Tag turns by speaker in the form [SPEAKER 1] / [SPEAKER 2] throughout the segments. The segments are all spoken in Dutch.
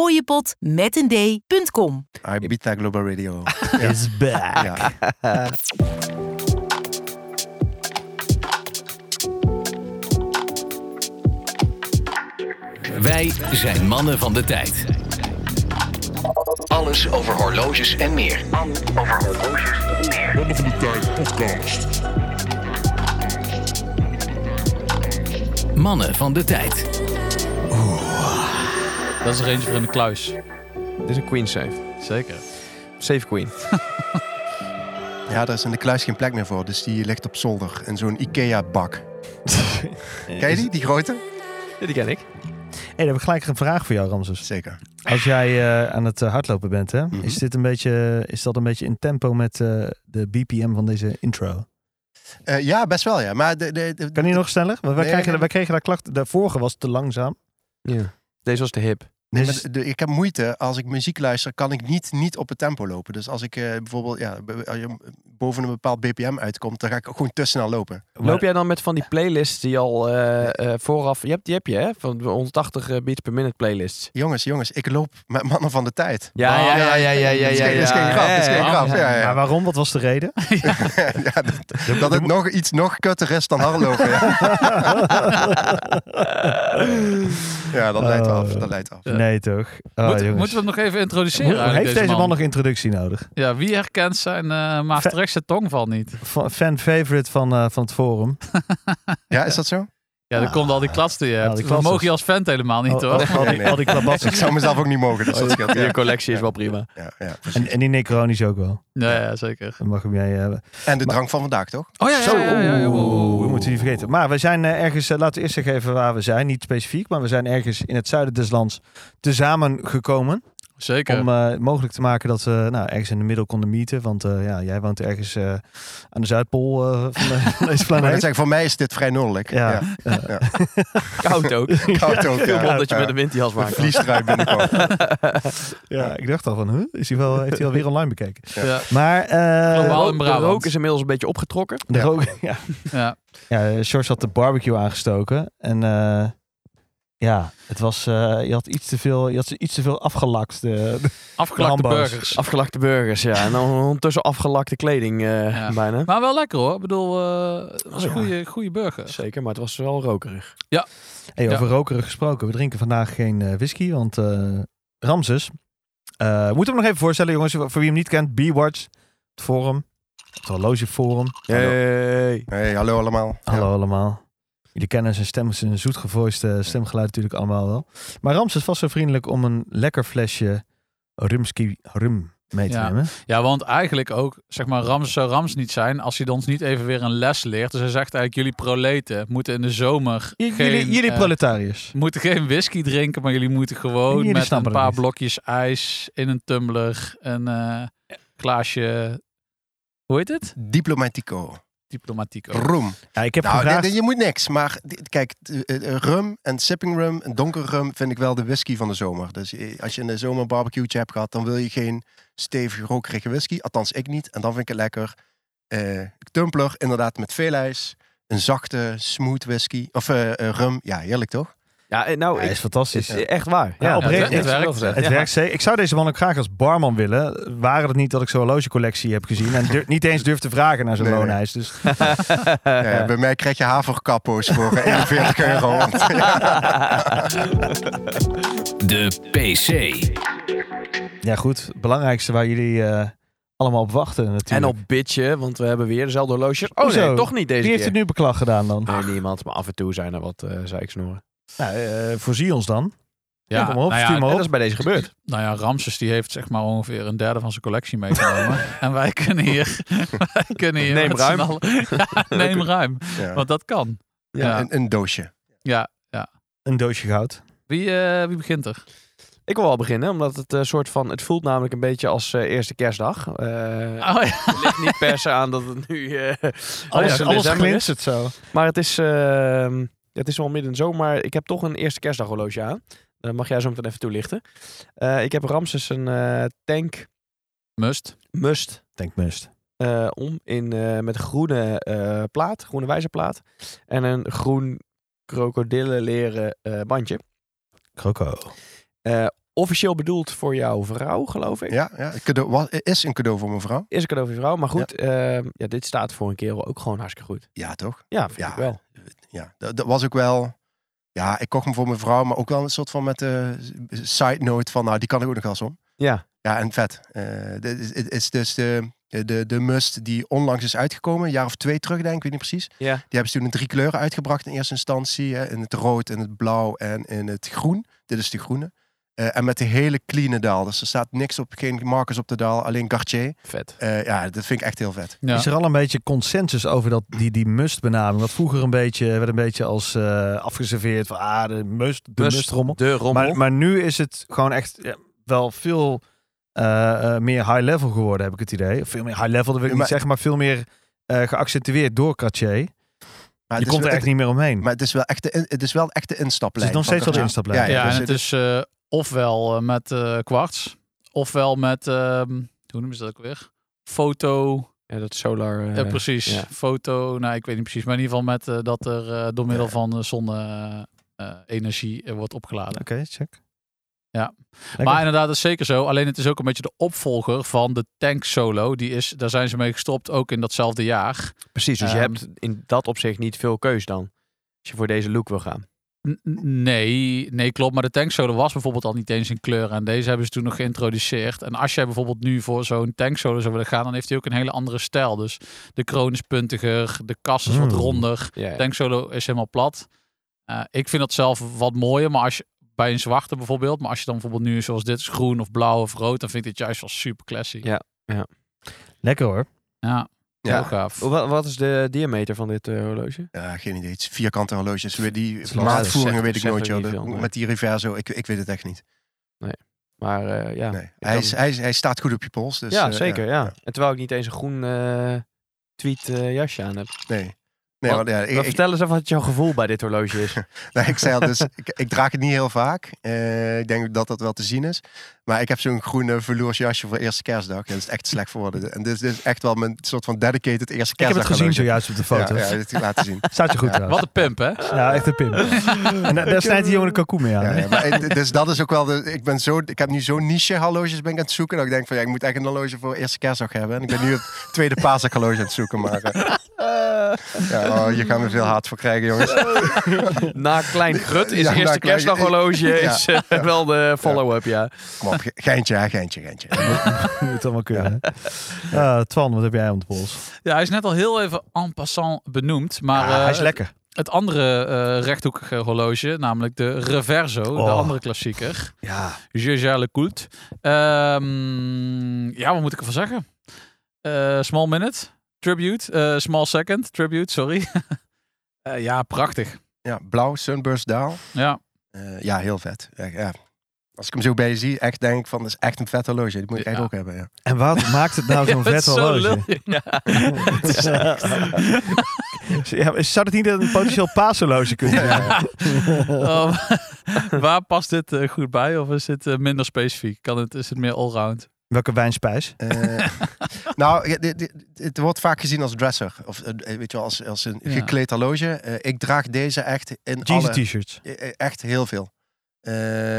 [SPEAKER 1] fooiepot met een d.com.
[SPEAKER 2] Ibiza Global Radio.
[SPEAKER 3] Is
[SPEAKER 4] Ah,
[SPEAKER 3] back.
[SPEAKER 2] ja.
[SPEAKER 5] Wij zijn mannen van de tijd. Alles over horloges en meer. Mannen van de tijd.
[SPEAKER 6] Dat is er eentje voor in de kluis.
[SPEAKER 4] Dit is een queen save.
[SPEAKER 6] Zeker.
[SPEAKER 4] Save queen.
[SPEAKER 2] ja, daar is in de kluis geen plek meer voor, dus die ligt op zolder in zo'n Ikea-bak. Ken je die, die grote?
[SPEAKER 4] Ja, die ken ik.
[SPEAKER 3] Hey, dan heb ik gelijk een vraag voor jou, Ramses.
[SPEAKER 2] Zeker.
[SPEAKER 3] Als jij eh, aan het eh, hardlopen bent, hè,
[SPEAKER 2] Mhm.
[SPEAKER 3] is, dit een beetje, is dat een beetje in tempo met eh, de BPM van deze intro?
[SPEAKER 2] Eh, ja, best wel ja. Maar de, de, de-
[SPEAKER 3] Kan die nog sneller? Want wij,
[SPEAKER 2] Nee,
[SPEAKER 3] krijgen,
[SPEAKER 2] nee.
[SPEAKER 3] wij kregen daar klachten. De vorige was te langzaam.
[SPEAKER 4] Ja. Deze was de hip.
[SPEAKER 2] Nee,
[SPEAKER 3] Dus-
[SPEAKER 2] maar de- de- ik heb moeite. Als ik muziek luister, kan ik niet, niet op het tempo lopen. Dus als ik eh, bijvoorbeeld ja, b- als je boven een bepaald BPM uitkomt, dan ga ik ook gewoon te snel lopen.
[SPEAKER 4] Loop jij dan met van die playlists die al eh, eh, vooraf... Je hebt, die heb je, hè? Van de 180 eh, beats per minute playlists. Ah,
[SPEAKER 2] Jongens, jongens, ik loop met mannen van de tijd.
[SPEAKER 4] Ja, ja, ja, ja, ja, ja,
[SPEAKER 2] Dat is
[SPEAKER 4] ja.
[SPEAKER 2] geen- dat is geen grap, dat is geen grap. Ja, ja, ja.
[SPEAKER 3] Maar waarom? Wat was de reden?
[SPEAKER 2] Ja, dat, dat het nog iets nog kutter is dan hardlopen. Ja, ja dat leidt wel af.
[SPEAKER 4] Eh.
[SPEAKER 2] Dat leidt af.
[SPEAKER 3] Nee, toch? Oh,
[SPEAKER 6] Moet-
[SPEAKER 3] jongens.
[SPEAKER 6] moeten we hem nog even introduceren?
[SPEAKER 3] Hoe-
[SPEAKER 6] eigenlijk,
[SPEAKER 3] heeft deze man.
[SPEAKER 6] man
[SPEAKER 3] nog introductie nodig?
[SPEAKER 6] Ja, wie herkent zijn eh Maastrichtse tongval niet?
[SPEAKER 3] Fa- Fan favorite van, eh, van het forum.
[SPEAKER 2] Ja, is dat zo?
[SPEAKER 6] Ja, dan komt al die klats die je
[SPEAKER 3] Nou, die
[SPEAKER 6] hebt. Dat
[SPEAKER 3] klatsers.
[SPEAKER 6] mogen je als vent helemaal niet,
[SPEAKER 3] Al-
[SPEAKER 6] hoor.
[SPEAKER 3] al- al die-
[SPEAKER 2] Nee, nee.
[SPEAKER 3] al die klabassen.
[SPEAKER 2] Ik zou mezelf ook niet mogen, dus dat scheelt.
[SPEAKER 4] Je
[SPEAKER 2] Ja,
[SPEAKER 4] collectie is wel prima.
[SPEAKER 2] ja, ja.
[SPEAKER 3] En, en die Necronisch ook wel.
[SPEAKER 6] Ja, ja, zeker.
[SPEAKER 3] Dan mag hem jij hebben.
[SPEAKER 2] En de drank van vandaag, toch?
[SPEAKER 6] Oh
[SPEAKER 3] Eh,
[SPEAKER 6] ja, ja, ja, ja, ja, ja.
[SPEAKER 3] Oeh, we moeten die vergeten. Maar we zijn eh, ergens, eh, laten we eerst zeggen even waar we zijn. Niet specifiek, maar we zijn ergens in het zuiden des lands tezamen gekomen.
[SPEAKER 6] Zeker.
[SPEAKER 3] Om eh, mogelijk te maken dat we nou, ergens in de middel konden meeten. Want eh, ja, jij woont ergens eh, aan de Zuidpool eh, van, de- van deze
[SPEAKER 2] Maar ik
[SPEAKER 3] planeet.
[SPEAKER 2] zeg, voor mij is dit vrij noordelijk.
[SPEAKER 3] Ja.
[SPEAKER 2] Ja.
[SPEAKER 4] Koud ook.
[SPEAKER 2] Koud ook,
[SPEAKER 4] Heel
[SPEAKER 2] ja.
[SPEAKER 4] blond dat je
[SPEAKER 2] Ja.
[SPEAKER 4] met een windjas
[SPEAKER 2] Een
[SPEAKER 4] maakt.
[SPEAKER 2] vliestrui binnenkomt.
[SPEAKER 3] Ja, ik dacht al van, huh? is hij wel, heeft hij alweer online bekeken?
[SPEAKER 6] Ja.
[SPEAKER 3] Maar eh,
[SPEAKER 6] Globaal.
[SPEAKER 4] De
[SPEAKER 6] in
[SPEAKER 4] rook- de
[SPEAKER 6] Brabant.
[SPEAKER 4] rook is inmiddels een beetje opgetrokken.
[SPEAKER 3] de
[SPEAKER 2] Ja.
[SPEAKER 3] rook- ja.
[SPEAKER 6] Ja.
[SPEAKER 3] Ja, George had de barbecue aangestoken. En eh, ja, het was, eh, je, had iets te veel, je had iets te veel afgelakt. eh.
[SPEAKER 6] Afgelakte
[SPEAKER 3] Lambo's.
[SPEAKER 6] burgers.
[SPEAKER 4] Afgelakte burgers, ja. En dan ondertussen afgelakte kleding eh,
[SPEAKER 6] Ja.
[SPEAKER 4] bijna.
[SPEAKER 6] Maar wel lekker, hoor. Ik bedoel, eh het was een
[SPEAKER 3] Oh, Ja.
[SPEAKER 6] goede, goede burger.
[SPEAKER 4] Zeker, maar het was wel rokerig.
[SPEAKER 3] Hey,
[SPEAKER 6] Ja.
[SPEAKER 3] over rokerig gesproken. We drinken vandaag geen eh, whisky, want eh, Ramses... eh moeten we hem nog even voorstellen, jongens. Voor wie hem niet kent, B-Watch, het forum, het horlogeforum.
[SPEAKER 4] Hey.
[SPEAKER 2] Hey, hallo allemaal. Ja.
[SPEAKER 3] Hallo allemaal. Jullie kennen zijn stem, zijn zoetgevoiste stemgeluid natuurlijk allemaal wel. Maar Ramses was zo vriendelijk om een lekker flesje rumski rum mee te
[SPEAKER 6] Ja.
[SPEAKER 3] nemen.
[SPEAKER 6] Ja, want eigenlijk ook, zeg maar, Rams zou Rams niet zijn als hij ons niet even weer een les leert. Dus hij zegt eigenlijk, jullie proleten moeten in de zomer
[SPEAKER 3] J-
[SPEAKER 6] geen,
[SPEAKER 3] jullie jullie
[SPEAKER 6] eh,
[SPEAKER 3] proletariërs.
[SPEAKER 6] moeten geen whisky drinken, maar jullie moeten gewoon
[SPEAKER 3] Jullie
[SPEAKER 6] met een
[SPEAKER 3] snappen het
[SPEAKER 6] paar
[SPEAKER 3] niet.
[SPEAKER 6] blokjes ijs in een tumbler, een eh, glaasje, hoe heet het?
[SPEAKER 2] Diplomatico.
[SPEAKER 6] Diplomatico.
[SPEAKER 2] Roem.
[SPEAKER 3] Ja, ik heb
[SPEAKER 2] Nou,
[SPEAKER 3] gevraagd...
[SPEAKER 2] dit- je moet niks. Maar dit- kijk, t- eh, eh, rum en sipping rum en donker rum vind ik wel de whisky van de zomer. Dus eh, als je in de zomer een barbecue'tje hebt gehad, dan wil je geen stevige rokerige whisky. Althans, ik niet. En dan vind ik het lekker. Eh tumbler, inderdaad, met veel ijs. Een zachte, smooth whisky. Of eh, eh, rum. Ja, heerlijk toch?
[SPEAKER 4] Ja, eh, nou,
[SPEAKER 3] Ja,
[SPEAKER 4] ik-
[SPEAKER 3] is fantastisch.
[SPEAKER 4] is echt waar.
[SPEAKER 3] Ja, oprecht.
[SPEAKER 6] het- het
[SPEAKER 4] is wel
[SPEAKER 6] werkt.
[SPEAKER 4] gezegd.
[SPEAKER 3] Het
[SPEAKER 4] Ja.
[SPEAKER 3] werkt zeker. Ik zou deze man ook graag als barman willen. Waren het niet dat ik zo'n horlogecollectie heb gezien. En durf- niet eens durf te vragen naar zo'n
[SPEAKER 2] Nee, nee.
[SPEAKER 3] loonijs. Dus
[SPEAKER 2] Ja, ja, bij mij krijg je haverkappo's voor eh, 41 euro. Want,
[SPEAKER 5] De PC.
[SPEAKER 3] ja goed, het belangrijkste waar jullie eh, allemaal op wachten natuurlijk.
[SPEAKER 4] En op bitchen, want we hebben weer dezelfde horloges. Oh
[SPEAKER 3] Hoezo?
[SPEAKER 4] nee, toch niet deze
[SPEAKER 3] Wie heeft
[SPEAKER 4] keer.
[SPEAKER 3] het nu beklag gedaan dan?
[SPEAKER 4] Nee, niemand. Maar af en toe zijn er wat eh zeiksnoren.
[SPEAKER 3] Nou, eh, voorzie ons dan. Ja, kom maar op,
[SPEAKER 6] nou ja,
[SPEAKER 3] stuur maar
[SPEAKER 4] En
[SPEAKER 3] op.
[SPEAKER 4] dat is bij deze gebeurd.
[SPEAKER 6] Nou ja, Ramses die heeft zeg maar ongeveer een derde van zijn collectie meegenomen. en wij kunnen hier... wij kunnen hier
[SPEAKER 4] Neem
[SPEAKER 6] met z'n
[SPEAKER 4] ruim.
[SPEAKER 6] allen- Ja, neem ruim,
[SPEAKER 2] ja.
[SPEAKER 6] want dat kan. Ja.
[SPEAKER 2] een, een doosje.
[SPEAKER 6] Ja.
[SPEAKER 3] Een doosje goud.
[SPEAKER 6] Wie, eh, wie begint er?
[SPEAKER 4] Ik wil wel beginnen, omdat het eh, soort van... Het voelt namelijk een beetje als eh, eerste kerstdag. Eh
[SPEAKER 6] Oh, ja.
[SPEAKER 4] Het ligt niet per se aan dat het nu... eh,
[SPEAKER 3] Alles,
[SPEAKER 6] Oh
[SPEAKER 4] ja,
[SPEAKER 3] alles
[SPEAKER 4] december is.
[SPEAKER 3] glinstert zo.
[SPEAKER 4] Maar het is, eh, het is wel midden in de zomer. Maar ik heb toch een eerste kerstdag horloge aan. Dat mag jij zo meteen even toelichten. Eh, ik heb Ramses een eh, tank
[SPEAKER 6] Must.
[SPEAKER 4] must
[SPEAKER 3] Denk must.
[SPEAKER 4] eh, om in, eh, met een groene eh, plaat, groene wijzerplaat. En een groen krokodillenleren eh bandje.
[SPEAKER 3] Croco.
[SPEAKER 4] Eh, officieel bedoeld voor jouw vrouw, geloof ik.
[SPEAKER 2] Ja, ja. Het cadeau, wa- is een cadeau voor mijn vrouw.
[SPEAKER 4] Is een cadeau voor je vrouw. Maar goed, ja. ja, dit staat voor een kerel ook gewoon hartstikke goed.
[SPEAKER 2] Ja, toch?
[SPEAKER 4] Ja, vind
[SPEAKER 2] Ja.
[SPEAKER 4] ik wel.
[SPEAKER 2] Ja, dat, dat was ook wel... Ja, ik kocht hem voor mijn vrouw, maar ook wel een soort van met de side note van... Nou, die kan ik ook nog wel eens om.
[SPEAKER 4] Ja,
[SPEAKER 2] Ja, en vet. Eh, dit is- Het is dus de, de, de must die onlangs is uitgekomen. Een jaar of twee terug, denk ik. Ik weet niet precies.
[SPEAKER 4] Ja.
[SPEAKER 2] Die hebben ze toen in drie kleuren uitgebracht in eerste instantie. Hè, in het rood, in het blauw en in het groen. Dit is de groene. Eh, en met de hele clean daal. Dus er staat niks op, geen markers op de daal. Alleen Cartier.
[SPEAKER 4] vet.
[SPEAKER 2] Eh, ja, dat vind ik echt heel vet.
[SPEAKER 6] Ja.
[SPEAKER 3] Is er al een beetje consensus over dat, die, die must-benaming? Wat vroeger een beetje, werd een beetje als eh, afgeserveerd van ah, de must, de
[SPEAKER 6] Dus
[SPEAKER 3] mustrommel.
[SPEAKER 6] De rommel.
[SPEAKER 3] Maar, maar nu is het gewoon echt ja, wel veel eh, eh, meer high-level geworden, heb ik het idee. Veel meer high-level, dat wil ik
[SPEAKER 2] Maar-
[SPEAKER 3] niet zeggen, maar veel meer eh, geaccentueerd door Cartier.
[SPEAKER 2] Maar
[SPEAKER 3] Je
[SPEAKER 2] het is
[SPEAKER 3] komt er
[SPEAKER 2] wel-
[SPEAKER 3] echt niet meer omheen.
[SPEAKER 2] Maar het is wel echt de, in- het is wel echt de
[SPEAKER 3] het is
[SPEAKER 2] instaplijn.
[SPEAKER 3] nog steeds wel de
[SPEAKER 2] van
[SPEAKER 3] instaplijn.
[SPEAKER 2] Ja,
[SPEAKER 6] ja,
[SPEAKER 2] dus
[SPEAKER 6] en
[SPEAKER 2] het
[SPEAKER 6] het is eh, ofwel eh, met eh, kwarts, ofwel met, ehm, hoe noemen ze dat ook weer? Foto,
[SPEAKER 4] Ja, dat solar... eh,
[SPEAKER 6] eh, precies,
[SPEAKER 4] ja.
[SPEAKER 6] foto, nou ik weet niet precies, maar in ieder geval met eh, dat er eh, door middel van eh, zonne-energie eh, wordt opgeladen.
[SPEAKER 3] Oké, check.
[SPEAKER 6] Ja.
[SPEAKER 3] Lekker.
[SPEAKER 6] Maar inderdaad, dat is zeker zo. Alleen het is ook een beetje de opvolger van de Tank Solo. Die is, daar zijn ze mee gestopt, ook in datzelfde jaar.
[SPEAKER 4] Precies, dus je
[SPEAKER 6] Ehm,
[SPEAKER 4] hebt in dat opzicht niet veel keus dan. Als je voor deze look wil gaan.
[SPEAKER 6] N- n- Nee, nee, klopt. Maar de tanksolo was bijvoorbeeld al niet eens in kleur. En deze hebben ze toen nog geïntroduceerd. En als jij bijvoorbeeld nu voor zo'n tanksolo zou willen gaan, dan heeft hij ook een hele andere stijl. Dus de kroon is puntiger, de kas is wat
[SPEAKER 3] Mm.
[SPEAKER 6] ronder.
[SPEAKER 4] Ja, ja.
[SPEAKER 6] Tanksolo is helemaal plat. Eh, ik vind dat zelf wat mooier. Maar als je, bij een zwarte bijvoorbeeld, maar als je dan bijvoorbeeld nu zoals dit is groen of blauw of rood, dan vind ik dit juist wel super classy.
[SPEAKER 4] Ja.
[SPEAKER 3] Lekker hoor.
[SPEAKER 6] Ja,
[SPEAKER 2] Ja.
[SPEAKER 6] heel gaaf.
[SPEAKER 4] Wat, wat is de diameter van dit eh, horloge?
[SPEAKER 2] Ja, geen idee. Het is vierkante horloges. Weer Die
[SPEAKER 4] lastig.
[SPEAKER 2] maatvoeringen
[SPEAKER 4] Zegt-
[SPEAKER 2] weet ik
[SPEAKER 4] zegt
[SPEAKER 2] nooit,
[SPEAKER 4] ook
[SPEAKER 2] joh.
[SPEAKER 4] niet veel,
[SPEAKER 2] De-
[SPEAKER 4] nee.
[SPEAKER 2] Met die reverso, ik, ik weet het echt niet.
[SPEAKER 4] Maar eh, ja.
[SPEAKER 2] Nee.
[SPEAKER 4] kan-
[SPEAKER 2] Hij, is, hij, is- hij staat goed op je pols. Dus,
[SPEAKER 4] ja,
[SPEAKER 2] eh,
[SPEAKER 4] zeker. Ja. En terwijl ik niet eens een groen eh, tweet eh, jasje aan heb.
[SPEAKER 2] Nee. Nee,
[SPEAKER 4] Wat-
[SPEAKER 2] want, ja, ik,
[SPEAKER 4] Maar
[SPEAKER 2] ik-
[SPEAKER 4] vertel eens even wat jouw gevoel bij dit horloge is.
[SPEAKER 2] nou, ik zei al, dus ik, ik draag het niet heel vaak. Eh, ik denk dat dat wel te zien is. Maar ik heb zo'n groene velours jasje voor eerste kerstdag. Dat is echt slecht voor woorden. En dit is, dit is echt wel mijn soort van dedicated eerste
[SPEAKER 3] Ik heb
[SPEAKER 2] kerstdag.
[SPEAKER 3] het gezien zojuist op de foto.
[SPEAKER 2] Ja, ja, dit laten zien.
[SPEAKER 3] Staat je goed trouwens.
[SPEAKER 6] Wat een pimp, hè?
[SPEAKER 3] Ja, echt een pimp. en daar- daar snijdt die jongen een kalkoen mee aan.
[SPEAKER 2] eh, Ja,
[SPEAKER 3] hè?
[SPEAKER 2] ja, maar het- dus dat is ook wel. De, ik, ben zo, ik heb nu zo'n niche horloges ben ik aan het zoeken. Dat ik denk van ja, ik moet echt een horloge voor eerste kerstdag hebben. En ik ben nu het tweede paasdag horloge aan het zoeken. Maar eh, ja, oh, hier gaan we veel haat voor krijgen, jongens.
[SPEAKER 4] Na Klein Grut is
[SPEAKER 2] Ja, na
[SPEAKER 4] eerste
[SPEAKER 2] Klein-
[SPEAKER 4] kerstdaghorloge
[SPEAKER 2] Ja.
[SPEAKER 4] is, eh, wel de follow-up, ja.
[SPEAKER 2] Kom op, ge- geintje, hè, geintje, geintje.
[SPEAKER 3] Moet het allemaal kunnen. hè? Eh, Twan, wat heb jij om de pols?
[SPEAKER 6] Ja, hij is net al heel even en passant benoemd. Maar
[SPEAKER 3] Ah,
[SPEAKER 6] eh,
[SPEAKER 3] hij is lekker.
[SPEAKER 6] het andere eh, rechthoekige horloge, namelijk de Reverso, de
[SPEAKER 3] Oh.
[SPEAKER 6] andere klassieker,
[SPEAKER 3] Ja.
[SPEAKER 6] Jaeger Lecoult. Ehm ja, wat moet ik ervan zeggen? Eh, small minute, tribute, eh, small second, tribute, sorry. Eh, ja, prachtig.
[SPEAKER 2] Ja, blauw, sunburst daal.
[SPEAKER 6] Ja,
[SPEAKER 2] Eh, ja, heel vet. Ja, ja. Als ik hem zo bij je zie, echt denk ik van, dat is echt een vet horloge. Die moet ik
[SPEAKER 6] Ja.
[SPEAKER 2] echt ook hebben, ja.
[SPEAKER 3] En wat maakt het nou zo'n
[SPEAKER 6] Ja,
[SPEAKER 3] vet
[SPEAKER 6] zo
[SPEAKER 3] horloge?
[SPEAKER 6] lul. Ja.
[SPEAKER 3] ja, zou het niet een potentieel paashorloge kunnen zijn?
[SPEAKER 6] Oh, waar past dit eh, goed bij of is dit eh, minder specifiek? Kan het, is het meer allround?
[SPEAKER 3] Welke wijnspijs?
[SPEAKER 2] Eh, nou, ja, dit- dit- het wordt vaak gezien als dresser. Of eh, weet je wel, als, als een
[SPEAKER 6] Ja.
[SPEAKER 2] gekleed horloge. Eh, ik draag deze echt in
[SPEAKER 3] Jeans
[SPEAKER 2] alle...
[SPEAKER 3] en t-shirts.
[SPEAKER 2] Eh, eh, Echt heel veel. Eh,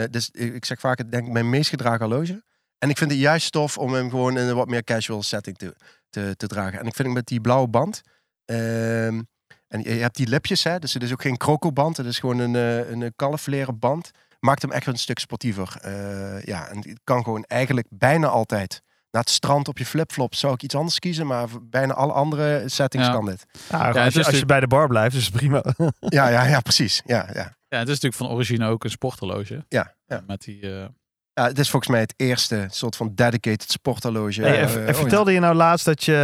[SPEAKER 2] dus ik ik zeg vaak, het denk ik, mijn meest gedragen horloge. En ik vind het juist tof om hem gewoon in een wat meer casual setting te, te, te dragen. En ik vind hem met die blauwe band. ehm, en je je hebt die lipjes, hè, dus het is ook geen krokoband. Het is gewoon een, eh, een eh, kalfleren band. Maakt hem echt een stuk sportiever. Eh, ja, en het kan gewoon eigenlijk bijna altijd. Na het strand op je flipflop zou ik iets anders kiezen. Maar voor bijna alle andere settings
[SPEAKER 6] Ja.
[SPEAKER 2] kan dit.
[SPEAKER 3] Ja, Ah, als,
[SPEAKER 6] het is
[SPEAKER 3] je, als je
[SPEAKER 6] natuurlijk-
[SPEAKER 3] bij de bar blijft, is het prima.
[SPEAKER 2] Ja, ja, ja, precies. Ja, ja,
[SPEAKER 6] Ja, het is natuurlijk van origine ook een sporthorloge.
[SPEAKER 2] ja, ja.
[SPEAKER 6] Met die... eh,
[SPEAKER 2] Ja, het is volgens mij het eerste soort van dedicated sporthorloge.
[SPEAKER 3] Hey,
[SPEAKER 2] eh,
[SPEAKER 3] en- en
[SPEAKER 2] ooit.
[SPEAKER 3] vertelde je nou laatst dat je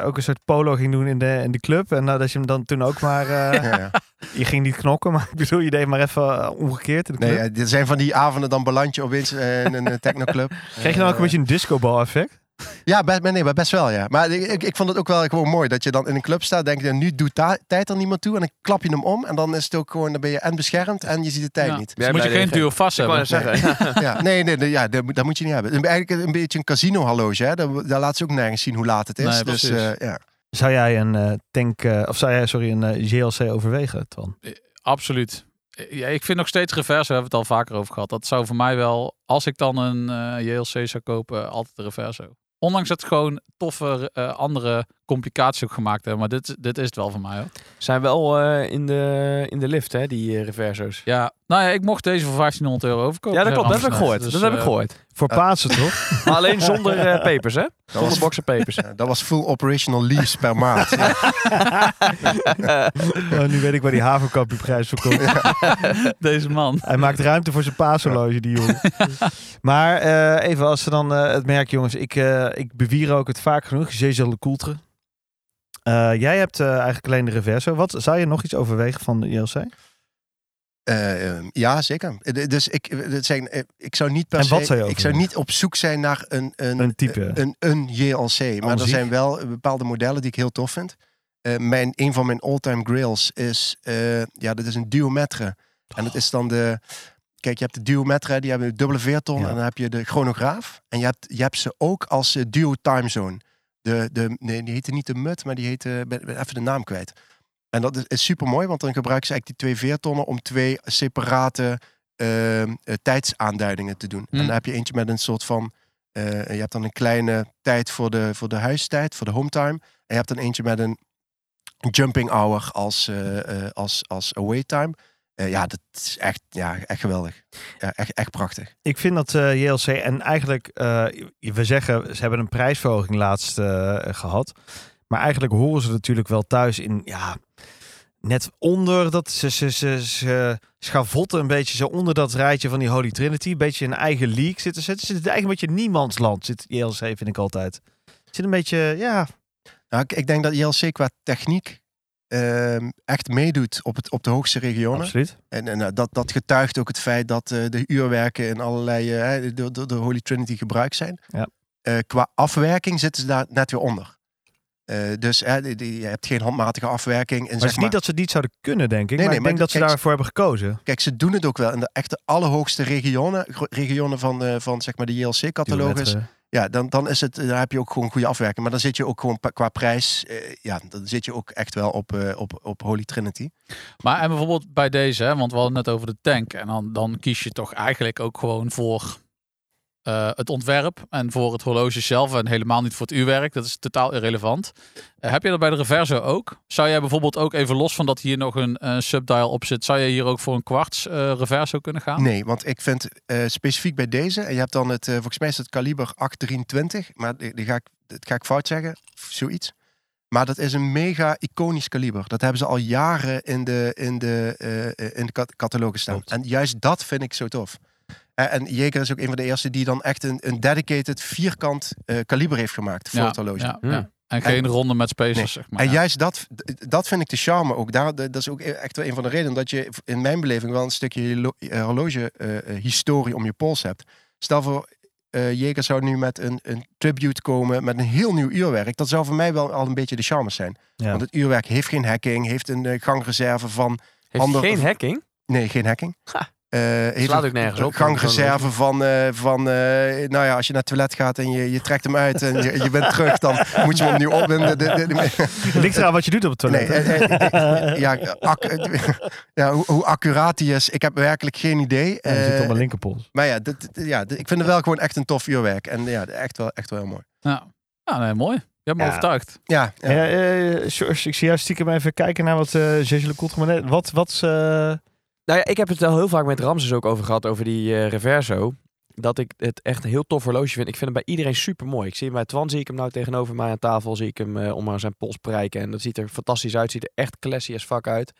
[SPEAKER 3] eh, ook een soort polo ging doen in de, in de club? En nou, dat je hem dan toen ook maar... eh,
[SPEAKER 2] Ja, ja.
[SPEAKER 3] Je ging niet knokken, maar ik bedoel, je deed maar even eh, omgekeerd in de club.
[SPEAKER 2] Nee, ja, dit zijn van die avonden dan beland je opeens eh, in een eh, technoclub.
[SPEAKER 3] Kreeg je dan ook een
[SPEAKER 2] Eh,
[SPEAKER 3] beetje een discobal effect?
[SPEAKER 2] Ja, best, nee, maar best wel, ja. Maar ik, ik- ik vond het ook wel gewoon mooi dat je dan in een club staat. Denk je, nu doet ta- tijd er niemand toe. En dan klap je hem om. En dan is het ook gewoon, dan ben je en beschermd en je ziet de tijd
[SPEAKER 6] ja.
[SPEAKER 2] niet.
[SPEAKER 6] Dus moet je
[SPEAKER 4] bij de
[SPEAKER 6] geen
[SPEAKER 4] gek.
[SPEAKER 6] duur vast
[SPEAKER 4] Ik wou
[SPEAKER 6] hebben.
[SPEAKER 4] net zeggen.
[SPEAKER 2] Ja, nee, nee, nee, ja, dat, moet- dat moet je niet hebben. Eigenlijk een beetje een casino horloge. Hè? Daar, daar laat ze ook nergens zien hoe laat het is.
[SPEAKER 6] Nee,
[SPEAKER 2] dus
[SPEAKER 6] precies.
[SPEAKER 2] eh, ja.
[SPEAKER 3] Zou jij een eh, tank, eh, of zou jij, sorry, een eh, JLC overwegen, Twan?
[SPEAKER 6] Absoluut. ja, ik vind nog steeds reverse, we hebben het al vaker over gehad. Dat zou voor mij wel, als ik dan een eh, JLC zou kopen, altijd de reverso. Ondanks dat het gewoon toffe eh, andere complicaties ook gemaakt hebben. Maar dit, dit is het wel voor mij. Hoor.
[SPEAKER 4] Zijn wel eh, in, de, in de lift, hè, die eh, reverso's.
[SPEAKER 6] Ja, nou ja, ik mocht deze voor 1500 euro overkopen.
[SPEAKER 4] Ja, dat
[SPEAKER 6] zei
[SPEAKER 4] klopt. Dat heb ik
[SPEAKER 6] Ramses
[SPEAKER 4] gehoord.
[SPEAKER 6] net. Dus,
[SPEAKER 4] dat heb ik
[SPEAKER 6] eh,
[SPEAKER 4] gehoord.
[SPEAKER 3] Voor Pasen, toch?
[SPEAKER 4] Maar alleen zonder eh, papers, hè?
[SPEAKER 2] Dat
[SPEAKER 4] Zonder
[SPEAKER 2] was,
[SPEAKER 4] boxen papers.
[SPEAKER 2] ja, dat was full operational lease per maand. Ja.
[SPEAKER 3] Oh, nu weet ik waar die havenkampioenprijs voor komt.
[SPEAKER 6] Deze man.
[SPEAKER 3] Hij maakt ruimte voor zijn paashorloge, die jongen. maar eh, even als ze dan eh, het merk, jongens. Ik, eh ik bewier ook het vaak genoeg. Jezel de Coultre. Eh, jij hebt eh, eigenlijk alleen de reverso. Wat, zou je nog iets overwegen van de ILC?
[SPEAKER 2] Eh, ehm, ja, zeker. Eh, d- Dus ik, eh, dat zijn, eh, ik zou niet per
[SPEAKER 3] En wat
[SPEAKER 2] se,
[SPEAKER 3] zou je
[SPEAKER 2] ik zou
[SPEAKER 3] overwegen?
[SPEAKER 2] niet op zoek zijn naar een, een,
[SPEAKER 3] Een type.
[SPEAKER 2] eh, Een, een JLC. Maar er
[SPEAKER 3] muziek.
[SPEAKER 2] zijn wel bepaalde modellen die ik heel tof vind. Eh, mijn, een van mijn all-time grails is, eh, ja, dat is een Duometre. En dat is dan de, kijk, je hebt de Duometre, die hebben een dubbele veerton.
[SPEAKER 3] Ja.
[SPEAKER 2] En dan heb je de chronograaf. En je hebt, je hebt ze ook als eh, duo timezone. De, de, nee, die heette niet de mut, maar die heette, ben, ben even de naam kwijt. En dat is, super mooi, want dan gebruiken ze eigenlijk die twee veertonnen om twee separate ehm, eh, tijdsaanduidingen te doen.
[SPEAKER 6] Hmm.
[SPEAKER 2] En dan heb je eentje met een soort van, eh, je hebt dan een kleine tijd voor de, voor de huistijd, voor de hometime. En je hebt dan eentje met een jumping hour als, eh, eh, als, als away time. Eh, ja, dat is echt, ja, echt geweldig. Ja, echt, echt prachtig.
[SPEAKER 3] Ik vind dat eh, JLC en eigenlijk, eh, we zeggen, ze hebben een prijsverhoging laatst eh, gehad. Maar eigenlijk horen ze natuurlijk wel thuis in, ja, net onder dat, ze, ze, ze, ze schavotten een beetje zo onder dat rijtje van die Holy Trinity. Een beetje in eigen league zitten ze. Ze zitten eigenlijk een beetje niemands land, zit JLC, vind ik altijd. Het Zit een beetje, ja,
[SPEAKER 2] Nou, ik, ik denk dat JLC qua techniek ehm, echt meedoet op, het, op de hoogste regionen.
[SPEAKER 3] absoluut.
[SPEAKER 2] En, en nou, dat, dat getuigt ook het feit dat eh, de uurwerken en allerlei eh, hè, door door de Holy Trinity gebruikt zijn.
[SPEAKER 3] Ja.
[SPEAKER 2] Eh, qua afwerking zitten ze daar net weer onder. Eh, dus hè, die- die- je hebt geen handmatige afwerking. En
[SPEAKER 3] Maar
[SPEAKER 2] zeg
[SPEAKER 3] het is niet dat ze het niet zouden kunnen, denk ik.
[SPEAKER 2] nee,
[SPEAKER 3] maar ik
[SPEAKER 2] maar
[SPEAKER 3] denk dat ze
[SPEAKER 2] kijk,
[SPEAKER 3] daarvoor hebben gekozen.
[SPEAKER 2] Kijk, ze doen het ook wel. In de echte allerhoogste regionen, gro- regionen van, eh, van zeg maar de JLC-catalogus.
[SPEAKER 3] Duetten.
[SPEAKER 2] Ja, dan, dan, is het, dan heb je ook gewoon goede afwerking. Maar dan zit je ook gewoon pa- qua prijs. eh, ja, dan zit je ook echt wel op, eh, op, op Holy Trinity.
[SPEAKER 6] Maar en bijvoorbeeld bij deze, hè, want we hadden het net over de tank. En dan, dan kies je toch eigenlijk ook gewoon voor eh, het ontwerp en voor het horloge zelf. En helemaal niet voor het uurwerk. Dat is totaal irrelevant. Eh, heb je dat bij de Reverso ook? Zou jij bijvoorbeeld ook even los van dat hier nog een eh, subdial op zit, zou je hier ook voor een kwarts eh, Reverso kunnen gaan?
[SPEAKER 2] Nee, want ik vind eh, specifiek bij deze. En je hebt dan het, eh, volgens mij is het kaliber 823. Maar die, die ga ik, dat ga ik fout zeggen. of Zoiets. Maar dat is een mega iconisch kaliber. Dat hebben ze al jaren in de, in de, eh, eh, in de cat- catalogus staan. En juist dat vind ik zo tof. Eh, En Jeker is ook een van de eerste die dan echt een, een dedicated vierkant eh, kaliber heeft gemaakt voor
[SPEAKER 6] Ja,
[SPEAKER 2] het horloge.
[SPEAKER 6] ja,
[SPEAKER 4] Hmm.
[SPEAKER 6] ja. En geen ronde met spacers, zeg maar.
[SPEAKER 2] En
[SPEAKER 6] Ja.
[SPEAKER 2] juist dat, dat vind ik de charme ook. Daar, dat is ook echt wel een van de redenen dat je in mijn beleving wel een stukje eh, horloge-historie om je pols hebt. Stel voor, eh Jeker zou nu met een, een tribute komen met een heel nieuw uurwerk. Dat zou voor mij wel al een beetje de charme zijn.
[SPEAKER 3] Ja.
[SPEAKER 2] Want het uurwerk heeft geen hacking, heeft een eh, gangreserve van...
[SPEAKER 4] Heeft
[SPEAKER 2] Ander-
[SPEAKER 4] Dus geen hacking?
[SPEAKER 2] Nee, geen hacking.
[SPEAKER 4] Ha.
[SPEAKER 2] Eh, heeft
[SPEAKER 4] Slaat
[SPEAKER 2] een
[SPEAKER 4] ook nergens op.
[SPEAKER 2] Gangreserve van, eh, van eh, nou ja, als je naar het toilet gaat en je, je trekt hem uit en je, je bent terug, dan moet je hem opnieuw op. En de- de- de-
[SPEAKER 3] Het ligt eraan wat je doet op het toilet.
[SPEAKER 2] Nee,
[SPEAKER 3] hè?
[SPEAKER 2] eh, eh, eh, ja, ac- ja, hoe, hoe accuraat die is, ik heb werkelijk geen idee.
[SPEAKER 3] Ja, die
[SPEAKER 2] Eh,
[SPEAKER 3] zit op mijn linkerpols.
[SPEAKER 2] maar ja, dit, dit- ja, dit- ik vind het wel gewoon echt een tof uurwerk. En ja, echt wel, echt wel heel mooi.
[SPEAKER 6] Ja. Ja, nee, mooi. Je hebt me
[SPEAKER 3] Ja.
[SPEAKER 6] overtuigd.
[SPEAKER 2] Ja, ja.
[SPEAKER 3] Ja, eh, George, ik zie jou stiekem even kijken naar wat eh Jeje Le Coultre maar net- Wat, wat is, eh,
[SPEAKER 4] Nou ja, ik heb het wel heel vaak met Ramses ook over gehad, over die eh, Reverso. Dat ik het echt een heel tof horloge vind. Ik vind hem bij iedereen super mooi. Ik zie hem bij Twan, zie ik hem nou tegenover mij aan tafel, zie ik hem eh, om aan zijn pols prijken. En dat ziet er fantastisch uit, ziet er echt classy as fuck uit.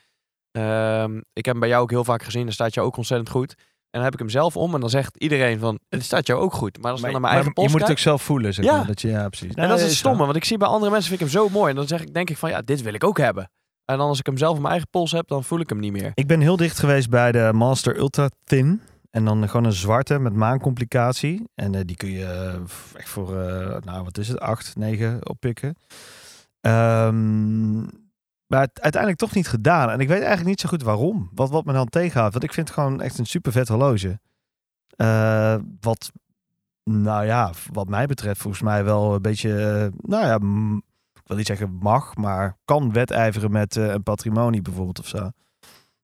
[SPEAKER 4] Ehm, ik heb hem bij jou ook heel vaak gezien, dan staat jou ook ontzettend goed. En dan heb ik hem zelf om en dan zegt iedereen van, het staat jou ook goed. Maar als ik dan naar mijn
[SPEAKER 3] maar
[SPEAKER 4] eigen
[SPEAKER 3] je
[SPEAKER 4] pols
[SPEAKER 3] moet het
[SPEAKER 4] kijk-
[SPEAKER 3] ook zelf voelen, zeg
[SPEAKER 4] Ja.
[SPEAKER 3] maar, Dat je, ja, Nou, eh, precies.
[SPEAKER 4] en dat is
[SPEAKER 3] Nee,
[SPEAKER 4] het stomme, want ik zie bij andere mensen vind ik hem zo mooi. En dan zeg ik, denk ik van, ja, dit wil ik ook hebben. En dan als ik hem zelf op mijn eigen pols heb, dan voel ik hem niet meer.
[SPEAKER 3] Ik ben heel dicht geweest bij de Master Ultra Thin. En dan gewoon een zwarte met maancomplicatie. En eh, die kun je eh, f- echt voor, eh, nou wat is het, 8, 9 oppikken. Ehm, maar het uiteindelijk toch niet gedaan. En ik weet eigenlijk niet zo goed waarom. Wat, wat me dan tegenhoudt. Want ik vind het gewoon echt een super vet horloge. Eh, wat, nou ja, v- wat mij betreft volgens mij wel een beetje, eh, nou ja, m- ik wil niet zeggen mag, maar kan wedijveren met eh, een patrimonie bijvoorbeeld of zo.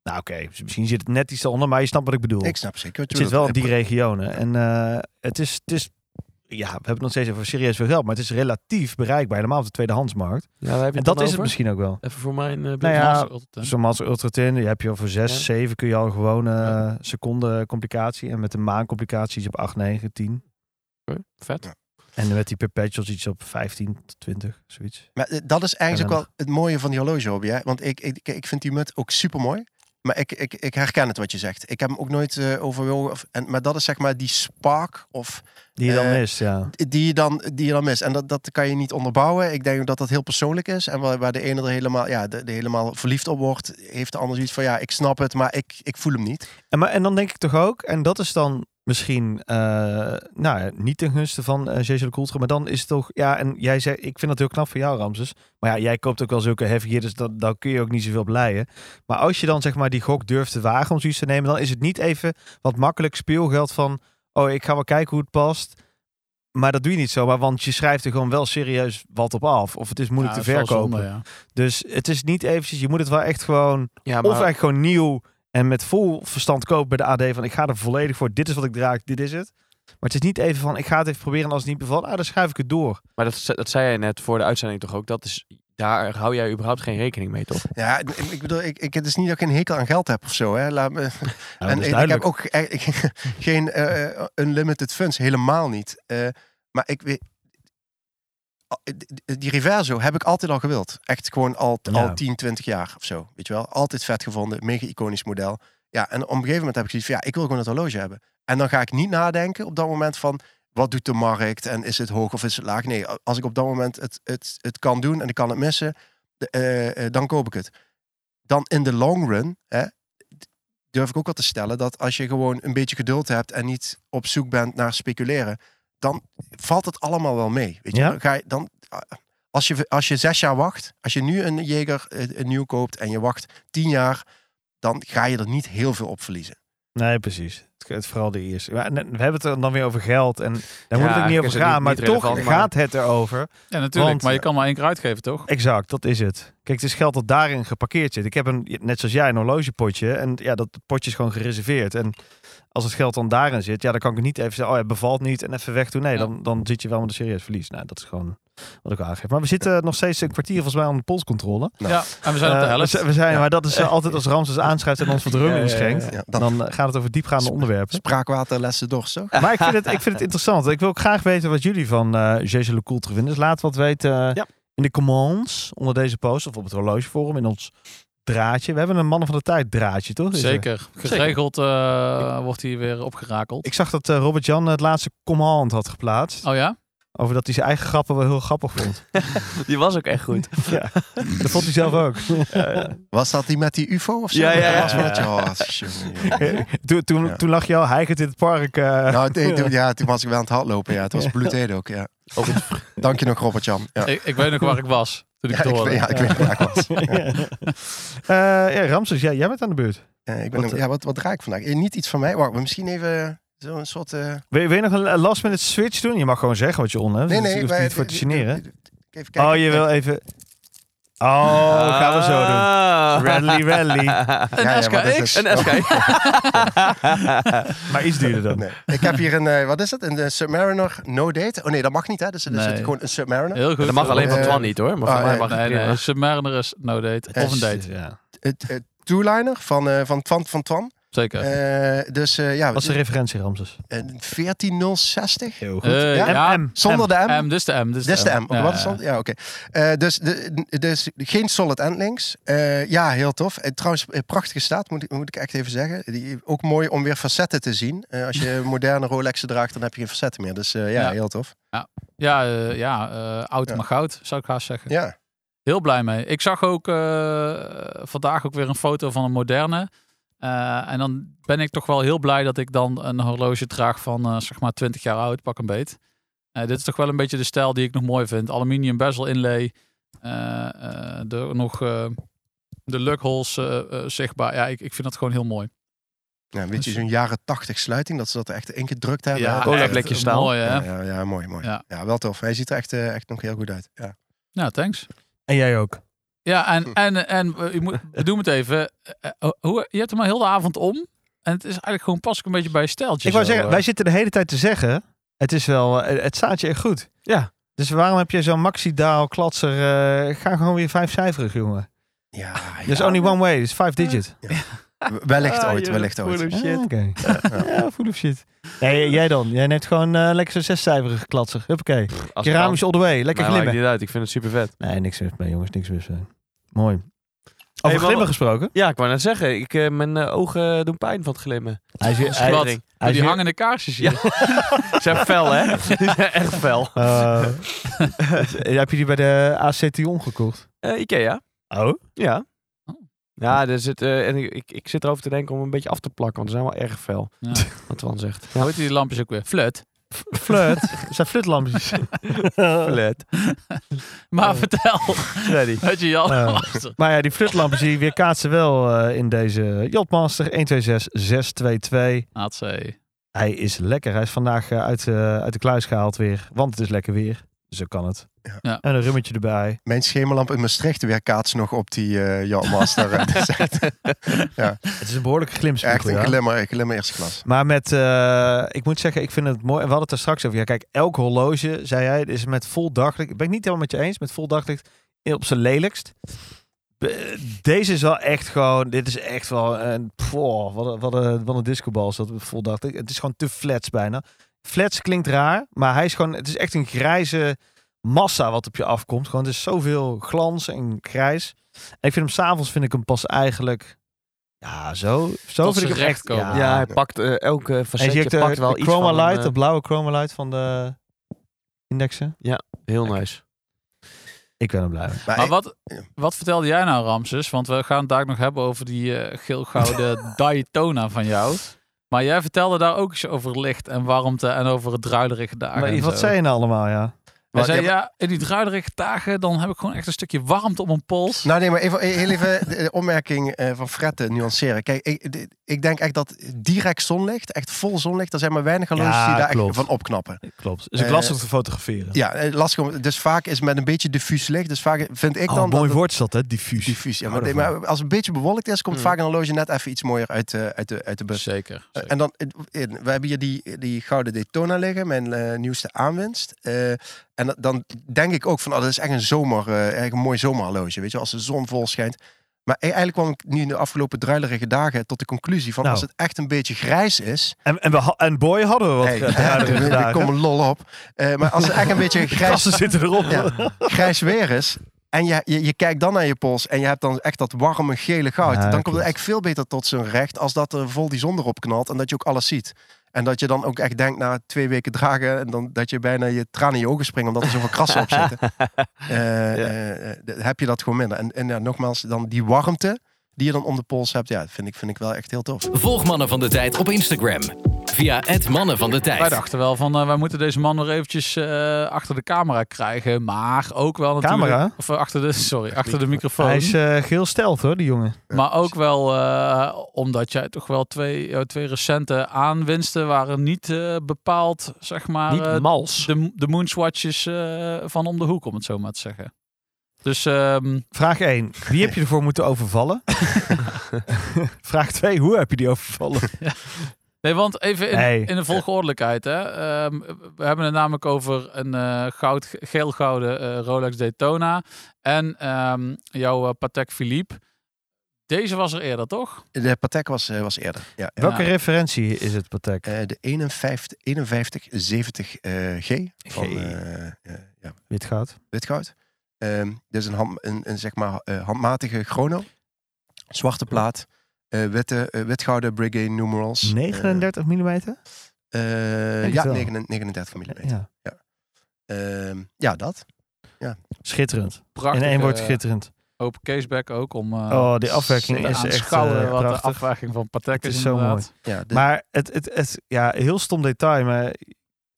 [SPEAKER 3] Nou oké, dus misschien zit het net iets onder, maar je snapt wat ik bedoel.
[SPEAKER 2] Ik snap zeker. wat je
[SPEAKER 3] het zit wel
[SPEAKER 2] bedoelt.
[SPEAKER 3] in die regionen. En eh, het, is, het is, ja, we hebben het nog steeds over serieus veel geld, maar het is relatief bereikbaar, helemaal op de tweedehandsmarkt.
[SPEAKER 4] Ja, daar heb je
[SPEAKER 3] En dat
[SPEAKER 4] dan
[SPEAKER 3] is het
[SPEAKER 4] over?
[SPEAKER 3] misschien ook wel.
[SPEAKER 4] Even voor mijn eh
[SPEAKER 3] Nou ja,
[SPEAKER 6] Master Ultra Ten.
[SPEAKER 3] Zo'n Mazda Ultra Thin, die heb je al voor 6,
[SPEAKER 4] Ja.
[SPEAKER 3] 7 kun je al gewoon eh, seconde complicatie. En met de maan complicaties op 8, 9, 10.
[SPEAKER 4] Oké, Vet.
[SPEAKER 3] En met die perpetuals iets op 15, 20, zoiets.
[SPEAKER 2] Maar eh, dat is eigenlijk ook
[SPEAKER 3] Ellendig.
[SPEAKER 2] wel het mooie van die horlogehobby. Hè? Want ik, ik, ik vind die mut ook super mooi. Maar ik, ik, ik herken het wat je zegt. Ik heb hem ook nooit eh overwogen. Of, en, maar dat is zeg maar die spark of
[SPEAKER 3] Die je dan
[SPEAKER 2] Eh,
[SPEAKER 3] mist, ja.
[SPEAKER 2] die je dan, die je dan mist. En dat, dat kan je niet onderbouwen. Ik denk ook dat dat heel persoonlijk is. En waar, waar de ene er helemaal, ja, de, de helemaal verliefd op wordt, heeft de ander zoiets van ja, ik snap het, maar ik, ik voel hem niet.
[SPEAKER 3] En, maar, en dan denk ik toch ook, en dat is dan misschien eh, nou, ja, niet ten gunste van eh Jezus de Coulter, maar dan is het toch, ja, en jij zei, ik vind dat heel knap van jou, Ramses. Maar ja, jij koopt ook wel zulke heavy gear, dus dat, daar kun je ook niet zoveel blijven. Maar als je dan zeg maar die gok durft te wagen om zoiets te nemen, dan is het niet even wat makkelijk speelgeld van, oh, ik ga wel kijken hoe het past. Maar dat doe je niet zomaar, want je schrijft er gewoon wel serieus wat op af. Of het is moeilijk
[SPEAKER 6] Ja,
[SPEAKER 3] te
[SPEAKER 6] dat is wel
[SPEAKER 3] verkopen.
[SPEAKER 6] zonde, ja.
[SPEAKER 3] Dus het is niet eventjes, je moet het wel echt gewoon
[SPEAKER 4] Ja,
[SPEAKER 3] of eigenlijk gewoon nieuw en met vol verstand kopen bij de AD van ik ga er volledig voor. Dit is wat ik draag, dit is het. Maar het is niet even van ik ga het even proberen en als het niet bevalt, ah, dan schuif ik het door.
[SPEAKER 4] Maar dat, ze- dat zei jij net voor de uitzending toch ook. Dat is, daar hou jij überhaupt geen rekening mee, toch?
[SPEAKER 2] Ja, ik- ik bedoel, ik, ik, het is niet dat ik een hekel aan geld heb of zo. Hè? Laat me, en ik, ik heb ook eh, ik- geen eh, unlimited funds, helemaal niet. Eh, maar ik weet. ah, die- Die Reverso heb ik altijd al gewild. Echt gewoon al,
[SPEAKER 3] Ja.
[SPEAKER 2] al 10, 20 jaar of zo. Weet je wel? Altijd vet gevonden. Mega iconisch model. Ja, en op een gegeven moment heb ik zoiets van... Ja, ik wil gewoon het horloge hebben. En dan ga ik niet nadenken op dat moment van... Wat doet de markt? En is het hoog of is het laag? Nee, als ik op dat moment het, het, het kan doen en ik kan het missen... de- eh, eh, dan koop ik het. Dan in de long run... Hè, durf ik ook wel te stellen dat als je gewoon een beetje geduld hebt... en niet op zoek bent naar speculeren... dan valt het allemaal wel mee. Weet je?
[SPEAKER 3] Ja.
[SPEAKER 2] Dan ga je, dan, ah, als je, als je zes jaar wacht, als je nu een Jager eh, een nieuw koopt en je wacht tien jaar, dan ga je er niet heel veel op verliezen.
[SPEAKER 3] Nee, precies. Het, het vooral de eerste. Maar, en- en we hebben het er dan weer over geld en daar moet het ook
[SPEAKER 4] eigenlijk
[SPEAKER 3] niet
[SPEAKER 4] is
[SPEAKER 3] over
[SPEAKER 4] het
[SPEAKER 3] gaan.
[SPEAKER 4] niet-
[SPEAKER 3] maar
[SPEAKER 4] niet
[SPEAKER 3] toch
[SPEAKER 4] relevant, maar-
[SPEAKER 3] gaat het erover.
[SPEAKER 6] ja, natuurlijk.
[SPEAKER 3] Want, eh,
[SPEAKER 6] maar je kan maar één keer uitgeven, toch?
[SPEAKER 3] Exact, dat is het. Kijk, het is geld dat daarin geparkeerd zit. Ik heb een, net zoals jij, een horlogepotje. En ja, dat potje is gewoon gereserveerd. En als het geld dan daarin zit, ja, dan kan ik het niet even zeggen, oh ja, bevalt niet en even weg doen. Nee,
[SPEAKER 6] Ja.
[SPEAKER 3] dan, dan zit je wel met een serieus verlies. Nou, dat is gewoon wat ik al aangeef. Maar we zitten nog steeds een kwartier volgens mij aan de polscontrole.
[SPEAKER 2] Nou.
[SPEAKER 6] Ja, en we zijn op de
[SPEAKER 3] Eh,
[SPEAKER 6] helft.
[SPEAKER 3] we zijn- we zijn,
[SPEAKER 2] Ja.
[SPEAKER 3] maar dat is eh, altijd als Ramses aanschrijft en ons verdrumming
[SPEAKER 4] Ja, ja, ja, ja.
[SPEAKER 3] schenkt.
[SPEAKER 2] Ja, dan,
[SPEAKER 3] Dan eh, gaat het over diepgaande onderwerpen.
[SPEAKER 2] spraakwater, lessen, dorst, toch?
[SPEAKER 3] Maar ik vind, het, ik vind het interessant. Ik wil ook graag weten wat jullie van eh Jezus Lecoultre vinden. Dus laat wat weten eh,
[SPEAKER 4] Ja.
[SPEAKER 3] in de comments onder deze post. Of op het horlogeforum in ons draadje. We hebben een mannen van de tijd draadje, toch? Is er-
[SPEAKER 6] Zeker. Geregeld eh, wordt hij weer opgerakeld.
[SPEAKER 3] Ik zag dat eh, Robert-Jan het laatste comment had geplaatst.
[SPEAKER 6] Oh ja?
[SPEAKER 3] Over dat hij zijn eigen grappen wel heel grappig vond.
[SPEAKER 4] Die was ook echt goed.
[SPEAKER 3] dat vond hij zelf ook.
[SPEAKER 2] Was dat die met die UFO of zo?
[SPEAKER 4] Ja, ja, ja.
[SPEAKER 2] Was dat, oh, jongen.
[SPEAKER 3] Eh, toen, toen,
[SPEAKER 2] Ja.
[SPEAKER 3] toen lag je al heigend in het park. eh.
[SPEAKER 2] nou, toen- toen- ja, toen was ik wel aan het hardlopen. Ja, het was bloedheet ook. Ja. Dank je nog, Robert-Jan. Ja.
[SPEAKER 6] Ik, ik weet nog waar ik was toen ik
[SPEAKER 2] Ja,
[SPEAKER 6] het
[SPEAKER 2] ik,
[SPEAKER 6] hoorde.
[SPEAKER 2] weet- ja, ik weet waar ik was. Ja.
[SPEAKER 3] Eh, ja, Ramses, jij, jij bent aan de beurt.
[SPEAKER 2] Eh, ik ben
[SPEAKER 3] Wat,
[SPEAKER 2] ook- ja, wat, wat raak ik vandaag? Eh, Niet iets van mij. Wacht, maar misschien even zo'n soort... eh,
[SPEAKER 3] Wil je, wil je nog een last minute switch doen? Je mag gewoon zeggen wat je on hebt.
[SPEAKER 2] Nee,
[SPEAKER 3] Het
[SPEAKER 2] nee.
[SPEAKER 3] hoeft
[SPEAKER 2] maar-
[SPEAKER 3] niet voor te generen.
[SPEAKER 2] eh, Even kijken.
[SPEAKER 3] oh, je wil even. Oh, gaan we zo doen. Rally, rally.
[SPEAKER 2] Ja, ja, maar dat is-
[SPEAKER 4] Ah. Een SK.
[SPEAKER 3] Maar iets duurder dan.
[SPEAKER 2] Oh, Nee. Ik heb hier een, eh, wat is het? Een eh, Submariner No Date. Oh nee, dat mag niet hè. Dus dat is
[SPEAKER 6] Nee.
[SPEAKER 2] het gewoon een Submariner.
[SPEAKER 6] Heel goed.
[SPEAKER 4] Dat mag alleen van
[SPEAKER 2] Eh,
[SPEAKER 4] Twan niet hoor. Maar
[SPEAKER 2] ah,
[SPEAKER 4] van mij
[SPEAKER 2] ja.
[SPEAKER 4] mag
[SPEAKER 6] Nee,
[SPEAKER 4] het prima.
[SPEAKER 6] nee. Submariner is no date.
[SPEAKER 2] Eh,
[SPEAKER 6] Of een date.
[SPEAKER 3] Ja.
[SPEAKER 2] Het eh, Two-liner van, eh, van Twan van Twan.
[SPEAKER 6] Zeker.
[SPEAKER 2] Eh, dus eh, ja,
[SPEAKER 3] Wat is de referentie, Ramses?
[SPEAKER 2] eh, 14060.
[SPEAKER 3] Heel
[SPEAKER 6] Eh,
[SPEAKER 2] Ja?
[SPEAKER 6] ja,
[SPEAKER 3] M.
[SPEAKER 2] Zonder de M.
[SPEAKER 6] M, dus de M. Dus
[SPEAKER 2] Dit is de M. Of
[SPEAKER 6] Ja,
[SPEAKER 2] wat
[SPEAKER 6] ja.
[SPEAKER 2] is dat? Ja, oké. Eh, dus, de, dus geen solid endlinks. Eh ja, heel tof. En trouwens, eh, prachtige staat, moet, ik- moet ik echt even zeggen. Die, ook mooi om weer facetten te zien. Eh, als je moderne Rolexen draagt, dan heb je geen facetten meer. Dus eh, ja,
[SPEAKER 6] Ja.
[SPEAKER 2] heel tof.
[SPEAKER 6] Ja, eh, ja eh, oud
[SPEAKER 2] Ja.
[SPEAKER 6] maar goud, zou ik haast zeggen.
[SPEAKER 2] Ja,
[SPEAKER 6] Heel blij mee. Ik zag ook eh, vandaag ook weer een foto van een moderne. Eh, en dan ben ik toch wel heel blij dat ik dan een horloge draag van eh, zeg maar 20 jaar oud, pak een beet. Eh, dit is toch wel een beetje de stijl die ik nog mooi vind. Aluminium bezel inlay. eh, eh, de, nog eh, de lukhols eh, eh, zichtbaar. Ja, ik, ik vind dat gewoon heel mooi.
[SPEAKER 2] ja weet je, zo'n jaren tachtig sluiting, dat ze dat er echt ingedrukt hebben.
[SPEAKER 6] ja,
[SPEAKER 4] Kodak
[SPEAKER 6] echt
[SPEAKER 4] lekje staal.
[SPEAKER 6] Mooi hè?
[SPEAKER 2] Ja, ja,
[SPEAKER 6] Ja,
[SPEAKER 2] ja, mooi, mooi.
[SPEAKER 6] Ja.
[SPEAKER 2] Ja. wel tof. Hij ziet er echt, eh, echt nog heel goed uit. Ja.
[SPEAKER 6] thanks.
[SPEAKER 3] En jij ook.
[SPEAKER 6] Ja, en, en, en eh, je moet, bedoel het even. eh, eh, hoe, je hebt hem al heel de avond om. En het is eigenlijk gewoon pas een beetje bij je steltje.
[SPEAKER 3] Ik wou
[SPEAKER 6] zo,
[SPEAKER 3] zeggen,
[SPEAKER 6] eh.
[SPEAKER 3] wij zitten de hele tijd te zeggen, het is wel, eh, het staat je echt goed.
[SPEAKER 4] Ja.
[SPEAKER 3] Dus waarom heb je zo'n maxidaal klatser, eh, ga gewoon weer vijfcijferig, jongen.
[SPEAKER 2] Ja,
[SPEAKER 3] Dus only one way, dus five digit.
[SPEAKER 2] wellicht
[SPEAKER 4] Ah,
[SPEAKER 2] ooit,
[SPEAKER 4] je
[SPEAKER 2] wellicht
[SPEAKER 4] bent full
[SPEAKER 2] ooit.
[SPEAKER 4] of shit.
[SPEAKER 3] Ah, oké. Ja, full of shit. Nee, jij dan? Jij neemt gewoon eh, lekker zo'n zescijferige klatser. Huppakee.
[SPEAKER 4] Als het
[SPEAKER 3] Keramisch all the way,
[SPEAKER 4] kan,
[SPEAKER 3] lekker
[SPEAKER 4] mij maakt
[SPEAKER 3] glimmen.
[SPEAKER 4] niet uit. Ik vind het super vet.
[SPEAKER 3] Nee, niks mis mee, jongens, niks mis mee. Mooi.
[SPEAKER 4] Hey,
[SPEAKER 3] Over
[SPEAKER 4] maar-
[SPEAKER 3] glimmen gesproken.
[SPEAKER 4] Ja, ik wou net zeggen. Ik, eh, mijn eh, ogen doen pijn van het glimmen.
[SPEAKER 3] Hij is weer- hij-
[SPEAKER 6] Wat?
[SPEAKER 4] Eindring.
[SPEAKER 3] hij
[SPEAKER 6] Door
[SPEAKER 3] is
[SPEAKER 6] die
[SPEAKER 3] weer-
[SPEAKER 6] hangende kaarsjes hier.
[SPEAKER 4] Ze zijn fel, hè? Ze zijn echt fel.
[SPEAKER 3] Eh, heb je die bij de AC Tion gekocht?
[SPEAKER 4] Eh, Ikea.
[SPEAKER 3] Oh?
[SPEAKER 4] Ja.
[SPEAKER 6] Oh.
[SPEAKER 4] Ja, er zit, eh, en ik, ik, ik zit erover te denken om een beetje af te plakken, want ze zijn wel erg fel.
[SPEAKER 6] Ja.
[SPEAKER 4] Wat Twan zegt.
[SPEAKER 6] Hoe heet die lampjes ook weer? Flut.
[SPEAKER 3] Flirt. Het zijn flirtlampjes.
[SPEAKER 4] Flat.
[SPEAKER 6] Maar
[SPEAKER 3] Eh.
[SPEAKER 6] vertel.
[SPEAKER 4] Freddy.
[SPEAKER 6] Weet je, Jan.
[SPEAKER 3] Eh.
[SPEAKER 6] was er.
[SPEAKER 3] Maar ja, die flirtlampjes die weerkaatsen wel eh, in deze Jotmaster 126622.
[SPEAKER 6] AC. Hij
[SPEAKER 3] Hij is lekker. Hij is vandaag eh, uit, eh, uit de kluis gehaald weer. Want het is lekker weer. Zo kan het.
[SPEAKER 2] Ja.
[SPEAKER 6] Ja.
[SPEAKER 3] En een rummetje erbij.
[SPEAKER 2] Mijn schemerlamp in Maastricht weer kaatst nog op die eh Jalmaster. Het is echt,
[SPEAKER 3] Het is een behoorlijke glimspiegel.
[SPEAKER 2] echt een
[SPEAKER 3] ja.
[SPEAKER 2] glimmer, een glimmer eerste klas.
[SPEAKER 3] Maar met, eh, ik moet zeggen, ik vind het mooi. En we hadden het er straks over. Ja, kijk, elk horloge, zei jij, is met vol daglicht. Ik ben het niet helemaal met je eens, met vol daglicht op zijn lelijkst. Be- Deze is wel echt gewoon, dit is echt wel een, pfoh, wat, een- wat, een, wat een discobal is dat vol daglicht. Het is gewoon te flats bijna. Flats klinkt raar, maar hij is gewoon, het is echt een grijze massa wat op je afkomt. Gewoon, het is zoveel glans en grijs. En ik vind hem s'avonds, vind ik hem pas eigenlijk, ja, zo, zo
[SPEAKER 6] Tot
[SPEAKER 3] vind
[SPEAKER 6] ze
[SPEAKER 3] ik hem echt,
[SPEAKER 6] recht komen.
[SPEAKER 3] ja,
[SPEAKER 4] Ja, hij pakt eh, elke
[SPEAKER 3] en je
[SPEAKER 4] facetje
[SPEAKER 3] hebt de,
[SPEAKER 4] pakt wel
[SPEAKER 3] de
[SPEAKER 4] iets
[SPEAKER 3] chroma
[SPEAKER 4] van hem,
[SPEAKER 3] light,
[SPEAKER 4] eh,
[SPEAKER 3] de blauwe chroma light van de indexen.
[SPEAKER 4] heel nice.
[SPEAKER 3] Ik ben er blij mee.
[SPEAKER 2] Maar
[SPEAKER 6] Maar
[SPEAKER 2] ik-
[SPEAKER 6] wat,
[SPEAKER 2] Ja.
[SPEAKER 6] wat vertelde jij nou, Ramses? Want we gaan het daar nog hebben over die eh geel-gouden Daytona van jou. Maar jij vertelde daar ook eens over licht en warmte en over het druilerige dagen.
[SPEAKER 3] Maar
[SPEAKER 6] en eh,
[SPEAKER 3] wat
[SPEAKER 6] zo.
[SPEAKER 3] zei je nou allemaal, ja?
[SPEAKER 6] Hij
[SPEAKER 2] wat-
[SPEAKER 6] zei,
[SPEAKER 2] ja, maar-
[SPEAKER 6] ja, in die druilerige dagen dan heb ik gewoon echt een stukje warmte om mijn pols.
[SPEAKER 2] Nou nee, maar even, heel even de opmerking eh, van Fred te nuanceren. Kijk, ik, dit- ik denk echt dat direct zonlicht, echt vol zonlicht, er zijn maar weinig horloges
[SPEAKER 3] Ja,
[SPEAKER 2] die daar
[SPEAKER 3] klopt.
[SPEAKER 2] echt van opknappen.
[SPEAKER 3] Klopt.
[SPEAKER 2] Is ook lastig
[SPEAKER 3] te fotograferen.
[SPEAKER 2] Ja, eh, lastig om, dus vaak is met een beetje diffuus licht, dus vaak vind ik
[SPEAKER 3] Oh,
[SPEAKER 2] dan...
[SPEAKER 3] mooi
[SPEAKER 2] dat,
[SPEAKER 3] woord is dat, hè? Diffuus.
[SPEAKER 2] Diffuus, ja, maar,
[SPEAKER 3] Hou
[SPEAKER 2] nee,
[SPEAKER 3] ervan.
[SPEAKER 2] maar als het een beetje bewolkt is, komt
[SPEAKER 4] Mm.
[SPEAKER 2] vaak een horloge net even iets mooier uit, eh, uit, de, uit de bus.
[SPEAKER 6] Zeker.
[SPEAKER 2] Eh,
[SPEAKER 6] zeker.
[SPEAKER 2] En dan, eh, eh, we hebben hier die, die gouden Daytona liggen, mijn eh, nieuwste aanwinst. Eh, en dat- dan denk ik ook van, oh, dat is echt een zomer, eh, echt een mooi zomerhorloge, weet je, wel, als de zon vol schijnt. Maar e- eigenlijk kwam ik nu in de afgelopen druilerige dagen tot de conclusie van,
[SPEAKER 3] Nou.
[SPEAKER 2] als het echt een beetje grijs is,
[SPEAKER 3] En, en, we, ha- en boy, hadden we wat
[SPEAKER 2] hey,
[SPEAKER 3] gedaan.
[SPEAKER 2] er- er komt een lol op. Eh, maar als het echt een beetje grijs,
[SPEAKER 3] Gassen zitten erop.
[SPEAKER 2] ja, grijs weer is. En je, je, je kijkt dan naar je pols en je hebt dan echt dat warme gele goud.
[SPEAKER 3] Ja,
[SPEAKER 2] dan komt
[SPEAKER 3] klopt.
[SPEAKER 2] het eigenlijk veel beter tot zijn recht als dat er vol die zon erop knalt en dat je ook alles ziet. En dat je dan ook echt denkt na twee weken dragen en dan dat je bijna je tranen in je ogen springen omdat er zoveel krassen op zitten. Eh, eh, eh, d- heb je dat gewoon minder. En, en ja, nogmaals, dan die warmte die je dan om de pols hebt, ja, vind ik, vind ik wel echt heel tof.
[SPEAKER 5] Volg Mannen van de Tijd op Instagram. Via het Mannen van de
[SPEAKER 6] Wij
[SPEAKER 5] Tijd.
[SPEAKER 6] dachten wel van, eh, wij moeten deze man weer eventjes eh, achter de camera krijgen. Maar ook wel natuurlijk...
[SPEAKER 3] Camera?
[SPEAKER 6] Of eh, achter de, sorry, achter de microfoon.
[SPEAKER 3] Hij is eh geel stelt, hoor, die jongen.
[SPEAKER 6] Maar ook wel eh, omdat jij toch wel twee, jouw twee recente aanwinsten waren niet eh, bepaald, zeg maar, eh,
[SPEAKER 4] Niet mals.
[SPEAKER 6] de, de moonswatches eh, van om de hoek, om het zo maar te zeggen. Dus ehm,
[SPEAKER 3] Vraag 1. Wie heb je ervoor moeten overvallen? Vraag 2. Hoe heb je die overvallen?
[SPEAKER 6] Nee, want even in,
[SPEAKER 3] Nee.
[SPEAKER 6] in de volgordelijkheid. Hè. Ehm, we hebben het namelijk over een eh goud, geel-gouden eh, Rolex Daytona. En ehm, jouw eh, Patek Philippe. Deze was er eerder, toch?
[SPEAKER 2] De Patek was, eh, was eerder. Ja, ja.
[SPEAKER 3] Welke referentie is het, Patek?
[SPEAKER 2] Eh, de 51, 5170 eh, G van
[SPEAKER 3] G.
[SPEAKER 2] eh, eh, ja,
[SPEAKER 3] Wit goud.
[SPEAKER 2] wit goud. Ehm, dit is een, ham, een, een zeg maar, eh, handmatige chrono. Zwarte plaat. eh witte, eh, witgouden Brigade numerals.
[SPEAKER 3] 39 mm?
[SPEAKER 2] Eh, eh,
[SPEAKER 3] Denk
[SPEAKER 2] ja,
[SPEAKER 3] het wel.
[SPEAKER 2] 39, 39 mm. Ja.
[SPEAKER 3] Ja.
[SPEAKER 2] Ehm, ja, dat.
[SPEAKER 3] Schitterend.
[SPEAKER 6] Prachtig.
[SPEAKER 3] In één woord
[SPEAKER 6] eh,
[SPEAKER 3] schitterend.
[SPEAKER 6] Open caseback ook om. eh,
[SPEAKER 3] Oh, die afwerking
[SPEAKER 6] te
[SPEAKER 3] is echt,
[SPEAKER 6] aanschouwen
[SPEAKER 3] eh,
[SPEAKER 6] wat de
[SPEAKER 3] prachtig.
[SPEAKER 6] afwerking van Patek
[SPEAKER 3] Het
[SPEAKER 6] is,
[SPEAKER 3] is zo
[SPEAKER 6] inderdaad.
[SPEAKER 3] mooi.
[SPEAKER 2] Ja, dit-
[SPEAKER 3] Maar het, het, het, ja, heel stom detail, maar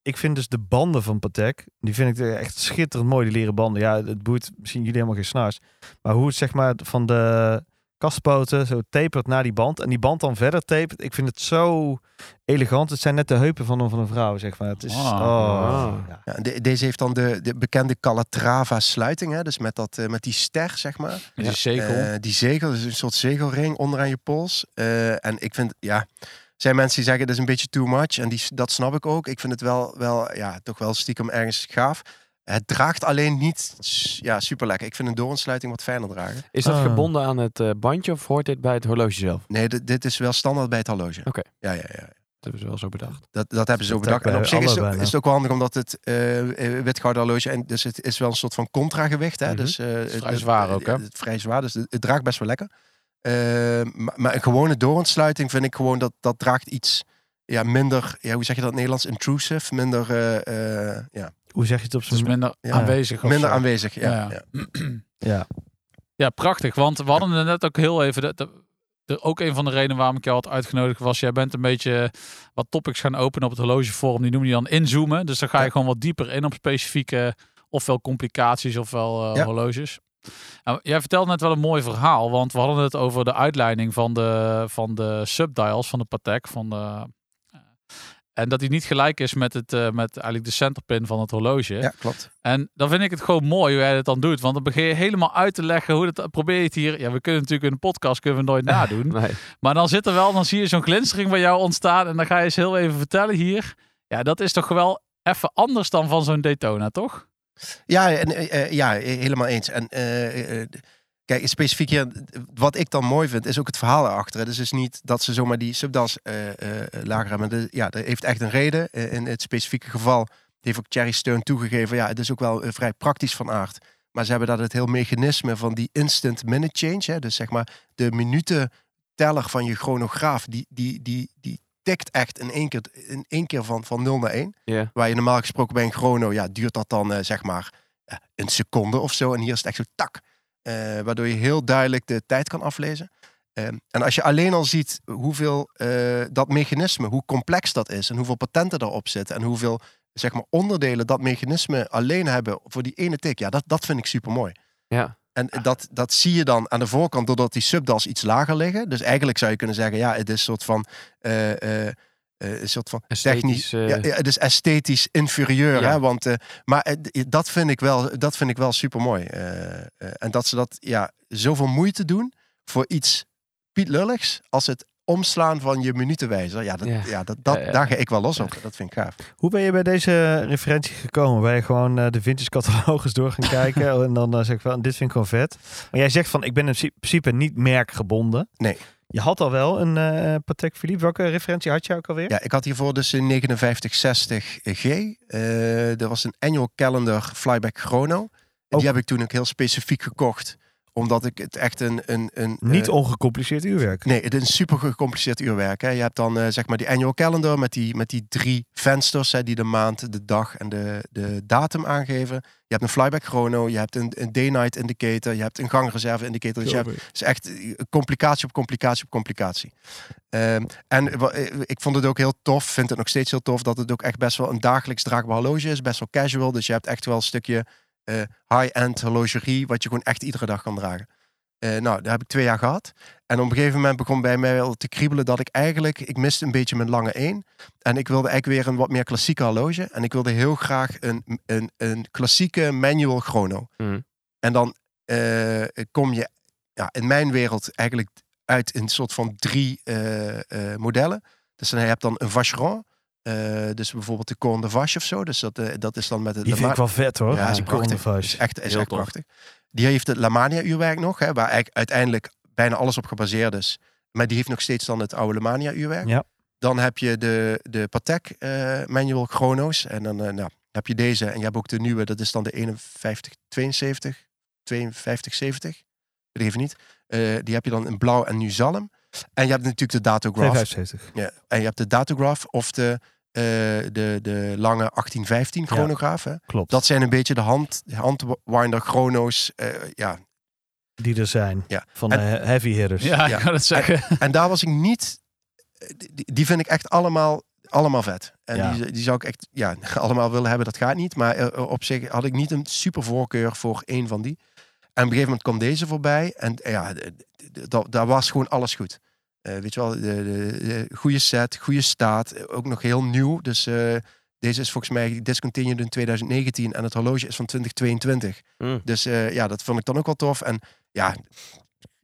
[SPEAKER 3] ik vind dus de banden van Patek, die vind ik echt schitterend mooi, die leren banden. Ja, het boeit misschien jullie helemaal geen snaars. Maar hoe het zeg maar van de kastpoten zo tapert naar die band. En die band dan verder tapert. Ik vind het zo elegant. Het zijn net de heupen van een, van een vrouw, zeg maar. Het is,
[SPEAKER 6] Ah.
[SPEAKER 3] oh,
[SPEAKER 4] Ah.
[SPEAKER 3] ja.
[SPEAKER 2] Ja, en de- deze heeft dan de, de bekende Calatrava sluiting. Hè? Dus met, dat, eh, met die ster, zeg maar.
[SPEAKER 6] Die zeker.
[SPEAKER 2] Eh, die zegel, dus een soort zegelring onderaan je pols. Eh, en ik vind, ja, er zijn mensen die zeggen, dat is een beetje too much. En die, dat snap ik ook. Ik vind het wel, wel, ja, toch wel stiekem ergens gaaf. Het draagt alleen niet s- ja, super lekker. Ik vind een doornsluiting wat fijner dragen.
[SPEAKER 4] Is dat
[SPEAKER 3] Ah.
[SPEAKER 4] gebonden aan het eh, bandje of hoort dit bij het horloge zelf?
[SPEAKER 2] Nee, dit, dit is wel standaard bij het horloge.
[SPEAKER 4] Oké.
[SPEAKER 2] Ja, ja, ja.
[SPEAKER 4] Dat hebben ze wel zo bedacht.
[SPEAKER 2] Dat, dat hebben ze zo
[SPEAKER 3] Dat
[SPEAKER 2] bedacht.
[SPEAKER 3] bij
[SPEAKER 2] En op zich is,
[SPEAKER 3] alle
[SPEAKER 2] het-
[SPEAKER 3] bijna.
[SPEAKER 2] is het ook wel handig omdat het eh eh, witgouden horloge... En dus het is wel een soort van contragewicht. Hè?
[SPEAKER 4] Mhm.
[SPEAKER 2] Dus, eh, het
[SPEAKER 6] vrij
[SPEAKER 2] het-
[SPEAKER 6] zwaar ook, hè?
[SPEAKER 2] het- het- vrij zwaar, dus het, het draagt best wel lekker. Eh, maar, maar een gewone dooronsluiting vind ik gewoon dat dat draagt iets ja, minder... Ja, hoe zeg je dat in het Nederlands? Intrusive. Minder, eh, eh, ja,
[SPEAKER 3] Hoe zeg je het op
[SPEAKER 6] Het is
[SPEAKER 3] zijn...
[SPEAKER 6] minder
[SPEAKER 2] Ja.
[SPEAKER 6] aanwezig. of
[SPEAKER 2] minder
[SPEAKER 6] zo.
[SPEAKER 2] aanwezig. Ja,
[SPEAKER 6] Ja.
[SPEAKER 2] ja.
[SPEAKER 3] Ja.
[SPEAKER 6] Ja, prachtig. Want we hadden het net ook heel even. Dat, dat- de- ook een van de redenen waarom ik jou had uitgenodigd was, jij bent een beetje wat topics gaan openen op het horlogeforum. Die noem je dan inzoomen. Dus dan ga je
[SPEAKER 2] Ja.
[SPEAKER 6] gewoon wat dieper in op specifieke, ofwel complicaties, ofwel eh,
[SPEAKER 2] Ja.
[SPEAKER 6] horloges. Nou, jij vertelde net wel een mooi verhaal, want we hadden het over de uitleiding van de, van de subdials van de Patek. Van de, eh, en dat die niet gelijk is met, het, eh, met eigenlijk de centerpin van het horloge.
[SPEAKER 2] Ja, klopt.
[SPEAKER 6] En dan vind ik het gewoon mooi hoe jij dat dan doet. Want dan begin je helemaal uit te leggen hoe dat probeer je het hier. Ja, we kunnen natuurlijk in een podcast kunnen we nooit nadoen.
[SPEAKER 4] Nee.
[SPEAKER 6] Maar dan zit er wel, dan zie je zo'n glinstering bij jou ontstaan. En dan ga je eens heel even vertellen hier. Ja, dat is toch wel even anders dan van zo'n Daytona, toch?
[SPEAKER 2] Ja, en, eh, eh, ja, eh, helemaal eens. En eh, eh, kijk, specifiek hier, wat ik dan mooi vind, is ook het verhaal erachter. hè. Dus het is niet dat ze zomaar die subdas eh, eh, lager hebben. De- ja, dat heeft echt een reden. Eh, in het specifieke geval heeft ook Thierry Steun toegegeven. Ja, het is ook wel eh, vrij praktisch van aard. Maar ze hebben dat het heel mechanisme van die instant minute change. Hè, dus zeg maar de minutenteller van je chronograaf, die, die, die, die tikt echt in één keer, in één keer van, van 0 naar 1.
[SPEAKER 4] Ja.
[SPEAKER 2] Waar je normaal gesproken bij een chrono, ja, duurt dat dan eh, zeg maar eh, een seconde of zo. En hier is het echt zo tak. Eh, waardoor je heel duidelijk de tijd kan aflezen. Ehm, en als je alleen al ziet hoeveel eh, dat mechanisme, hoe complex dat is. En hoeveel patenten daarop zitten. En hoeveel zeg maar, onderdelen dat mechanisme alleen hebben voor die ene tik. Ja, dat, dat vind ik super mooi.
[SPEAKER 4] Ja.
[SPEAKER 2] En dat, dat zie je dan aan de voorkant doordat die subdas iets lager liggen. Dus eigenlijk zou je kunnen zeggen, ja, het is een soort van, eh, eh, eh, een soort van
[SPEAKER 4] Esthetisch,
[SPEAKER 2] technisch.
[SPEAKER 4] eh.
[SPEAKER 2] Ja, ja, het is esthetisch inferieur.
[SPEAKER 4] Ja.
[SPEAKER 2] Hè? Want, eh, maar eh, d- dat vind ik wel, dat vind ik wel super mooi. en dat ze dat ja, zoveel moeite doen voor iets pietlulligs als het omslaan van je minutenwijzer. Ja, dat,
[SPEAKER 4] Ja.
[SPEAKER 2] ja. dat, dat,
[SPEAKER 4] Ja, ja.
[SPEAKER 2] daar ga ik wel los
[SPEAKER 4] Ja.
[SPEAKER 2] op. Dat vind ik gaaf.
[SPEAKER 3] Hoe ben je bij deze referentie gekomen? Ben je gewoon eh, de vintage catalogus door gaan kijken en dan eh, zeg ik van, dit vind ik gewoon vet. Maar jij zegt van, ik ben in principe- principe niet merkgebonden.
[SPEAKER 2] Nee.
[SPEAKER 3] Je had al wel een eh, Patek Philippe. Welke referentie had je ook alweer?
[SPEAKER 2] Ja, ik had hiervoor dus een 5960G. Eh er was een annual calendar flyback chrono. En
[SPEAKER 3] Ook-
[SPEAKER 4] Oh.
[SPEAKER 2] Die heb ik toen ook heel specifiek gekocht. Omdat ik het echt een... een, een eh,
[SPEAKER 3] Niet ongecompliceerd uurwerk.
[SPEAKER 2] Nee, het is een super gecompliceerd uurwerk. Hè. Je hebt dan eh, zeg maar die annual calendar met die, met die drie vensters hè, die de maand, de dag en de, de datum aangeven. Je hebt een flyback chrono, je hebt een, een day-night indicator, je hebt een gangreserve indicator. Dus je hebt, het is echt eh, complicatie op complicatie op complicatie. Ehm, en wa- eh, ik vond het ook heel tof, vind het nog steeds heel tof, dat het ook echt best wel een dagelijks draagbaar horloge is. Best wel casual, dus je hebt echt wel een stukje eh, high-end horlogerie, wat je gewoon echt iedere dag kan dragen. Eh, nou, daar heb ik twee jaar gehad. En op een gegeven moment begon bij mij wel te kriebelen dat ik eigenlijk, ik miste een beetje mijn lange één. En ik wilde eigenlijk weer een wat meer klassieke horloge. En ik wilde heel graag een, een, een klassieke manual chrono.
[SPEAKER 4] Mhm.
[SPEAKER 2] En dan eh, kom je ja, in mijn wereld eigenlijk uit een soort van drie eh, eh, modellen. Dus dan, je hebt dan een Vacheron. eh, dus bijvoorbeeld de Corne de Vache of zo. Dus dat, eh, dat is dan met het
[SPEAKER 3] Die vind ik wel vet hoor. Ah,
[SPEAKER 2] Ja, is
[SPEAKER 3] Die
[SPEAKER 2] prachtig.
[SPEAKER 3] Corneface.
[SPEAKER 2] is echt, is
[SPEAKER 4] Heel
[SPEAKER 2] echt
[SPEAKER 4] tof.
[SPEAKER 2] prachtig. Die heeft het Lamania-uurwerk nog, hè, waar eigenlijk uiteindelijk bijna alles op gebaseerd is. Maar die heeft nog steeds dan het oude Lamania-uurwerk.
[SPEAKER 3] Ja.
[SPEAKER 2] Dan heb je de, de Patek eh, Manual Chrono's. En dan eh, nou, heb je deze. En je hebt ook de nieuwe, dat is dan de 5172, 5270. Weet ik even niet. Eh, die heb je dan in blauw en nu zalm. En je hebt natuurlijk de datograph.
[SPEAKER 3] 275.
[SPEAKER 2] Ja, en je hebt de datograph of de, eh, de, de lange 1815 chronograaf. Hè?
[SPEAKER 3] Klopt.
[SPEAKER 2] Dat zijn een beetje de hand, handwinder chrono's. eh, ja.
[SPEAKER 3] die er zijn.
[SPEAKER 2] Ja.
[SPEAKER 3] Van
[SPEAKER 2] En-
[SPEAKER 3] de he- heavy hitters.
[SPEAKER 6] Ja,
[SPEAKER 2] Ja.
[SPEAKER 6] ik kan het zeggen.
[SPEAKER 2] En daar was ik niet... eh, Die, die vind ik echt allemaal, allemaal vet. En
[SPEAKER 3] Ja.
[SPEAKER 2] die, die zou ik echt ja, eh, allemaal willen hebben, dat gaat niet. Maar eh, op zich had ik niet een super voorkeur voor één van die. En op een gegeven moment kwam deze voorbij. En eh, ja, d- d- d- daar was gewoon alles goed. Eh, weet je wel, de, de- de- goede set, goede staat. eh, Ook nog heel nieuw. Dus eh, deze is volgens mij discontinued in 2019. En het horloge is van 2022.
[SPEAKER 4] Mm.
[SPEAKER 2] Dus eh, ja, dat vond ik dan ook wel tof. En ja,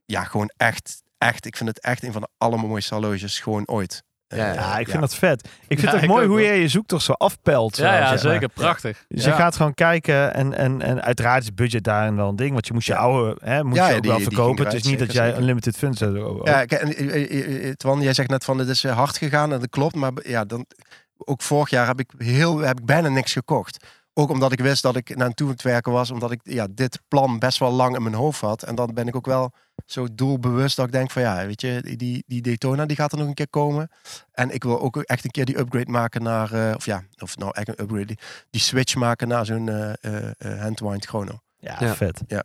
[SPEAKER 2] ja gewoon echt, echt. Ik vind het echt een van de allermooiste horloges gewoon ooit. Eh,
[SPEAKER 4] Ja,
[SPEAKER 3] Ja, ik vind
[SPEAKER 2] ja.
[SPEAKER 3] dat vet. Ik
[SPEAKER 6] Ja,
[SPEAKER 3] vind het
[SPEAKER 6] ik
[SPEAKER 3] ook mooi
[SPEAKER 6] ook
[SPEAKER 3] hoe
[SPEAKER 6] wel.
[SPEAKER 3] jij je zoektocht zo afpelt.
[SPEAKER 6] Ja,
[SPEAKER 3] eh, zeg
[SPEAKER 6] ja
[SPEAKER 3] maar.
[SPEAKER 6] zeker. Prachtig.
[SPEAKER 3] Dus
[SPEAKER 6] Ja.
[SPEAKER 3] je gaat gewoon kijken en, en, en uiteraard is budget daarin wel een ding. Want je moest je oude, hè, moet
[SPEAKER 2] Ja,
[SPEAKER 3] je
[SPEAKER 2] ja,
[SPEAKER 3] ook
[SPEAKER 2] die-
[SPEAKER 3] wel
[SPEAKER 2] die
[SPEAKER 3] verkopen.
[SPEAKER 2] ging
[SPEAKER 3] Het is
[SPEAKER 2] eruit,
[SPEAKER 3] niet dat
[SPEAKER 2] zeker,
[SPEAKER 3] jij
[SPEAKER 2] zeker.
[SPEAKER 3] unlimited funds hebt. Oh, oh.
[SPEAKER 2] Ja, kijk, en, eh, eh, eh, Twan, jij zegt net van het is eh, hard gegaan en dat klopt, maar b- ja, dan, ook vorig jaar heb ik, heel, heb ik bijna niks gekocht. Ook omdat ik wist dat ik naar toe aan het werken was, omdat ik ja, dit plan best wel lang in mijn hoofd had. En dan ben ik ook wel zo doelbewust dat ik denk van ja, weet je, die- die, die Daytona die gaat er nog een keer komen. En ik wil ook echt een keer die upgrade maken naar, eh, of ja, of nou echt een upgrade, die, die switch maken naar zo'n eh eh, eh, handwind chrono.
[SPEAKER 3] Ja,
[SPEAKER 4] Ja.
[SPEAKER 3] vet.
[SPEAKER 2] Ja.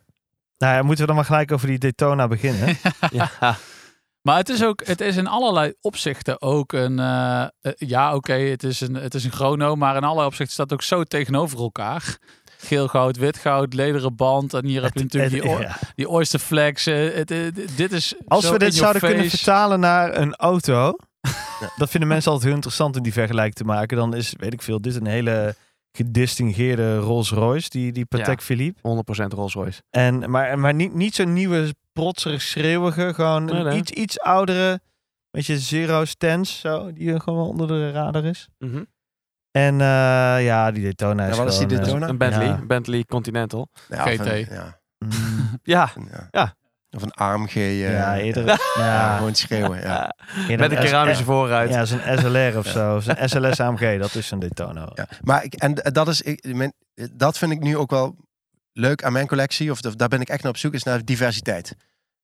[SPEAKER 3] Nou ja, moeten we dan maar gelijk over die Daytona beginnen.
[SPEAKER 4] Ja.
[SPEAKER 6] Maar het is ook, het is in allerlei opzichten ook een, eh, eh, ja oké, het, is een- het is een chrono, maar in allerlei opzichten staat het ook zo tegenover elkaar. Geel goud, wit goud, lederen band en hier heb je natuurlijk die, oor-
[SPEAKER 3] Ja.
[SPEAKER 6] die Oyster Flex. eh, het, het- dit is
[SPEAKER 3] Als
[SPEAKER 6] zo
[SPEAKER 3] we
[SPEAKER 6] in
[SPEAKER 3] dit
[SPEAKER 6] your
[SPEAKER 3] zouden kunnen
[SPEAKER 6] face.
[SPEAKER 3] vertalen naar een auto, dat vinden mensen altijd heel interessant om die vergelijking te maken. Dan is, weet ik veel, dit een hele gedistingeerde Rolls Royce, die, die Patek
[SPEAKER 4] Ja.
[SPEAKER 3] Philippe.
[SPEAKER 4] 100% Rolls Royce.
[SPEAKER 3] En, maar maar niet, niet zo'n nieuwe, protserig, schreeuwige, gewoon
[SPEAKER 4] Nee,
[SPEAKER 3] een
[SPEAKER 4] nee.
[SPEAKER 3] Iets, iets oudere, beetje zero stance, zo, die er gewoon onder de radar is.
[SPEAKER 4] Mhm.
[SPEAKER 3] En eh, ja, die Daytona is
[SPEAKER 2] Ja, wat is die
[SPEAKER 3] gewoon, eh,
[SPEAKER 2] Daytona?
[SPEAKER 4] Een Bentley,
[SPEAKER 3] Ja.
[SPEAKER 4] een Bentley Continental.
[SPEAKER 2] Nou Ja, of
[SPEAKER 6] GT.
[SPEAKER 2] een- ja,
[SPEAKER 3] mm,
[SPEAKER 4] Ja,
[SPEAKER 2] ja.
[SPEAKER 4] Ja.
[SPEAKER 2] Of een AMG. eh,
[SPEAKER 3] ja, eerder,
[SPEAKER 2] Ja,
[SPEAKER 3] ja,
[SPEAKER 2] gewoon schreeuwen. Ja.
[SPEAKER 3] eerder
[SPEAKER 4] met een keramische voorruit.
[SPEAKER 3] Ja, zo'n SLR of zo. of Zo'n SLS AMG, dat is een Daytona.
[SPEAKER 2] Ja. Maar ik, en dat, is, ik, mijn- dat vind ik nu ook wel leuk aan mijn collectie. Of, dat- daar ben ik echt naar op zoek, is naar diversiteit.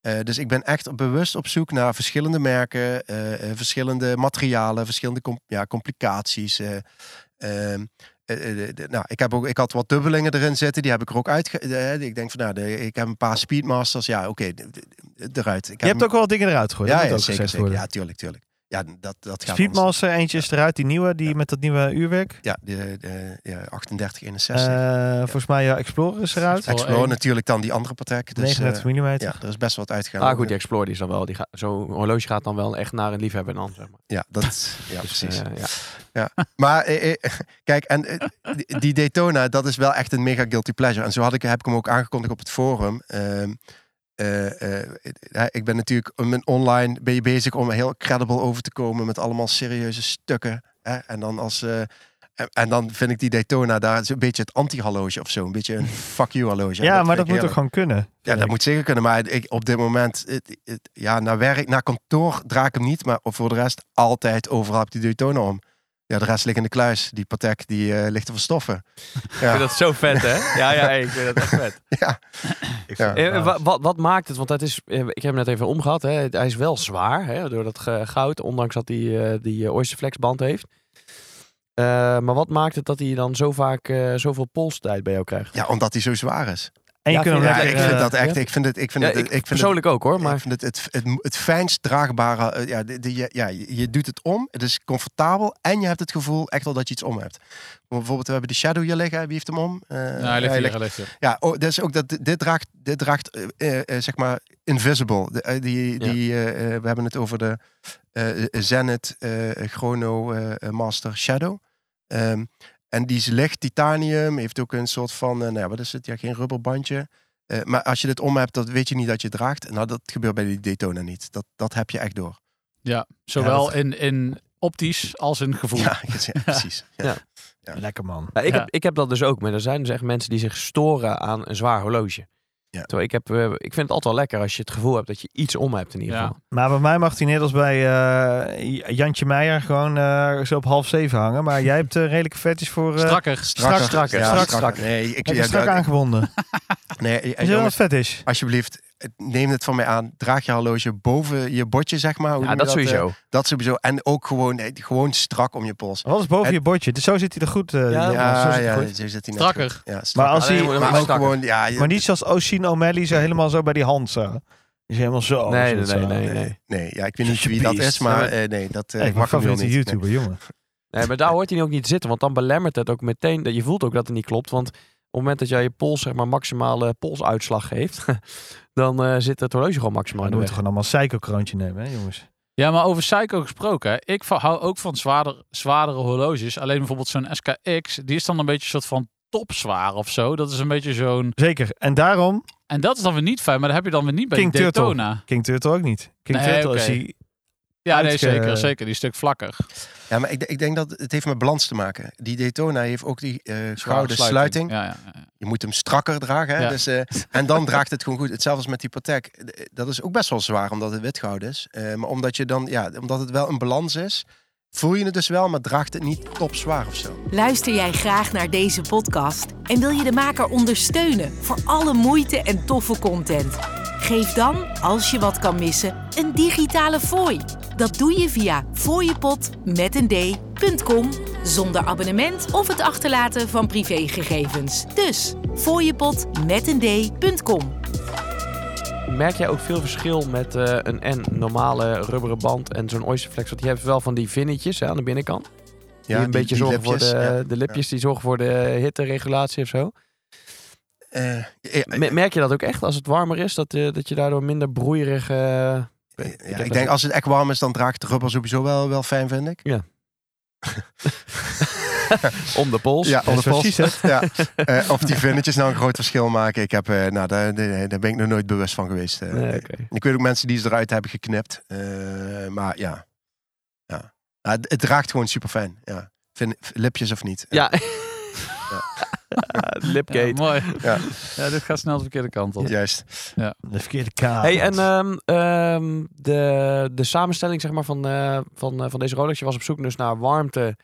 [SPEAKER 2] Eh, dus ik ben echt bewust op zoek naar verschillende merken, eh, eh, verschillende materialen, verschillende com- ja, complicaties. eh, ehm, eh, eh, de- de- nou, ik, heb ook, ik had wat dubbelingen erin zitten, die heb ik er ook uit. ik denk van, nou, de- ik heb een paar Speedmasters. Ja, oké, de- de- de- eruit. Ik
[SPEAKER 3] Je hebt
[SPEAKER 2] hem-
[SPEAKER 3] ook wel wat dingen eruit gegooid.
[SPEAKER 2] ja,
[SPEAKER 3] Ja,
[SPEAKER 2] ja,
[SPEAKER 3] dat moet ook
[SPEAKER 2] zeker,
[SPEAKER 3] gezegd
[SPEAKER 2] zeker.
[SPEAKER 3] worden.
[SPEAKER 2] Ja, tuurlijk, tuurlijk. Ja, dat, dat gaat anders.
[SPEAKER 3] Speedmaster eentje is eruit, die nieuwe, die
[SPEAKER 2] Ja.
[SPEAKER 3] met dat nieuwe uurwerk.
[SPEAKER 2] Ja, de, de, ja, 38,
[SPEAKER 3] Eh
[SPEAKER 2] 61.
[SPEAKER 3] Volgens mij ja, Explorer is eruit.
[SPEAKER 6] wel
[SPEAKER 2] Explorer
[SPEAKER 6] één.
[SPEAKER 2] natuurlijk dan die andere Patek. Dus, eh,
[SPEAKER 3] 39 mm.
[SPEAKER 2] ja, er is best wat uitgegaan.
[SPEAKER 4] Ah goed, die Explorer die is dan wel. Die gaat, zo'n horloge gaat dan wel echt naar een liefhebber dan. Zeg maar.
[SPEAKER 2] Ja, dat, ja
[SPEAKER 4] Dus,
[SPEAKER 2] precies.
[SPEAKER 4] eh, ja.
[SPEAKER 2] Maar eh, eh, kijk, en eh, die- die Daytona, dat is wel echt een mega guilty pleasure. En zo had ik, heb ik hem ook aangekondigd op het forum. Ehm, eh, eh, eh, ik ben natuurlijk om mijn online ben je bezig om heel credible over te komen met allemaal serieuze stukken. Hè? En dan als eh, en, en dan vind ik die Daytona daar is een beetje het anti-horloge of zo, een beetje een fuck you horloge.
[SPEAKER 3] Ja,
[SPEAKER 2] En
[SPEAKER 3] maar
[SPEAKER 2] vind
[SPEAKER 3] dat
[SPEAKER 2] ik
[SPEAKER 3] moet
[SPEAKER 2] heerlijk.
[SPEAKER 3] ook gewoon kunnen.
[SPEAKER 2] Ja, dat moet zeker kunnen. Maar ik, op dit moment, het- het- ja, naar werk, naar kantoor draak ik hem niet. Maar voor de rest, altijd overal heb ik die Daytona om. Ja, de rest ligt in de kluis. Die Patek, die eh, ligt te verstoffen.
[SPEAKER 4] Ik
[SPEAKER 2] Ja.
[SPEAKER 4] vind dat zo vet, hè? Ja, ja, ik vind dat echt vet.
[SPEAKER 2] ja. Ja. nou.
[SPEAKER 3] vind het
[SPEAKER 4] Eh,
[SPEAKER 3] wel.
[SPEAKER 4] wa- wat, wat maakt het? Want dat is, eh, ik heb hem net even omgehad. Hè. Het- Hij is wel zwaar hè, door dat ge- goud, ondanks dat hij eh, die eh, Oysterflex band heeft. Eh, maar wat maakt het dat hij dan zo vaak eh, zoveel polstijd bij jou krijgt?
[SPEAKER 2] ja, omdat die zo zwaar is.
[SPEAKER 3] En je
[SPEAKER 4] Ja,
[SPEAKER 3] kunt hem
[SPEAKER 4] vind
[SPEAKER 2] Ja,
[SPEAKER 4] ik
[SPEAKER 3] lekker,
[SPEAKER 2] ik vind
[SPEAKER 3] eh,
[SPEAKER 2] dat echt.
[SPEAKER 4] ja.
[SPEAKER 2] Ik vind het, ik vind
[SPEAKER 4] Ja,
[SPEAKER 2] het,
[SPEAKER 4] ik,
[SPEAKER 2] ik vind het,
[SPEAKER 4] persoonlijk ook hoor,
[SPEAKER 2] Ik
[SPEAKER 4] maar
[SPEAKER 2] vind het, het, het, het fijnst draagbare. eh, Ja, de, de- ja, ja, je je doet het om. Het is comfortabel. En je hebt het gevoel echt wel dat je iets om hebt. Bijvoorbeeld, we hebben de Shadow hier liggen. Wie heeft hem om? Eh,
[SPEAKER 6] Ja, hij ligt
[SPEAKER 2] hij
[SPEAKER 6] hier,
[SPEAKER 2] ligt-
[SPEAKER 6] hij ligt hier.
[SPEAKER 2] Ja, oh, dus ook dat dit draagt, dit draagt eh, eh, eh, zeg maar invisible. De, eh, die,
[SPEAKER 4] Ja.
[SPEAKER 2] die, eh, eh, we hebben het over de eh eh, Zenith eh, Chrono eh, eh, Master Shadow. Ehm, en die is licht titanium, heeft ook een soort van, eh, nou ja, wat is het? Ja, geen rubberbandje. Eh, maar als je dit om hebt, dat weet je niet dat je het draagt. Nou, dat gebeurt bij die Daytona niet. Dat, dat heb je echt door.
[SPEAKER 6] Ja, zowel
[SPEAKER 3] dat-
[SPEAKER 6] in, in optisch als in gevoel.
[SPEAKER 2] Ja, ja, precies. Ja.
[SPEAKER 4] Ja.
[SPEAKER 2] vind-
[SPEAKER 3] lekker man.
[SPEAKER 4] Nou, ik,
[SPEAKER 6] Ja.
[SPEAKER 4] heb, ik heb dat dus ook. Maar er zijn dus echt mensen die zich storen aan een zwaar horloge.
[SPEAKER 2] Ja.
[SPEAKER 4] Terwijl ik, heb, eh, ik vind het altijd wel lekker als je het gevoel hebt dat je iets om hebt in ieder
[SPEAKER 6] Ja.
[SPEAKER 4] geval.
[SPEAKER 3] Maar bij mij mag hij net als bij eh, Jantje Meijer gewoon eh, zo op half zeven hangen. Maar jij hebt eh, redelijke fetish voor... eh,
[SPEAKER 6] Strakker.
[SPEAKER 2] Strakker.
[SPEAKER 3] strakker,
[SPEAKER 2] Ja,
[SPEAKER 3] strak,
[SPEAKER 2] strakker. Nee, ik,
[SPEAKER 3] heb je
[SPEAKER 2] ja,
[SPEAKER 3] strak
[SPEAKER 2] dat-
[SPEAKER 3] aangebonden.
[SPEAKER 2] nee, eh,
[SPEAKER 3] Is dat
[SPEAKER 2] jongens,
[SPEAKER 3] wat fetish?
[SPEAKER 2] Alsjeblieft, het- neem het van mij aan. Draag je horloge boven je bordje, zeg maar. Hoe
[SPEAKER 4] Ja,
[SPEAKER 2] noem je
[SPEAKER 4] dat
[SPEAKER 2] eh?
[SPEAKER 4] sowieso.
[SPEAKER 2] dat sowieso. En ook gewoon, eh, gewoon strak om je pols.
[SPEAKER 3] Wat is boven
[SPEAKER 2] Het-
[SPEAKER 3] je bordje? Dus zo zit hij er goed. eh,
[SPEAKER 4] Ja,
[SPEAKER 2] Ja,
[SPEAKER 3] zo zit
[SPEAKER 2] ja,
[SPEAKER 3] hij goed.
[SPEAKER 2] zo zit hij net
[SPEAKER 6] Strakker.
[SPEAKER 2] goed. Ja,
[SPEAKER 3] Maar
[SPEAKER 2] strakker.
[SPEAKER 3] als
[SPEAKER 4] Alleen
[SPEAKER 3] hij...
[SPEAKER 4] moet-
[SPEAKER 2] Maar,
[SPEAKER 4] Maar
[SPEAKER 2] ook
[SPEAKER 4] strakker.
[SPEAKER 2] gewoon, ja. je-
[SPEAKER 3] Maar niet zoals Oshin O'Malley, zo helemaal zo bij die hand zo. Die is helemaal
[SPEAKER 2] Oh,
[SPEAKER 3] zo.
[SPEAKER 4] Nee,
[SPEAKER 3] zo,
[SPEAKER 4] nee,
[SPEAKER 3] zo.
[SPEAKER 4] nee, nee.
[SPEAKER 2] nee, nee. ja, ik weet niet wie dat
[SPEAKER 3] Alsjeblieft.
[SPEAKER 2] is, maar eh, nee, dat eh, mag
[SPEAKER 3] Hey, mijn
[SPEAKER 2] hem heel
[SPEAKER 3] favoriete
[SPEAKER 2] niet.
[SPEAKER 3] YouTuber, jongen.
[SPEAKER 4] Nee, maar daar hoort hij ook niet zitten, want dan belemmert het ook meteen. Dat je voelt ook dat het niet klopt, want het moment dat jij je pols, zeg maar, maximale polsuitslag geeft, dan eh, zit het horloge gewoon maximaal
[SPEAKER 3] Maar
[SPEAKER 4] in
[SPEAKER 3] dan
[SPEAKER 4] de
[SPEAKER 3] moet je
[SPEAKER 4] weg.
[SPEAKER 3] gewoon allemaal psycho-kroontje nemen, hè, jongens.
[SPEAKER 6] Ja, maar over Psycho gesproken. hè. Ik va- hou ook van zwaarder, zwaardere horloges. Alleen bijvoorbeeld zo'n SKX, die is dan een beetje een soort van topzwaar of zo. Dat is een beetje zo'n...
[SPEAKER 3] Zeker. En daarom
[SPEAKER 6] En dat is dan weer niet fijn, maar dat heb je dan weer niet bij
[SPEAKER 3] King
[SPEAKER 6] die
[SPEAKER 3] Turtle.
[SPEAKER 6] Daytona.
[SPEAKER 3] King Turtle ook niet. King
[SPEAKER 6] Nee,
[SPEAKER 3] Turtle is
[SPEAKER 6] oké.
[SPEAKER 3] die...
[SPEAKER 6] Ja, nee,
[SPEAKER 3] Uitge-
[SPEAKER 6] zeker, zeker. Die is een stuk vlakker.
[SPEAKER 2] Ja, maar ik, ik denk dat het heeft met balans te maken. Die Daytona heeft ook die eh gouden sluiting.
[SPEAKER 6] Ja, ja, ja.
[SPEAKER 2] Je moet hem strakker dragen. Hè?
[SPEAKER 6] Ja.
[SPEAKER 2] Dus, eh, en dan draagt het gewoon goed. Hetzelfde als met die Patek. Dat is ook best wel zwaar omdat het wit goud is. Eh, maar omdat, je dan, ja, omdat het wel een balans is, voel je het dus wel, maar draagt het niet top zwaar of zo.
[SPEAKER 1] Luister jij graag naar deze podcast en wil je de maker ondersteunen voor alle moeite en toffe content? Geef dan, als je wat kan missen, een digitale fooi. Dat doe je via fooiepot.com zonder abonnement of het achterlaten van privégegevens. Dus fooiepot.com.
[SPEAKER 4] Merk jij ook veel verschil met eh, een en normale rubberen band en zo'n oysterflex? Want je hebt wel van die vinnetjes hè, aan de binnenkant. die een
[SPEAKER 2] die-
[SPEAKER 4] beetje
[SPEAKER 2] die
[SPEAKER 4] zorgen
[SPEAKER 2] lipjes,
[SPEAKER 4] voor de,
[SPEAKER 2] ja.
[SPEAKER 4] de lipjes, die zorgen voor de hitteregulatie of zo.
[SPEAKER 2] Eh, eh, eh,
[SPEAKER 4] Me- Merk je dat ook echt als het warmer is, dat, eh, dat je daardoor minder broeierig... eh,
[SPEAKER 2] ja,
[SPEAKER 4] heb
[SPEAKER 2] ik
[SPEAKER 4] dat
[SPEAKER 2] denk
[SPEAKER 4] ook.
[SPEAKER 2] als het echt warm is, dan draagt de rubber sowieso wel, wel fijn, vind ik.
[SPEAKER 4] om de pols.
[SPEAKER 2] Ja,
[SPEAKER 3] Dat is
[SPEAKER 2] onder pols.
[SPEAKER 3] precies het.
[SPEAKER 2] Ja. Eh, of die vinnetjes nou een groot verschil maken. Ik heb, eh, nou, daar, daar daar ben ik nog nooit bewust van geweest. eh.
[SPEAKER 4] Nee, oké.
[SPEAKER 2] Ik weet ook mensen die ze eruit hebben geknipt. eh, maar ja. ja. Ja, het, het raakt gewoon super fijn. Ja. Vind, lipjes of niet.
[SPEAKER 4] Ja. Lipgate.
[SPEAKER 6] Ja, mooi.
[SPEAKER 2] Ja.
[SPEAKER 6] Ja. dit gaat snel de verkeerde kant op.
[SPEAKER 2] Eh, Juist.
[SPEAKER 3] De verkeerde kaart.
[SPEAKER 4] Hey, en ehm, ehm, de, de samenstelling zeg maar, van, eh, van, eh, van deze Rolex, je was op zoek dus naar warmte,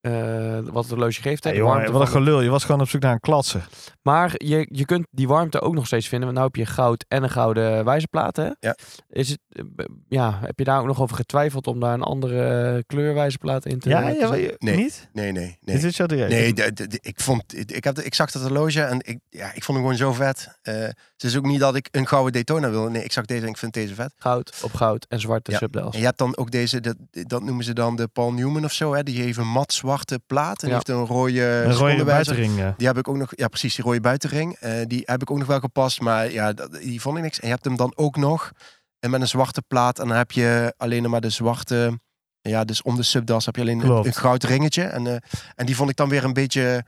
[SPEAKER 4] eh, wat het horloge geeft.
[SPEAKER 3] Hey,
[SPEAKER 4] hè, de
[SPEAKER 3] jongen,
[SPEAKER 4] warmte
[SPEAKER 3] wat een
[SPEAKER 4] van-
[SPEAKER 3] gelul. Je was gewoon op zoek naar een klatser.
[SPEAKER 4] maar je, je kunt die warmte ook nog steeds vinden, want nu heb je goud en een gouden wijzerplaat. Hè?
[SPEAKER 2] Ja.
[SPEAKER 4] Is het, eh, b- ja, heb je daar ook nog over getwijfeld om daar een andere kleurwijzerplaat in te
[SPEAKER 3] Ja,
[SPEAKER 4] te
[SPEAKER 3] ja,
[SPEAKER 4] zetten?
[SPEAKER 3] je-
[SPEAKER 2] Nee.
[SPEAKER 3] niet?
[SPEAKER 2] Nee, nee,
[SPEAKER 3] Dit
[SPEAKER 2] nee.
[SPEAKER 3] is jouw direct.
[SPEAKER 2] Nee, de- de- de- ik, vond, ik, had, ik zag dat horloge en ik, ja, ik vond hem gewoon zo vet. Eh, het is ook niet dat ik een gouden Daytona wil. Nee, ik zag deze en ik vind deze vet.
[SPEAKER 4] Goud op goud en zwarte
[SPEAKER 2] Ja.
[SPEAKER 4] subdels.
[SPEAKER 2] En je hebt dan ook deze, dat, dat noemen ze dan de Paul Newman of zo. Hè? Die heeft een mat zwarte plaat en
[SPEAKER 4] Ja.
[SPEAKER 2] die heeft een rode
[SPEAKER 3] Een rode
[SPEAKER 2] secondenwijzer.
[SPEAKER 3] buitenring. eh, ja.
[SPEAKER 2] Die heb ik ook nog, ja precies, die rode buitenring. eh, die heb ik ook nog wel gepast, maar ja, dat- die vond ik niks. En je hebt hem dan ook nog en met een zwarte plaat. En dan heb je alleen nog maar de zwarte, ja, dus om de subdas heb je alleen een,
[SPEAKER 3] Klopt.
[SPEAKER 2] een goud ringetje. En, eh, en die vond ik dan weer een beetje...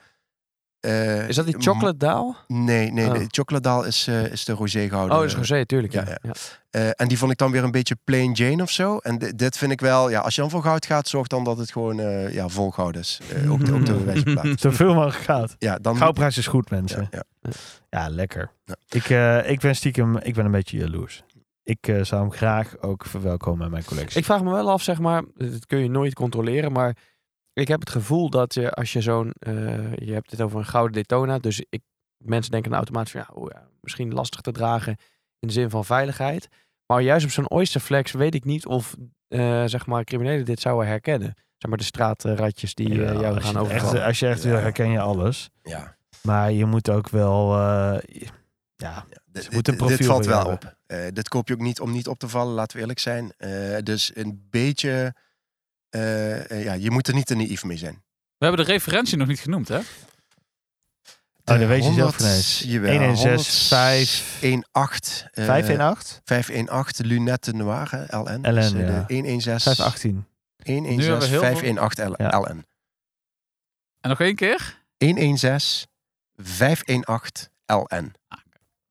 [SPEAKER 2] eh,
[SPEAKER 4] Is dat die chocolate daal?
[SPEAKER 2] Nee, nee,
[SPEAKER 4] Oh.
[SPEAKER 2] nee. Chocoladaal is, eh, is de rosé
[SPEAKER 4] Oh,
[SPEAKER 2] gouden.
[SPEAKER 4] dat is rosé, tuurlijk.
[SPEAKER 2] ja,
[SPEAKER 4] ja.
[SPEAKER 2] ja.
[SPEAKER 4] Ja.
[SPEAKER 2] Eh, en die vond ik dan weer een beetje plain Jane of zo. En di- dit vind ik wel, ja, als je dan voor goud gaat, zorg dan dat het gewoon eh, ja, vol goud is. Eh, ook de, ook de wijzerplaat.
[SPEAKER 3] Zoveel mogelijk goud.
[SPEAKER 2] Ja, dan...
[SPEAKER 3] Goudprijs is goed, mensen.
[SPEAKER 2] ja,
[SPEAKER 3] Ja,
[SPEAKER 2] ja.
[SPEAKER 3] lekker.
[SPEAKER 2] Ja.
[SPEAKER 3] Ik, eh, ik ben stiekem ik ben een beetje jaloers. Ik eh, zou hem graag ook verwelkomen in mijn collectie.
[SPEAKER 4] Ik vraag me wel af, zeg maar, dat kun je nooit controleren, maar ik heb het gevoel dat je als je zo'n, eh, je hebt het over een gouden Daytona, dus ik, mensen denken dan automatisch van, ja, oh ja, misschien lastig te dragen in de zin van veiligheid, maar juist op zo'n Oysterflex weet ik niet of, eh, zeg maar, criminelen dit zouden herkennen. Zeg maar de straatratjes die eh,
[SPEAKER 3] Ja,
[SPEAKER 4] jou
[SPEAKER 3] als, je
[SPEAKER 4] gaan
[SPEAKER 3] het echt-
[SPEAKER 4] overvallen.
[SPEAKER 3] als je echt wil, herken je alles.
[SPEAKER 2] ja.
[SPEAKER 3] Maar je moet ook wel... eh, ja,
[SPEAKER 2] Dit-
[SPEAKER 3] Dus moet een
[SPEAKER 2] dit- dit
[SPEAKER 3] profiel
[SPEAKER 2] valt
[SPEAKER 3] voor
[SPEAKER 2] wel
[SPEAKER 3] jou
[SPEAKER 2] op. Eh, dit koop je ook niet om niet op te vallen, laten we eerlijk zijn. Eh, dus een beetje... eh, eh, ja, je moet er niet te naïef mee zijn.
[SPEAKER 6] We hebben de referentie nog niet genoemd, hè?
[SPEAKER 3] Oh,
[SPEAKER 2] De
[SPEAKER 3] dan weet je
[SPEAKER 2] 100
[SPEAKER 3] zelf van eens.
[SPEAKER 2] Eh, jawel,
[SPEAKER 3] 116,
[SPEAKER 2] 100,
[SPEAKER 3] 5,
[SPEAKER 2] 1,8. eh,
[SPEAKER 3] 518?
[SPEAKER 2] 518 Lunette Noir, hè, LN.
[SPEAKER 3] LN,
[SPEAKER 2] Dus, eh,
[SPEAKER 3] ja.
[SPEAKER 2] de 116,
[SPEAKER 3] 518.
[SPEAKER 2] 116,
[SPEAKER 6] Nu hebben we heel veel-
[SPEAKER 2] 518 L-
[SPEAKER 3] Ja.
[SPEAKER 2] LN.
[SPEAKER 6] En nog één keer?
[SPEAKER 2] 116, 518 LN.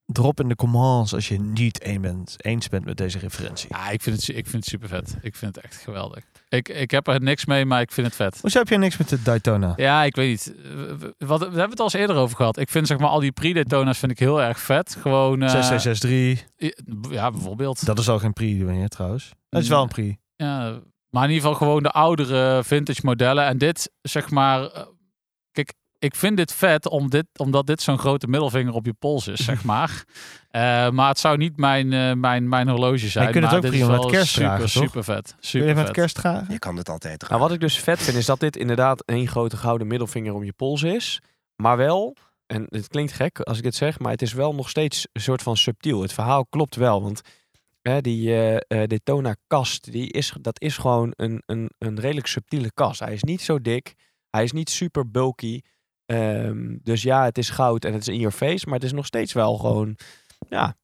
[SPEAKER 3] Drop in de commands als je niet een bent, eens bent met deze referentie.
[SPEAKER 6] Ja, ik vind het, su- ik vind het super vet. Ik vind het echt geweldig. Ik, ik heb er niks mee, maar ik vind het vet.
[SPEAKER 3] Hoezo heb jij niks met de Daytona?
[SPEAKER 6] Ja, ik weet niet. Eh, we- Wat, we hebben het al eens eerder over gehad. Ik vind zeg maar al die pre-Daytona's vind ik heel erg vet. Gewoon... eh,
[SPEAKER 3] 6663,
[SPEAKER 6] Ja, bijvoorbeeld.
[SPEAKER 3] dat is al geen prix meer trouwens. Dat is wel een prix.
[SPEAKER 6] Ja, maar in ieder geval gewoon de oudere vintage modellen. En dit, zeg maar... eh, Kijk, ik vind dit vet om dit, omdat dit zo'n grote middelvinger op je pols is, zeg maar. Eh, maar het zou niet mijn, eh, mijn, mijn horloge zijn.
[SPEAKER 3] je kunt het
[SPEAKER 6] maar
[SPEAKER 3] ook
[SPEAKER 6] dit
[SPEAKER 3] prima
[SPEAKER 6] is
[SPEAKER 3] met
[SPEAKER 6] wel
[SPEAKER 3] kerst
[SPEAKER 6] super,
[SPEAKER 3] dragen, toch?
[SPEAKER 6] super vet.
[SPEAKER 3] Kun je
[SPEAKER 6] Super
[SPEAKER 3] even met
[SPEAKER 6] vet.
[SPEAKER 3] kerst dragen?
[SPEAKER 2] Je kan het altijd
[SPEAKER 4] Nou,
[SPEAKER 2] raken.
[SPEAKER 4] wat ik dus vet vind, is dat dit inderdaad één grote gouden middelvinger om je pols is. Maar wel, en het klinkt gek als ik dit zeg, maar het is wel nog steeds een soort van subtiel. Het verhaal klopt wel, want hè, die eh eh, Daytona-kast, die is, dat is gewoon een, een, een redelijk subtiele kast. Hij is niet zo dik, hij is niet super bulky. Ehm, dus ja, het is goud en het is in your face, maar het is nog steeds wel gewoon ja,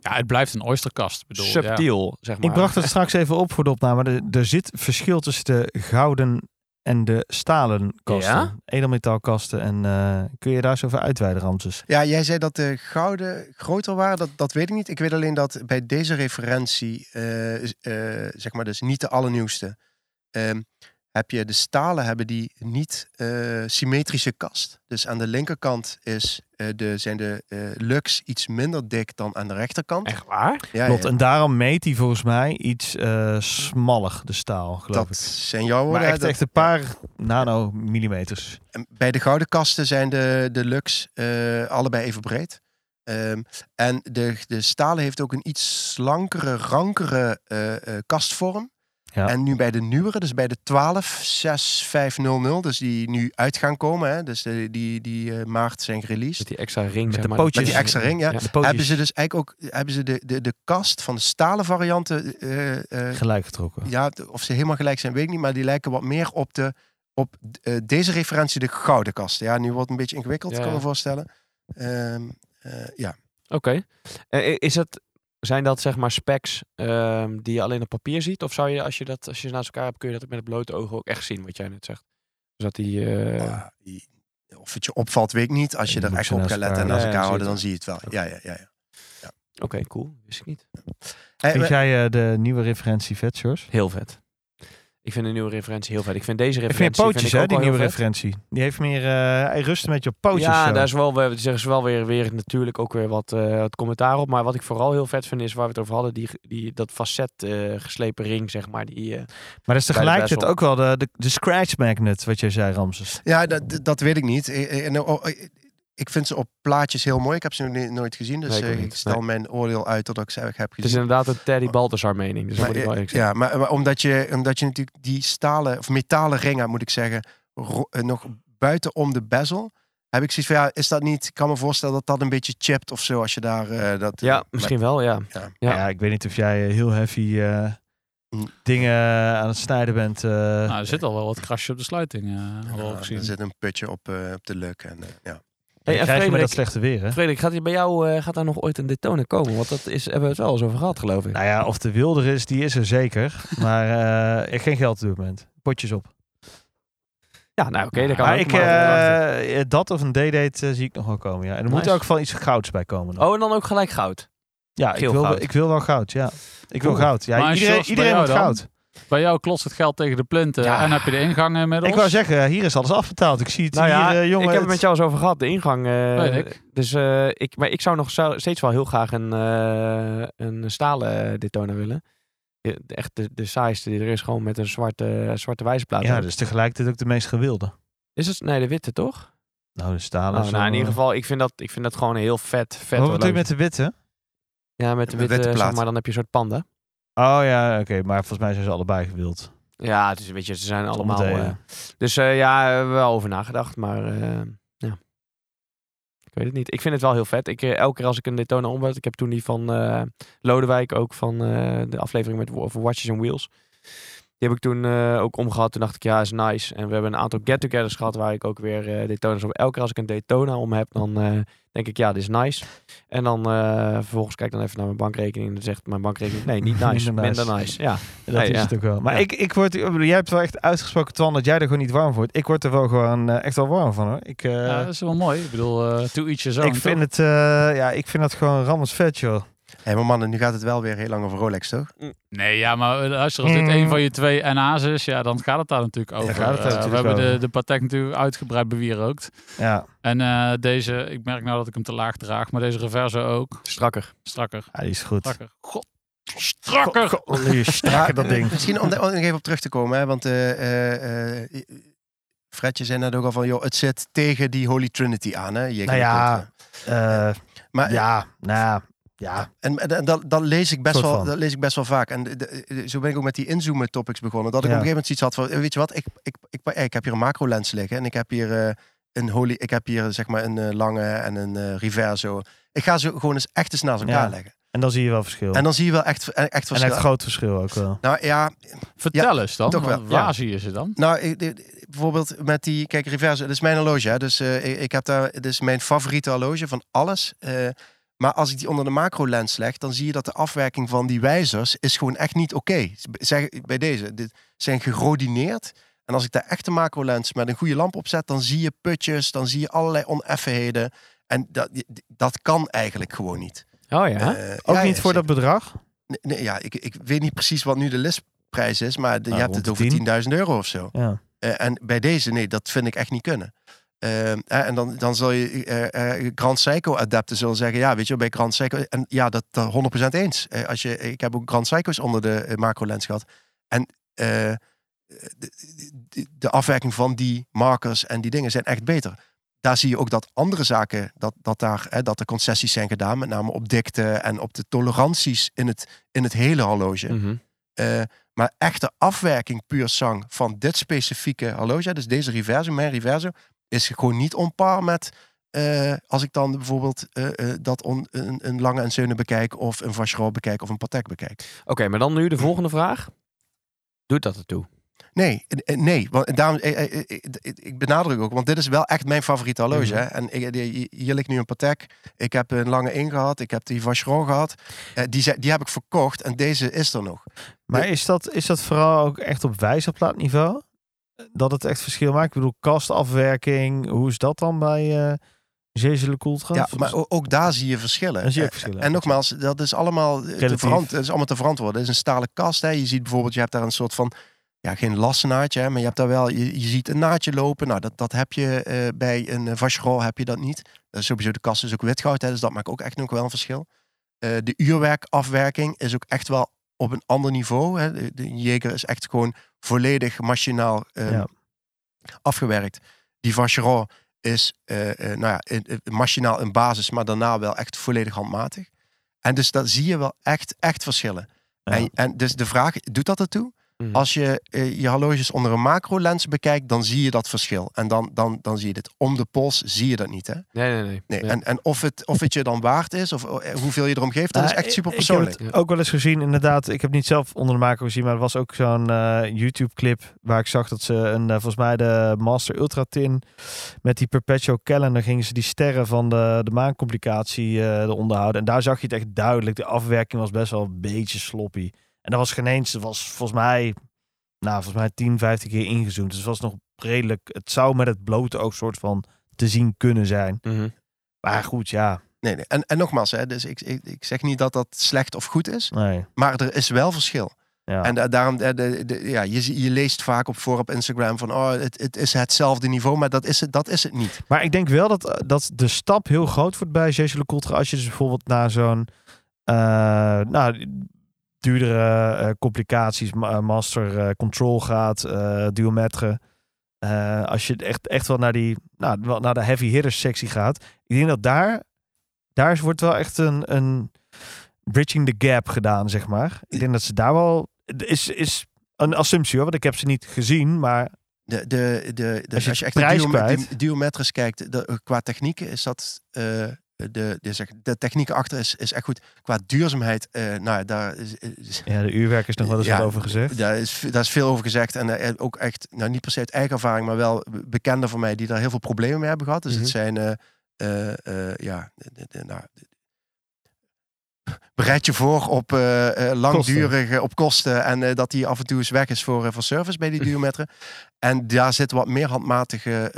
[SPEAKER 6] Ja, het blijft een oysterkast. Ik Bedoel, ja.
[SPEAKER 4] subtiel, zeg maar.
[SPEAKER 3] Ik bracht het straks even op voor de opname. Er, er zit verschil tussen de gouden en de stalen kasten.
[SPEAKER 4] Ja?
[SPEAKER 3] Edelmetaalkasten. En eh, kun je daar zo over uitweiden, Ramses?
[SPEAKER 2] Ja, jij zei dat de gouden groter waren. Dat, dat weet ik niet. Ik weet alleen dat bij deze referentie, eh, is- eh, zeg maar dus niet de allernieuwste, ehm, heb je de stalen hebben die niet eh, symmetrische kast. Dus aan de linkerkant is, eh, de, zijn de eh, lux iets minder dik dan aan de rechterkant.
[SPEAKER 4] Echt waar?
[SPEAKER 2] Ja,
[SPEAKER 3] Klopt.
[SPEAKER 2] ja.
[SPEAKER 3] En daarom meet hij volgens mij iets eh smaller, de staal, geloof
[SPEAKER 2] Dat
[SPEAKER 3] ik.
[SPEAKER 2] zijn jouw
[SPEAKER 3] Maar
[SPEAKER 2] woorden.
[SPEAKER 3] echt,
[SPEAKER 2] hè?
[SPEAKER 3] echt een paar nanomillimeters.
[SPEAKER 2] En Bij de gouden kasten zijn de, de Lux eh, allebei even breed. Ehm, en de, de stalen heeft ook een iets slankere, rankere eh, eh, kastvorm.
[SPEAKER 3] Ja.
[SPEAKER 2] En nu bij de nieuwere, dus bij de 126500, dus die nu uit gaan komen, hè, dus de- die, die eh, maart zijn
[SPEAKER 4] Met
[SPEAKER 2] gereleased.
[SPEAKER 4] die extra ring,
[SPEAKER 3] Met
[SPEAKER 4] zeg
[SPEAKER 3] de
[SPEAKER 4] maar.
[SPEAKER 3] pootjes.
[SPEAKER 2] Met die extra ring, ja.
[SPEAKER 3] De
[SPEAKER 2] Hebben
[SPEAKER 3] pootjes
[SPEAKER 2] ze dus eigenlijk ook hebben ze de, de, de kast van de stalen varianten eh, eh,
[SPEAKER 3] gelijk getrokken.
[SPEAKER 2] ja, t- of ze helemaal gelijk zijn, weet ik niet. Maar die lijken wat meer op, de, op eh, deze referentie, de gouden kast. Ja, nu wordt het een beetje ingewikkeld,
[SPEAKER 4] Ja,
[SPEAKER 2] kan ik
[SPEAKER 4] ja.
[SPEAKER 2] me voorstellen. Ehm, eh, ja.
[SPEAKER 4] Oké. Eh, i- is het, zijn dat zeg maar specs ehm, die je alleen op papier ziet? Of zou je, als je dat als je ze naast elkaar hebt, kun je dat met het blote oog ook echt zien, wat jij net zegt? Dus dat die... eh,
[SPEAKER 2] Ah, i- Of het je opvalt, weet ik niet. Als
[SPEAKER 3] Ja,
[SPEAKER 2] je
[SPEAKER 3] je
[SPEAKER 2] er
[SPEAKER 3] moet
[SPEAKER 2] echt
[SPEAKER 3] ze
[SPEAKER 2] op
[SPEAKER 3] naast
[SPEAKER 2] gaat letten en
[SPEAKER 3] elkaar-
[SPEAKER 2] naast
[SPEAKER 4] Ja, ja,
[SPEAKER 2] elkaar houden,
[SPEAKER 4] zie je
[SPEAKER 2] dan zie je het wel. Ja, ja, ja. ja.
[SPEAKER 4] Oké, cool. Wist ik niet.
[SPEAKER 2] Hey,
[SPEAKER 3] Vind
[SPEAKER 2] we-
[SPEAKER 3] jij eh, de nieuwe referentie vet, Sjors?
[SPEAKER 4] Heel vet. Ik vind de nieuwe referentie heel vet. Ik vind deze
[SPEAKER 3] Ik vind
[SPEAKER 4] referentie...
[SPEAKER 3] pootjes, hè,
[SPEAKER 4] ook
[SPEAKER 3] die
[SPEAKER 4] al heel
[SPEAKER 3] nieuwe
[SPEAKER 4] vet.
[SPEAKER 3] referentie. Die heeft meer eh, hey, rusten met je pootjes.
[SPEAKER 4] Ja,
[SPEAKER 3] zo.
[SPEAKER 4] daar is wel, we zeggen ze wel weer, weer natuurlijk ook weer wat, eh, wat commentaar op. Maar wat ik vooral heel vet vind is waar we het over hadden, die, die, dat facet eh, geslepen ring, zeg maar. Die, eh,
[SPEAKER 3] Maar dat is
[SPEAKER 4] Bij de
[SPEAKER 3] tegelijkertijd
[SPEAKER 4] Basel.
[SPEAKER 3] ook wel de, de, de scratch magnet, wat jij zei, Ramses.
[SPEAKER 2] ja dat, dat weet ik niet. Eh, eh, en, oh, eh, Ik vind ze op plaatjes heel mooi. Ik heb ze nog ni- nooit gezien, dus
[SPEAKER 4] Nee, ik ook
[SPEAKER 2] eh, ik
[SPEAKER 4] niet.
[SPEAKER 2] stel
[SPEAKER 4] Nee.
[SPEAKER 2] mijn oordeel uit dat ik ze eigenlijk heb
[SPEAKER 4] het is
[SPEAKER 2] gezien.
[SPEAKER 4] inderdaad een Teddy Baltasar mening. Dus
[SPEAKER 2] Maar,
[SPEAKER 4] dat moet ik
[SPEAKER 2] eh,
[SPEAKER 4] wel eerlijk zeggen.
[SPEAKER 2] ja, maar, maar omdat, je, omdat je natuurlijk die stalen of metalen ringen, moet ik zeggen, ro- eh, nog buitenom de bezel, heb ik zoiets van ja, is dat niet? Ik kan me voorstellen dat dat een beetje chipt of zo als je daar eh, dat.
[SPEAKER 4] Ja, misschien wel, ja.
[SPEAKER 3] Ja.
[SPEAKER 4] Ja.
[SPEAKER 3] ik weet niet of jij eh, heel heavy eh,
[SPEAKER 2] Mm.
[SPEAKER 3] dingen aan het snijden bent. eh.
[SPEAKER 6] Nou, er zit al wel wat krasje op de sluiting. eh, hadden we al
[SPEAKER 2] Ja,
[SPEAKER 6] gezien.
[SPEAKER 2] er zit een putje op, eh, op de luk en eh, ja.
[SPEAKER 4] Hey,
[SPEAKER 3] dan
[SPEAKER 4] en
[SPEAKER 3] krijg je met dat
[SPEAKER 4] Frederik,
[SPEAKER 3] slechte weer, hè?
[SPEAKER 4] Frederik, gaat hier bij jou eh, gaat daar nog ooit een Daytona komen? Want dat is, hebben we het wel eens over gehad, geloof ik.
[SPEAKER 3] Nou ja, of de wilder is, die is er zeker. maar eh, ik geen geld op dit moment. Potjes op.
[SPEAKER 4] ja, nou oké, dat kan
[SPEAKER 3] Maar
[SPEAKER 4] ook.
[SPEAKER 3] ik,
[SPEAKER 4] maar-
[SPEAKER 3] eh, dat of een D-date eh, zie ik nog wel komen, ja. En er moet
[SPEAKER 4] Nice.
[SPEAKER 3] ook wel iets gouds bij komen. dan.
[SPEAKER 4] oh, en dan ook gelijk goud.
[SPEAKER 3] ja, ik
[SPEAKER 4] geel
[SPEAKER 3] wil, wel-
[SPEAKER 4] goud.
[SPEAKER 3] ik wil wel goud, ja. Ik wil
[SPEAKER 4] Cool.
[SPEAKER 3] goud. Ja,
[SPEAKER 6] Maar
[SPEAKER 3] iedereen
[SPEAKER 6] Sjors, bij
[SPEAKER 3] iedereen
[SPEAKER 6] jou
[SPEAKER 3] wil
[SPEAKER 6] dan?
[SPEAKER 3] goud.
[SPEAKER 6] Bij jou klotst het geld tegen de plinten.
[SPEAKER 4] Ja.
[SPEAKER 6] En heb je de ingang inmiddels?
[SPEAKER 3] Ik wou zeggen, hier is alles afbetaald. Ik zie het
[SPEAKER 4] Nou ja,
[SPEAKER 3] hier, eh, jongen.
[SPEAKER 4] ik heb het
[SPEAKER 3] het-
[SPEAKER 4] met jou eens over gehad, de ingang. eh,
[SPEAKER 6] Weet ik.
[SPEAKER 4] Dus, eh, ik, maar ik zou nog zo- steeds wel heel graag een, eh, een stalen eh, Daytona willen. De- Echt de, de saaiste die er is, gewoon met een zwarte, zwarte wijzerplaat.
[SPEAKER 3] Ja, dus tegelijkertijd ook de meest gewilde.
[SPEAKER 4] Is het? Nee, de witte toch?
[SPEAKER 3] Nou, de stalen.
[SPEAKER 4] Nou,
[SPEAKER 3] is
[SPEAKER 4] nou,
[SPEAKER 3] wel,
[SPEAKER 4] in ieder
[SPEAKER 3] eh,
[SPEAKER 4] geval, ik vind dat, ik vind dat gewoon een heel vet, vet
[SPEAKER 3] Wat bedoel je
[SPEAKER 4] horloge.
[SPEAKER 3] met de witte?
[SPEAKER 4] Ja, met de
[SPEAKER 2] Met
[SPEAKER 4] witte,
[SPEAKER 2] witte
[SPEAKER 4] zeg
[SPEAKER 2] plaat.
[SPEAKER 4] maar, dan heb je een soort panda.
[SPEAKER 3] Oh ja, oké. maar volgens mij zijn ze allebei gewild.
[SPEAKER 4] Ja, het is een beetje, ze zijn allemaal...
[SPEAKER 3] Om het, eh,
[SPEAKER 4] eh, dus eh, ja, we hebben wel over nagedacht, maar eh, ja. Ik weet het niet. Ik vind het wel heel vet. Ik, eh, elke keer als ik een Daytona omwet, ik heb toen die van eh, Lodewijk ook van eh, de aflevering met wa- over Watches and Wheels. Die heb ik toen eh, ook omgehad. Toen dacht ik, ja, is nice. En we hebben een aantal get-togethers gehad waar ik ook weer eh Daytona's om. Elke keer als ik een Daytona om heb, dan eh, denk ik, ja, dit is nice. En dan eh, vervolgens kijk ik dan even naar mijn bankrekening en dan zegt mijn bankrekening, nee, niet nice,
[SPEAKER 3] Minder nice.
[SPEAKER 4] minder nice. Ja,
[SPEAKER 3] dat
[SPEAKER 4] Nee,
[SPEAKER 3] is
[SPEAKER 4] ja.
[SPEAKER 3] het ook wel. Maar
[SPEAKER 4] Ja.
[SPEAKER 3] ik, ik word, ik bedoel, jij hebt wel echt uitgesproken, Twan, dat jij er gewoon niet warm voor wordt. Ik word er wel gewoon eh, echt wel warm van, hoor. Ik, eh,
[SPEAKER 6] Ja, dat is wel mooi. Ik bedoel, eh to each his own.
[SPEAKER 3] ik, vind
[SPEAKER 6] toch?
[SPEAKER 3] het, eh, ja, ik vind dat gewoon rammels vet, joh.
[SPEAKER 2] Hé, maar mannen, nu gaat het wel weer heel lang over Rolex, toch?
[SPEAKER 6] Nee, ja, maar eh, luister, als dit
[SPEAKER 3] Mm.
[SPEAKER 6] een van je twee NA's is, ja, dan gaat het daar natuurlijk over.
[SPEAKER 3] gaat het daar
[SPEAKER 6] Eh, we
[SPEAKER 3] natuurlijk
[SPEAKER 6] hebben de,
[SPEAKER 3] over.
[SPEAKER 6] de patek natuurlijk uitgebreid bewierookt.
[SPEAKER 3] Ja,
[SPEAKER 6] En eh, deze, ik merk nou dat ik hem te laag draag, maar deze reverse ook.
[SPEAKER 4] strakker.
[SPEAKER 6] Strakker,
[SPEAKER 3] ja die is goed.
[SPEAKER 6] strakker. God, strakker!
[SPEAKER 3] God, god, die is strakker, dat ding.
[SPEAKER 2] Misschien om daar om nog even op terug te komen, hè, want eh eh, eh, Fredje zei net ook al van, joh, het zit tegen die Holy Trinity aan, hè? Je
[SPEAKER 3] Nou ja, eh,
[SPEAKER 2] maar
[SPEAKER 3] ja, nou ja, ja.
[SPEAKER 2] En, en- en dat, dat, lees ik best
[SPEAKER 3] Soort
[SPEAKER 2] wel,
[SPEAKER 3] van.
[SPEAKER 2] dat lees ik best wel vaak. En de- de- de- zo ben ik ook met die inzoomen topics begonnen. Dat ik
[SPEAKER 3] Ja.
[SPEAKER 2] op een gegeven moment zoiets had van, eh, weet je wat, ik, ik, ik, eh, ik, heb hier een macro lens liggen. En ik heb hier eh, een holy, ik heb hier zeg maar een eh, lange en een eh, reverso. Ik ga ze gewoon eens echt eens naast elkaar
[SPEAKER 3] Ja.
[SPEAKER 2] leggen.
[SPEAKER 3] En dan zie je wel verschil.
[SPEAKER 2] En dan zie je wel echt, echt
[SPEAKER 3] en echt
[SPEAKER 2] verschil.
[SPEAKER 3] groot verschil ook wel.
[SPEAKER 2] Nou ja,
[SPEAKER 6] Vertel eens dan.
[SPEAKER 2] toch wel,
[SPEAKER 6] want Waar
[SPEAKER 2] ja.
[SPEAKER 6] zie je ze dan?
[SPEAKER 2] Nou, ik- ik- ik- bijvoorbeeld met die, kijk, reverse, dat is mijn horloge. Hè? Dus eh, ik, ik heb daar, het is mijn favoriete horloge van alles. Eh, maar als ik die onder de macro lens leg, dan zie je dat de afwerking van die wijzers is gewoon echt niet oké. Zeg bij deze, dit zijn gerodineerd. En als ik daar echt de macro lens met een goede lamp op zet, dan zie je putjes, dan zie je allerlei oneffenheden. En dat, dat kan eigenlijk gewoon niet.
[SPEAKER 4] Oh ja.
[SPEAKER 2] Eh,
[SPEAKER 3] Ook
[SPEAKER 2] ja,
[SPEAKER 3] niet
[SPEAKER 2] ja, zeker.
[SPEAKER 3] voor dat bedrag.
[SPEAKER 2] Nee, nee, ja, ik, ik weet niet precies wat nu de listprijs is, maar de-
[SPEAKER 3] Nou,
[SPEAKER 2] je hebt het
[SPEAKER 3] rond
[SPEAKER 2] over
[SPEAKER 3] de 10.
[SPEAKER 2] 10.000 euro of zo.
[SPEAKER 3] Ja.
[SPEAKER 2] Eh, en bij deze, nee, dat vind ik echt niet kunnen. Eh, eh, en dan, dan zul je eh, eh, Grand Psycho-adepten zullen zeggen... ja, weet je, wel, bij Grand Psycho... en ja, dat, dat 100% eens. Eh, als je, ik heb ook Grand Psycho's onder de eh, macro-lens gehad. En eh, de, de- de afwerking van die markers en die dingen zijn echt beter. Daar zie je ook dat andere zaken, dat, dat, daar, hè, dat er concessies zijn gedaan... met name op dikte en op de toleranties in het, in het hele horloge.
[SPEAKER 4] Mhm.
[SPEAKER 2] Eh, maar echte afwerking puur zang van dit specifieke horloge, dus deze reverso, mijn reverso, is gewoon niet onpaar met eh, als ik dan bijvoorbeeld eh, eh, dat on- een, een lange en zeunen bekijk of een vacheron bekijk of een patek bekijk.
[SPEAKER 4] Oké, maar dan nu de volgende vraag. Doet dat ertoe?
[SPEAKER 2] Nee, eh, eh, nee, want daarom, eh, eh, eh, eh, ik benadruk ook, want dit is wel echt mijn favoriete horloge.
[SPEAKER 4] Mhm.
[SPEAKER 2] hè. En ik- eh, hier ligt nu een patek, ik heb een lange in gehad, ik heb die vacheron gehad, Eh, die, zijn- die heb ik verkocht en deze is er nog.
[SPEAKER 3] Maar
[SPEAKER 2] Ja.
[SPEAKER 3] is dat, is dat vooral ook echt op wijzerplaatniveau? Dat het echt verschil maakt? Ik bedoel, kastafwerking, hoe is dat dan bij eh Jezel Le Coultre?
[SPEAKER 2] Ja,
[SPEAKER 3] Of-
[SPEAKER 2] maar o- ook daar zie je verschillen.
[SPEAKER 3] Dan zie je
[SPEAKER 2] Eh,
[SPEAKER 3] ook verschillen.
[SPEAKER 2] En nogmaals, dat is allemaal, eh, te
[SPEAKER 3] Relatief.
[SPEAKER 2] verant- dat is allemaal te verantwoorden. Het is een stalen kast. Hè. Je ziet bijvoorbeeld, je hebt daar een soort van, ja, geen lasnaadje, hè, maar je hebt daar wel, je, je ziet een naadje lopen. Nou, dat, dat heb je eh, bij een eh, vacheron heb je dat niet. Dat is sowieso de kast is ook witgoud, hè, dus dat maakt ook echt nog wel een verschil. Eh, de uurwerkafwerking is ook echt wel op een ander niveau. Hè. De, de Jager is echt gewoon volledig machinaal eh,
[SPEAKER 3] Ja.
[SPEAKER 2] afgewerkt. Die vacheron is eh, eh, nou ja, eh, eh, machinaal in basis, maar daarna wel echt volledig handmatig. En dus daar zie je wel echt, echt verschillen.
[SPEAKER 3] Ja.
[SPEAKER 2] En, en dus de vraag, doet dat ertoe?
[SPEAKER 4] Mhm.
[SPEAKER 2] Als je eh, je horloges onder een macro-lens bekijkt, dan zie je dat verschil. En dan, dan, dan zie je dit. Om de pols zie je dat niet, hè?
[SPEAKER 4] Nee, nee, nee.
[SPEAKER 2] Nee.
[SPEAKER 4] Ja.
[SPEAKER 2] En, en of, het, of het je dan waard is, of eh, hoeveel je erom geeft, dat is
[SPEAKER 3] Nou,
[SPEAKER 2] echt super
[SPEAKER 3] Ik,
[SPEAKER 2] persoonlijk.
[SPEAKER 3] ik heb het ook wel eens gezien, inderdaad. Ik heb niet zelf onder de macro gezien, maar er was ook zo'n eh, YouTube-clip waar ik zag dat ze een, eh, volgens mij de Master Ultra Tin met die Perpetual Calendar gingen ze die sterren van de, de maancomplicatie eh eronder houden. En daar zag je het echt duidelijk. De afwerking was best wel een beetje sloppy. En dat was geen eens, dat was volgens mij, nou, volgens mij 10, 15 keer ingezoomd. Dus het was nog redelijk, het zou met het blote ook soort van te zien kunnen zijn.
[SPEAKER 4] Mhm.
[SPEAKER 3] Maar goed, ja.
[SPEAKER 2] Nee, nee. En, en nogmaals, hè, dus ik, ik, ik zeg niet dat dat slecht of goed is,
[SPEAKER 3] Nee.
[SPEAKER 2] maar er is wel verschil.
[SPEAKER 3] Ja.
[SPEAKER 2] En da- daarom, eh, de- de- ja, je, zie- je leest vaak op voor op Instagram van, oh, het, het is hetzelfde niveau, maar dat is het, dat is het niet.
[SPEAKER 3] Maar ik denk wel dat, eh, dat de stap heel groot wordt bij Jesu Lecoultre. Als je dus bijvoorbeeld naar zo'n eh, nou, duurdere eh, complicaties, ma- eh, master eh, control gaat, eh duometre. Eh, als je echt, echt wel naar, die, nou, wel naar de heavy hitters sectie gaat. Ik denk dat daar, daar is- wordt wel echt een, een bridging the gap gedaan, zeg maar. Ik denk dat ze daar wel... het Is, is een assumptie hoor, want ik heb ze niet gezien, maar...
[SPEAKER 2] De, de, de, de-
[SPEAKER 3] Als je
[SPEAKER 2] echt
[SPEAKER 3] prijs
[SPEAKER 2] duo-
[SPEAKER 3] kwijt-
[SPEAKER 2] du- duometrisch kijkt, de- eh, qua techniek is dat... eh, de, de, zeg- de techniek achter is, is echt goed. Qua duurzaamheid, eh, nou, ja, daar is, is-
[SPEAKER 3] Ja, de uurwerk is nog wel eens
[SPEAKER 2] Ja,
[SPEAKER 3] wat over gezegd.
[SPEAKER 2] daar, is, daar is veel over gezegd. En eh, ook echt, nou niet per se uit eigen ervaring, maar wel be- bekenden van mij die daar heel veel problemen mee hebben gehad. Dus
[SPEAKER 4] Mhm.
[SPEAKER 2] het zijn, eh, eh, eh, ja, de- de- de- nou, de- bereid je voor op eh, eh, langdurige, op kosten. En eh, dat die af en toe eens weg is voor, eh, voor service bij die duometre. en daar zit wat meer handmatige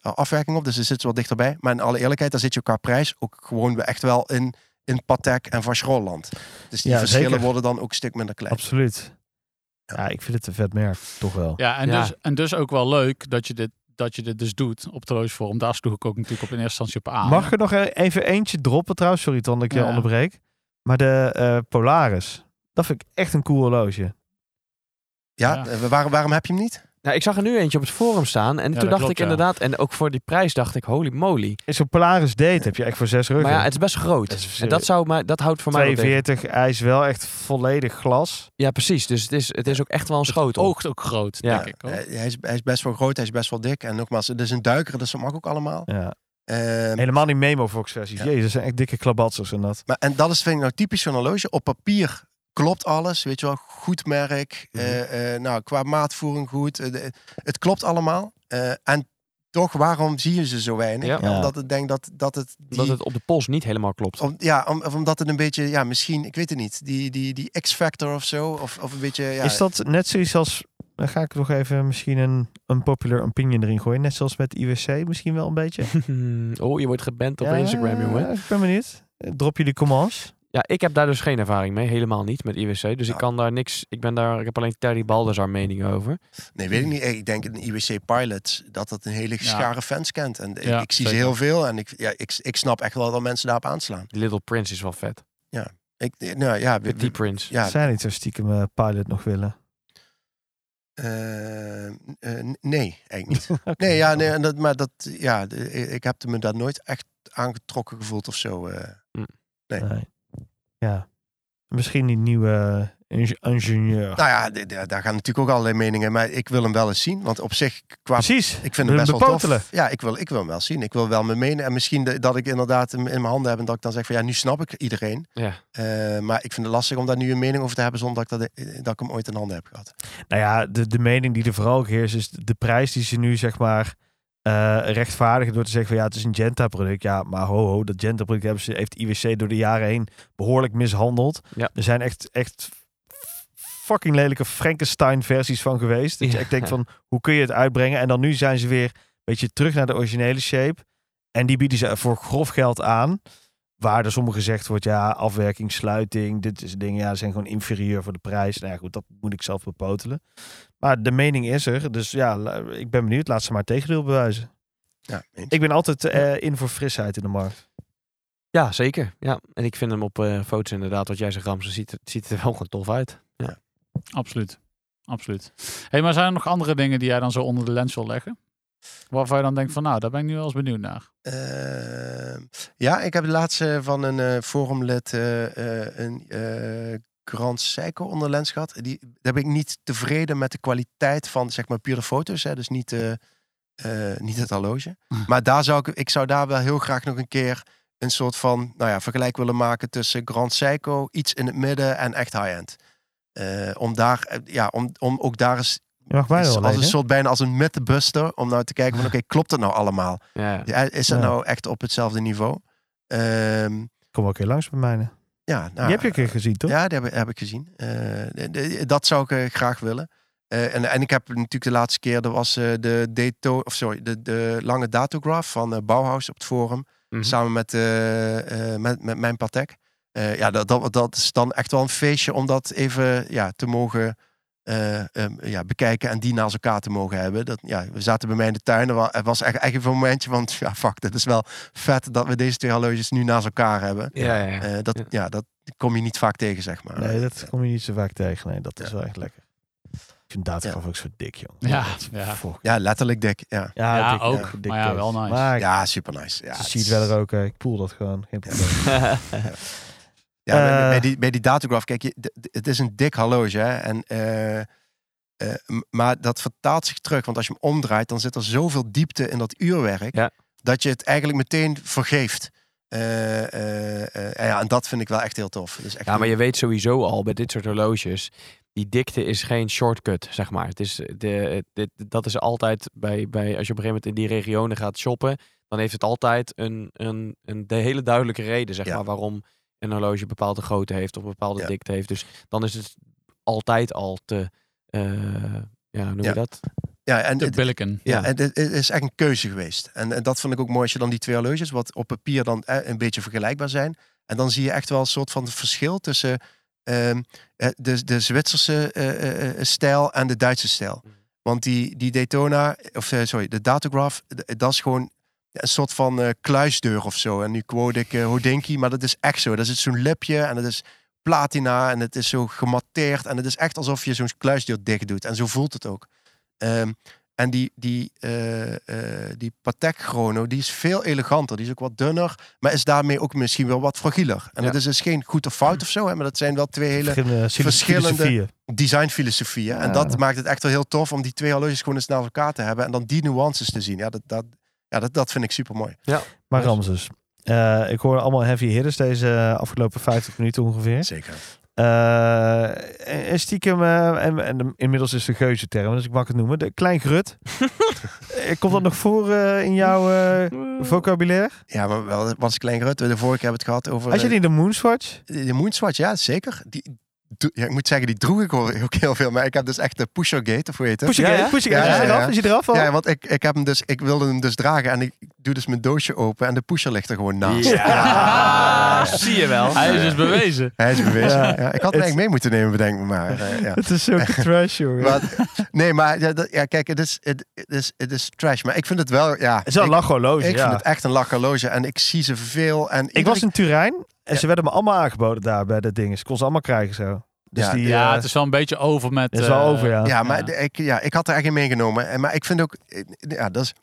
[SPEAKER 2] eh, afwerking op. Dus er zit wat dichterbij. Maar in alle eerlijkheid, daar zit je qua prijs ook gewoon echt wel in, in Patek en Vacherolland. Dus die
[SPEAKER 3] Ja,
[SPEAKER 2] verschillen
[SPEAKER 3] zeker.
[SPEAKER 2] worden dan ook een stuk minder klein.
[SPEAKER 3] Absoluut.
[SPEAKER 2] Ja.
[SPEAKER 3] Ja, ik vind het een vet merk, toch wel.
[SPEAKER 6] Ja, en,
[SPEAKER 4] Ja.
[SPEAKER 6] Dus, en dus ook wel leuk dat je dit, dat je dit dus doet op Troostvorm. Daar sloeg ik ook natuurlijk op in eerste instantie op aan.
[SPEAKER 3] Mag ik er nog e- even eentje droppen trouwens? Sorry Ton, dat ik je
[SPEAKER 6] Ja.
[SPEAKER 3] onderbreek. Maar de eh, Polaris, dat vind ik echt een cool horloge.
[SPEAKER 2] Ja,
[SPEAKER 6] Ja.
[SPEAKER 2] eh, Waarom, waarom heb je hem niet?
[SPEAKER 4] Nou, ik zag er nu eentje op het forum staan. En
[SPEAKER 6] Ja,
[SPEAKER 4] toen
[SPEAKER 6] dat
[SPEAKER 4] dacht
[SPEAKER 6] klopt,
[SPEAKER 4] ik
[SPEAKER 6] ja.
[SPEAKER 4] inderdaad, en ook voor die prijs dacht ik, holy moly.
[SPEAKER 3] Is een Polaris date heb je echt voor zes ruggen.
[SPEAKER 4] Maar ja, het is best groot.
[SPEAKER 3] Dat is-
[SPEAKER 4] en dat, zou, maar, dat houdt voor mij wel tegen.
[SPEAKER 3] 42, hij is wel echt volledig glas.
[SPEAKER 4] Ja, precies. Dus het is, het is ook echt wel een schotel.
[SPEAKER 6] Oogt ook groot,
[SPEAKER 4] Ja.
[SPEAKER 6] denk ik. Hoor.
[SPEAKER 2] Eh, hij, is, hij is best wel groot, hij is best wel dik. En nogmaals, het is een duiker, dus dat mag ook allemaal.
[SPEAKER 3] Ja.
[SPEAKER 2] Ehm,
[SPEAKER 3] Helemaal die Memovox-versies.
[SPEAKER 2] Ja.
[SPEAKER 3] Jezus, dat zijn echt dikke klabatsers en dat.
[SPEAKER 2] Maar, en dat is vind ik nou typisch zo'n horloge. Op papier klopt alles, weet je wel. Goed merk,
[SPEAKER 4] Mhm.
[SPEAKER 2] eh, eh, nou, qua maatvoering goed. eh, de- het klopt allemaal. Eh, en toch, waarom zie je ze zo weinig?
[SPEAKER 4] Ja.
[SPEAKER 3] Ja.
[SPEAKER 2] Omdat ik denk dat, dat het... Die,
[SPEAKER 4] Omdat het op de pols niet helemaal klopt.
[SPEAKER 2] om- ja, om, of omdat het een beetje, ja, misschien, ik weet het niet. Die, die, die X-factor of zo, of, of een beetje... Ja,
[SPEAKER 3] Is dat net zoiets als... Dan ga ik nog even misschien een unpopular opinion erin gooien. Net zoals met IWC misschien wel een beetje.
[SPEAKER 4] oh, je wordt geband op
[SPEAKER 3] Ja,
[SPEAKER 4] Instagram, jongen.
[SPEAKER 3] Ik ben benieuwd. Eh, Drop jullie comments.
[SPEAKER 4] Ja, ik heb daar dus geen ervaring mee. Helemaal niet met IWC. Dus
[SPEAKER 2] Ja.
[SPEAKER 4] ik kan daar niks... Ik, ben daar, ik heb alleen Terry Baldassar meningen over.
[SPEAKER 2] Nee, weet ik niet. Ik denk een IWC Pilot, dat dat een hele schare fans kent. En ik-
[SPEAKER 6] Ja,
[SPEAKER 2] ik zie ze
[SPEAKER 6] zeker.
[SPEAKER 2] heel veel en ik, ja, ik, ik snap echt wel dat mensen daarop aanslaan.
[SPEAKER 4] Little Prince is wel vet.
[SPEAKER 2] Ik, nou ja, we-
[SPEAKER 4] Petit
[SPEAKER 2] we-
[SPEAKER 4] Prince.
[SPEAKER 2] ja,
[SPEAKER 3] Zijn niet zo stiekem eh, pilot nog willen?
[SPEAKER 2] Eh, eh, n- nee, eigenlijk niet. Nee, ja,
[SPEAKER 6] Oh.
[SPEAKER 2] nee, en dat, maar dat, ja, de- ik heb me daar nooit echt aangetrokken gevoeld of zo. eh. nee.
[SPEAKER 3] Nee. Ja. Misschien die nieuwe ing- ingenieur.
[SPEAKER 2] Nou ja, d- d- daar gaan natuurlijk ook allerlei meningen, maar ik wil hem wel eens zien. Want op zich, qua,
[SPEAKER 3] Precies.
[SPEAKER 2] ik vind hem
[SPEAKER 3] We
[SPEAKER 2] best wel
[SPEAKER 3] bepotelen.
[SPEAKER 2] tof. Ja, ik wil, ik wil hem wel zien. Ik wil wel mijn menen. En misschien de- dat ik inderdaad hem in mijn handen heb en dat ik dan zeg van ja, nu snap ik iedereen.
[SPEAKER 4] Ja.
[SPEAKER 2] Eh, maar ik vind het lastig om daar nu een mening over te hebben zonder dat ik, dat, eh, dat ik hem ooit in handen heb gehad.
[SPEAKER 3] Nou ja, de, de mening die er vooral heerst is de prijs die ze nu zeg maar eh, rechtvaardigen door te zeggen van ja, het is een Genta-product. Ja, maar ho ho, dat Genta-product hebben ze, heeft IWC door de jaren heen behoorlijk mishandeld.
[SPEAKER 4] Ja.
[SPEAKER 3] Er zijn echt, echt fucking lelijke Frankenstein-versies van geweest. Dat je
[SPEAKER 4] Ja.
[SPEAKER 3] echt denkt van, hoe kun je het uitbrengen? En dan nu zijn ze weer een beetje terug naar de originele shape. En die bieden ze voor grof geld aan. Waar er sommige gezegd wordt, ja, afwerking, sluiting, dit is dingen, ja, zijn gewoon inferieur voor de prijs. Nou ja, goed, dat moet ik zelf bepotelen. Maar de mening is er, dus ja, la- ik ben benieuwd. Laat ze maar het tegendeel bewijzen.
[SPEAKER 2] Ja, eens.
[SPEAKER 3] Ik ben altijd eh, in voor frisheid in de markt.
[SPEAKER 4] Ja, zeker. Ja. En ik vind hem op eh, foto's inderdaad, wat jij zegt, Ramses, ziet, het- ziet er wel gewoon tof uit.
[SPEAKER 6] Absoluut. Absoluut. hey, maar zijn er nog andere dingen die jij dan zo onder de lens wil leggen? Waarvan je dan denkt van, nou, daar ben ik nu wel eens benieuwd naar.
[SPEAKER 2] Eh, ja, ik heb laatst eh, van een eh, forumlid eh, eh, een eh, Grand Seiko onder lens gehad. Die, daar ben ik niet tevreden met de kwaliteit van, zeg maar, pure foto's. Hè? Dus niet, eh, eh, niet het horloge. Maar daar zou ik, ik zou daar wel heel graag nog een keer een soort van, nou ja, vergelijk willen maken tussen Grand Seiko, iets in het midden en echt high-end. Eh, om daar, eh, ja, om, om ook daar eens,
[SPEAKER 3] Je mag mij
[SPEAKER 2] als
[SPEAKER 3] wel alleen,
[SPEAKER 2] een
[SPEAKER 3] hè?
[SPEAKER 2] soort bijna als een middenbuster, om nou te kijken van, oké, klopt het nou allemaal?
[SPEAKER 4] Ja.
[SPEAKER 2] Ja, is dat
[SPEAKER 3] Ja.
[SPEAKER 2] nou echt op hetzelfde niveau? Ehm,
[SPEAKER 3] Kom ook een keer langs bij mij.
[SPEAKER 2] ja, nou,
[SPEAKER 3] Die heb je een keer gezien, toch?
[SPEAKER 2] Ja, die heb, ik- heb ik gezien. Eh, de- de- dat zou ik eh, graag willen. Eh, en, en ik heb natuurlijk de laatste keer, dat was eh, de, dato, of sorry, de, de lange datograph van eh, Bauhaus op het forum.
[SPEAKER 4] Mhm.
[SPEAKER 2] Samen met, eh, eh, met, met mijn Patek. Eh, ja, dat, dat, dat is dan echt wel een feestje om dat even ja, te mogen eh, ehm, ja, bekijken en die naast elkaar te mogen hebben. Dat, ja, we zaten bij mij in de tuin. Er wa- Er was echt, echt even een momentje, want ja, fuck, dit is wel vet dat we deze twee horloges nu naast elkaar hebben.
[SPEAKER 4] Ja, ja, ja.
[SPEAKER 2] Eh, dat, ja. dat kom je niet vaak tegen, zeg maar.
[SPEAKER 3] Nee, dat kom je niet zo vaak tegen. Nee, dat is
[SPEAKER 2] Ja.
[SPEAKER 3] wel echt lekker. Ik vind datograf ook zo dik, jongen.
[SPEAKER 6] Ja,
[SPEAKER 3] Dat is
[SPEAKER 6] ja.
[SPEAKER 3] fuck.
[SPEAKER 2] Ja, letterlijk dik. Ja,
[SPEAKER 3] Ja,
[SPEAKER 6] Ja,
[SPEAKER 3] dik,
[SPEAKER 6] ook.
[SPEAKER 3] dik
[SPEAKER 6] Maar ja,
[SPEAKER 3] dik.
[SPEAKER 6] wel nice.
[SPEAKER 3] Maar ik
[SPEAKER 2] ja super nice. Ja,
[SPEAKER 3] ja,
[SPEAKER 2] het
[SPEAKER 3] zie
[SPEAKER 2] is-
[SPEAKER 3] het wel er ook. eh, Ik poel dat gewoon. Geen probleem.
[SPEAKER 2] Ja, bij- bij,
[SPEAKER 3] Eh.
[SPEAKER 2] bij die, bij die datograph, kijk, je, d- d- het is een dik horloge. Hè? En, eh, eh, m- maar dat vertaalt zich terug. Want als je hem omdraait, dan zit er zoveel diepte in dat uurwerk.
[SPEAKER 4] Ja.
[SPEAKER 2] Dat je het eigenlijk meteen vergeeft. Eh, eh, eh, en ja, en dat vind ik wel echt heel tof. Dus echt
[SPEAKER 4] Ja, maar je weet sowieso al bij dit soort horloges. Die dikte is geen shortcut, zeg maar. Het is de, het- dit- dat is altijd bij, bij. Als je op een gegeven moment in die regionen gaat shoppen. dan heeft het altijd een, een, een de hele duidelijke reden, zeg
[SPEAKER 2] Ja.
[SPEAKER 4] maar. waarom een horloge bepaalde grootte heeft. of een bepaalde
[SPEAKER 2] Ja.
[SPEAKER 4] dikte heeft. Dus dan is het altijd al te. eh, ja, hoe noem je
[SPEAKER 2] Ja.
[SPEAKER 4] dat?
[SPEAKER 2] ja, en
[SPEAKER 6] De
[SPEAKER 2] het-
[SPEAKER 6] Billiken.
[SPEAKER 2] Ja,
[SPEAKER 4] Ja.
[SPEAKER 2] en het het is echt een keuze geweest. En, en dat vond ik ook mooi als je dan die twee horloges, wat op papier dan eh, een beetje vergelijkbaar zijn. En dan zie je echt wel een soort van verschil tussen ehm, eh, de, de Zwitserse eh, eh, eh, stijl en de Duitse stijl. Want die, die Daytona, of eh, sorry, de Datograph, d- dat is gewoon een soort van eh, kluisdeur of zo. En nu quote ik eh, Houdinki, maar dat is echt zo. Daar zit zo'n lipje en dat is platina en het is zo gematteerd. En het is echt alsof je zo'n kluisdeur dicht doet. En zo voelt het ook. Ehm, en die, die, eh, eh, die Patek Chrono, die is veel eleganter. Die is ook wat dunner, maar is daarmee ook misschien wel wat fragieler. En
[SPEAKER 4] Ja.
[SPEAKER 2] dat is dus geen goed of fout of zo, hè, maar dat zijn wel twee hele
[SPEAKER 3] Verschillende,
[SPEAKER 2] verschillende-
[SPEAKER 3] filosofieën.
[SPEAKER 2] designfilosofieën. En
[SPEAKER 4] Ja.
[SPEAKER 2] dat maakt het echt wel heel tof om die twee horloges gewoon eens naast elkaar te hebben. En dan die nuances te zien. Ja, dat, dat, Ja, dat, dat vind ik super mooi.
[SPEAKER 3] Maar
[SPEAKER 4] Nice.
[SPEAKER 3] Ramses, eh, ik hoor allemaal heavy hitters deze eh, afgelopen 50 minuten ongeveer.
[SPEAKER 2] Zeker.
[SPEAKER 3] Eh, en- en stiekem, eh, en, en inmiddels is de geuze term, dus ik mag het noemen, de klein grut. Eh, Komt dat nog voor eh, in jouw eh, vocabulaire?
[SPEAKER 2] Ja, maar wel, was klein grut. De vorige hebben we het gehad over...
[SPEAKER 3] Had je
[SPEAKER 2] eh,
[SPEAKER 3] niet de Moonswatch?
[SPEAKER 2] De de Moonswatch, ja, zeker. Die, do- ja, ik moet zeggen, die droeg ik hoor ook heel veel. Maar ik heb dus echt de Pushergate, of hoe heet het?
[SPEAKER 3] Push je
[SPEAKER 4] Ja, ja.
[SPEAKER 3] push
[SPEAKER 2] Ja, ja, ja.
[SPEAKER 3] eraf? Is je eraf al?
[SPEAKER 2] Ja, want ik, ik, heb hem dus, ik wilde hem dus dragen en ik doe dus mijn doosje open en de pusher ligt er gewoon naast.
[SPEAKER 4] Ja, zie je wel.
[SPEAKER 6] Hij is dus bewezen.
[SPEAKER 2] Hij is bewezen.
[SPEAKER 3] Ja.
[SPEAKER 2] Ja. ik had hem eigenlijk mee moeten nemen, bedenk me maar. Eh, ja.
[SPEAKER 3] Het is zulke trash, jongen.
[SPEAKER 2] Maar- nee, maar ja, dat- ja, kijk, het is, het, het is, het is trash. Maar ik vind het wel, ja.
[SPEAKER 3] Het is wel
[SPEAKER 2] ik,
[SPEAKER 3] lacholoos,
[SPEAKER 2] ik
[SPEAKER 3] ja.
[SPEAKER 2] vind het echt een lakkerloge en ik zie ze veel. En
[SPEAKER 3] Ik was
[SPEAKER 2] een
[SPEAKER 3] in Turijn en ze werden me allemaal aangeboden daar bij dat ding. Dus ik kon ze allemaal krijgen zo. Dus
[SPEAKER 2] Ja,
[SPEAKER 3] die,
[SPEAKER 6] Ja,
[SPEAKER 3] eh,
[SPEAKER 6] het is wel een beetje over met...
[SPEAKER 3] dat is wel
[SPEAKER 6] eh,
[SPEAKER 3] over, ja.
[SPEAKER 2] Ja, maar
[SPEAKER 6] Ja.
[SPEAKER 2] de- Ik, ja, ik had er echt in meegenomen. En, maar ik vind ook, eh, ja, dat is...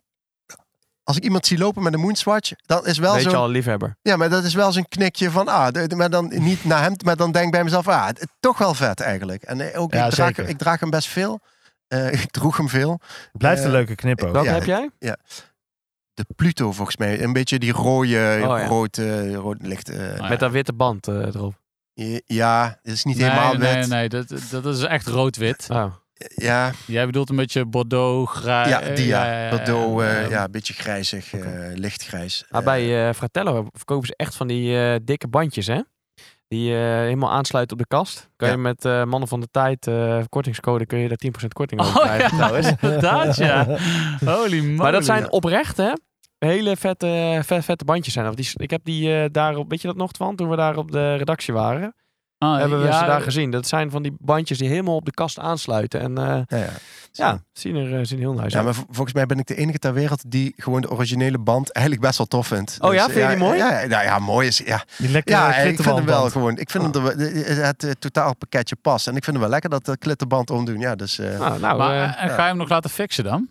[SPEAKER 2] Als ik iemand zie lopen met een moonswatch, dat is wel
[SPEAKER 4] Weet je
[SPEAKER 2] zo'n
[SPEAKER 4] al, een liefhebber.
[SPEAKER 2] ja, maar dat is wel zo'n knikje van, ah, de- de- maar dan niet naar hem, maar dan denk ik bij mezelf, ah, het- toch wel vet eigenlijk. En eh, ook,
[SPEAKER 3] Ja,
[SPEAKER 2] ik, draag,
[SPEAKER 3] zeker.
[SPEAKER 2] ik draag hem best veel. Eh, ik droeg hem veel.
[SPEAKER 3] Het blijft een
[SPEAKER 2] eh,
[SPEAKER 3] leuke knip ook.
[SPEAKER 2] wel-
[SPEAKER 4] Welke
[SPEAKER 2] Ja,
[SPEAKER 4] heb jij?
[SPEAKER 2] De Pluto volgens mij, een beetje die rode,
[SPEAKER 4] Oh, ja.
[SPEAKER 2] rood, eh, rood licht. eh,
[SPEAKER 6] Ah, ja.
[SPEAKER 4] Met dat witte band eh, erop.
[SPEAKER 2] je- Ja, het is niet
[SPEAKER 6] Nee,
[SPEAKER 2] helemaal
[SPEAKER 6] nee,
[SPEAKER 2] wit.
[SPEAKER 6] nee, dat, dat is echt rood-wit.
[SPEAKER 4] Oh.
[SPEAKER 2] Ja,
[SPEAKER 6] Jij bedoelt een beetje Bordeaux, grijs.
[SPEAKER 2] ja, die ja.
[SPEAKER 6] Eh, ja,
[SPEAKER 2] Bordeaux, eh,
[SPEAKER 6] ja.
[SPEAKER 2] ja, een beetje grijzig, eh, lichtgrijs.
[SPEAKER 4] Maar
[SPEAKER 2] Eh,
[SPEAKER 4] bij eh, Fratello verkopen ze echt van die eh, dikke bandjes, hè? Die eh, helemaal aansluiten op de kast. Kan
[SPEAKER 2] Ja.
[SPEAKER 4] je met eh, Mannen van de Tijd eh, kortingscode kun je daar 10% korting op
[SPEAKER 6] Oh
[SPEAKER 4] krijgen.
[SPEAKER 6] ja, inderdaad, ja. Holy moly.
[SPEAKER 4] Maar dat zijn oprecht, hè? Hele vette, vet, vette bandjes zijn. dat. Die, ik heb die eh, daar op, weet je dat nog, Twan? Toen we daar op de redactie waren,
[SPEAKER 6] Ah,
[SPEAKER 4] hebben we ze
[SPEAKER 6] ja,
[SPEAKER 4] daar gezien. Dat zijn van die bandjes die helemaal op de kast aansluiten. En eh,
[SPEAKER 2] ja, ja.
[SPEAKER 4] ja, zien er eh, zien heel nice
[SPEAKER 2] Ja,
[SPEAKER 4] uit.
[SPEAKER 2] maar vol- volgens mij ben ik de enige ter wereld die gewoon de originele band eigenlijk best wel tof vindt.
[SPEAKER 4] Oh ja? Vind je die mooi?
[SPEAKER 2] Ja, ja, nou ja, mooi is... Ja,
[SPEAKER 3] Die lekkere
[SPEAKER 2] ja ik vind hem
[SPEAKER 3] klittenband.
[SPEAKER 2] wel gewoon... Ik vind hem er, wel- het, het, eh, totaalpakketje past. En ik vind hem wel lekker dat de klittenband omdoen. Ja, dus... eh,
[SPEAKER 4] Nou, nou
[SPEAKER 6] Maar,
[SPEAKER 4] eh,
[SPEAKER 6] eh, en ga je hem nog laten fixen dan?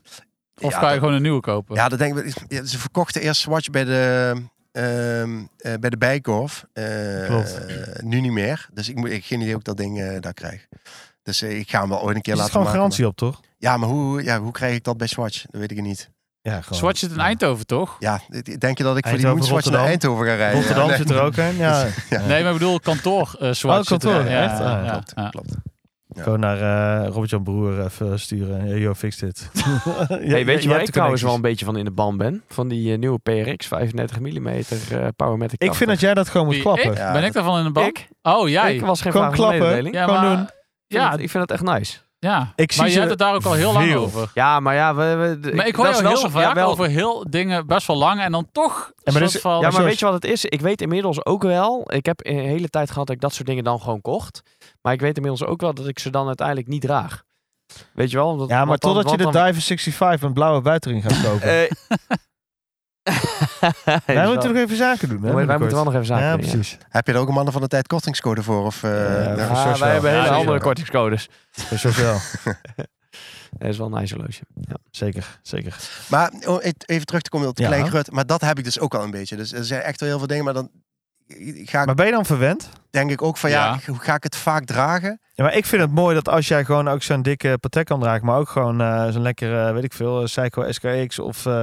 [SPEAKER 6] Of
[SPEAKER 2] ja,
[SPEAKER 6] ga je
[SPEAKER 2] dat-
[SPEAKER 6] gewoon een nieuwe kopen?
[SPEAKER 2] Ja, dat denk ik... ja, Ze verkochten eerst Swatch bij de... ehm, eh, bij de Bijkorf. Eh,
[SPEAKER 3] Klopt.
[SPEAKER 2] eh, nu niet meer. Dus ik moet ik geen idee hoe ik dat ding eh, daar krijg. Dus eh, ik ga hem wel ooit een keer
[SPEAKER 3] Er zit
[SPEAKER 2] laten
[SPEAKER 3] gewoon
[SPEAKER 2] maken.
[SPEAKER 3] garantie op, toch?
[SPEAKER 2] Ja, maar hoe, ja, hoe krijg ik dat bij Swatch? Dat weet ik niet.
[SPEAKER 3] Ja, gewoon.
[SPEAKER 6] Swatch zit in Eindhoven, toch?
[SPEAKER 2] Ja, denk je dat ik voor die
[SPEAKER 3] Eindhoven,
[SPEAKER 2] moonswatch naar
[SPEAKER 3] Rotterdam.
[SPEAKER 2] Eindhoven ga rijden?
[SPEAKER 3] Rotterdam
[SPEAKER 2] Ja, nee.
[SPEAKER 3] zit er ook in. Ja,
[SPEAKER 6] Nee, maar ik bedoel kantoor eh Swatch.
[SPEAKER 3] Eh, Oh, kantoor,
[SPEAKER 6] zit er- ja,
[SPEAKER 3] echt? Ah,
[SPEAKER 6] ja,
[SPEAKER 2] Klopt,
[SPEAKER 6] ja.
[SPEAKER 2] klopt. Ja.
[SPEAKER 3] Gewoon naar eh, Robert-Jan Broer even sturen. Hey, yo, fix dit.
[SPEAKER 4] hey, weet je waar ik trouwens wel een beetje van in de ban ben? Van die eh, nieuwe PRX 35 mm eh Powermatic.
[SPEAKER 3] Ik vind dat jij dat gewoon moet
[SPEAKER 6] Wie,
[SPEAKER 3] klappen.
[SPEAKER 6] ik?
[SPEAKER 2] Ja,
[SPEAKER 6] ben ik
[SPEAKER 2] dat-
[SPEAKER 6] daarvan in de band?
[SPEAKER 4] Ik?
[SPEAKER 6] Oh, jij.
[SPEAKER 4] Ik was geen
[SPEAKER 3] Gewoon
[SPEAKER 4] vraag van de
[SPEAKER 3] klappen.
[SPEAKER 4] mededeling.
[SPEAKER 6] Ja,
[SPEAKER 3] Gewoon
[SPEAKER 6] maar-
[SPEAKER 3] doen.
[SPEAKER 4] Ja,
[SPEAKER 6] Ja,
[SPEAKER 4] ik vind dat echt nice.
[SPEAKER 6] ja.
[SPEAKER 3] Ik zie
[SPEAKER 6] maar
[SPEAKER 3] ze
[SPEAKER 6] je hebt het daar ook al heel lang
[SPEAKER 3] veel.
[SPEAKER 6] over.
[SPEAKER 4] Ja, maar ja, we, we-
[SPEAKER 6] Maar ik hoor
[SPEAKER 4] dat is
[SPEAKER 6] jou
[SPEAKER 4] wel
[SPEAKER 6] heel
[SPEAKER 4] zo-
[SPEAKER 6] vaak
[SPEAKER 4] ja, wel-
[SPEAKER 6] over heel dingen best wel lang en dan toch
[SPEAKER 3] maar
[SPEAKER 6] een soort
[SPEAKER 3] dus-
[SPEAKER 6] van...
[SPEAKER 4] Ja, maar
[SPEAKER 3] Zoals-
[SPEAKER 4] weet je wat het is? Ik weet inmiddels ook wel. Ik heb een hele tijd gehad dat ik dat soort dingen dan gewoon kocht. Maar ik weet inmiddels ook wel dat ik ze dan uiteindelijk niet draag. Weet je wel? Omdat,
[SPEAKER 3] Ja, maar
[SPEAKER 4] want dan-
[SPEAKER 3] totdat je de
[SPEAKER 4] want dan-
[SPEAKER 3] Diver 65 met blauwe buitering gaat kopen.
[SPEAKER 4] Eh,
[SPEAKER 3] Wij
[SPEAKER 4] is
[SPEAKER 3] moeten
[SPEAKER 4] wel-
[SPEAKER 3] nog even zaken doen. Hè,
[SPEAKER 4] wij
[SPEAKER 3] binnenkort.
[SPEAKER 4] moeten wel nog even zaken
[SPEAKER 3] Ja,
[SPEAKER 4] doen, ja.
[SPEAKER 3] precies.
[SPEAKER 2] Heb je er ook een mannen van de tijd kortingscode voor? Of, eh,
[SPEAKER 3] Ja,
[SPEAKER 2] ja.
[SPEAKER 3] voor
[SPEAKER 4] Ah,
[SPEAKER 3] Source
[SPEAKER 4] wij
[SPEAKER 3] wel.
[SPEAKER 4] hebben
[SPEAKER 6] Ja,
[SPEAKER 4] hele
[SPEAKER 6] die is
[SPEAKER 4] andere
[SPEAKER 6] wel.
[SPEAKER 4] kortingscodes.
[SPEAKER 3] Dus zoveel.
[SPEAKER 4] Dat is wel een nice horloge. Ja.
[SPEAKER 3] zeker, zeker.
[SPEAKER 2] Maar oh, e- even terug te komen op het
[SPEAKER 3] Ja.
[SPEAKER 2] klein grut. Maar dat heb ik dus ook al een beetje. Dus er zijn echt wel heel veel dingen. Maar dan ga ik
[SPEAKER 3] Maar ben je dan verwend?
[SPEAKER 2] denk ik ook van ja,
[SPEAKER 6] Ja.
[SPEAKER 2] hoe ga ik het vaak dragen?
[SPEAKER 3] Ja, maar ik vind het mooi dat als jij gewoon ook zo'n dikke Patek kan dragen, maar ook gewoon eh, zo'n lekkere, weet ik veel, eh, Seiko SKX of eh,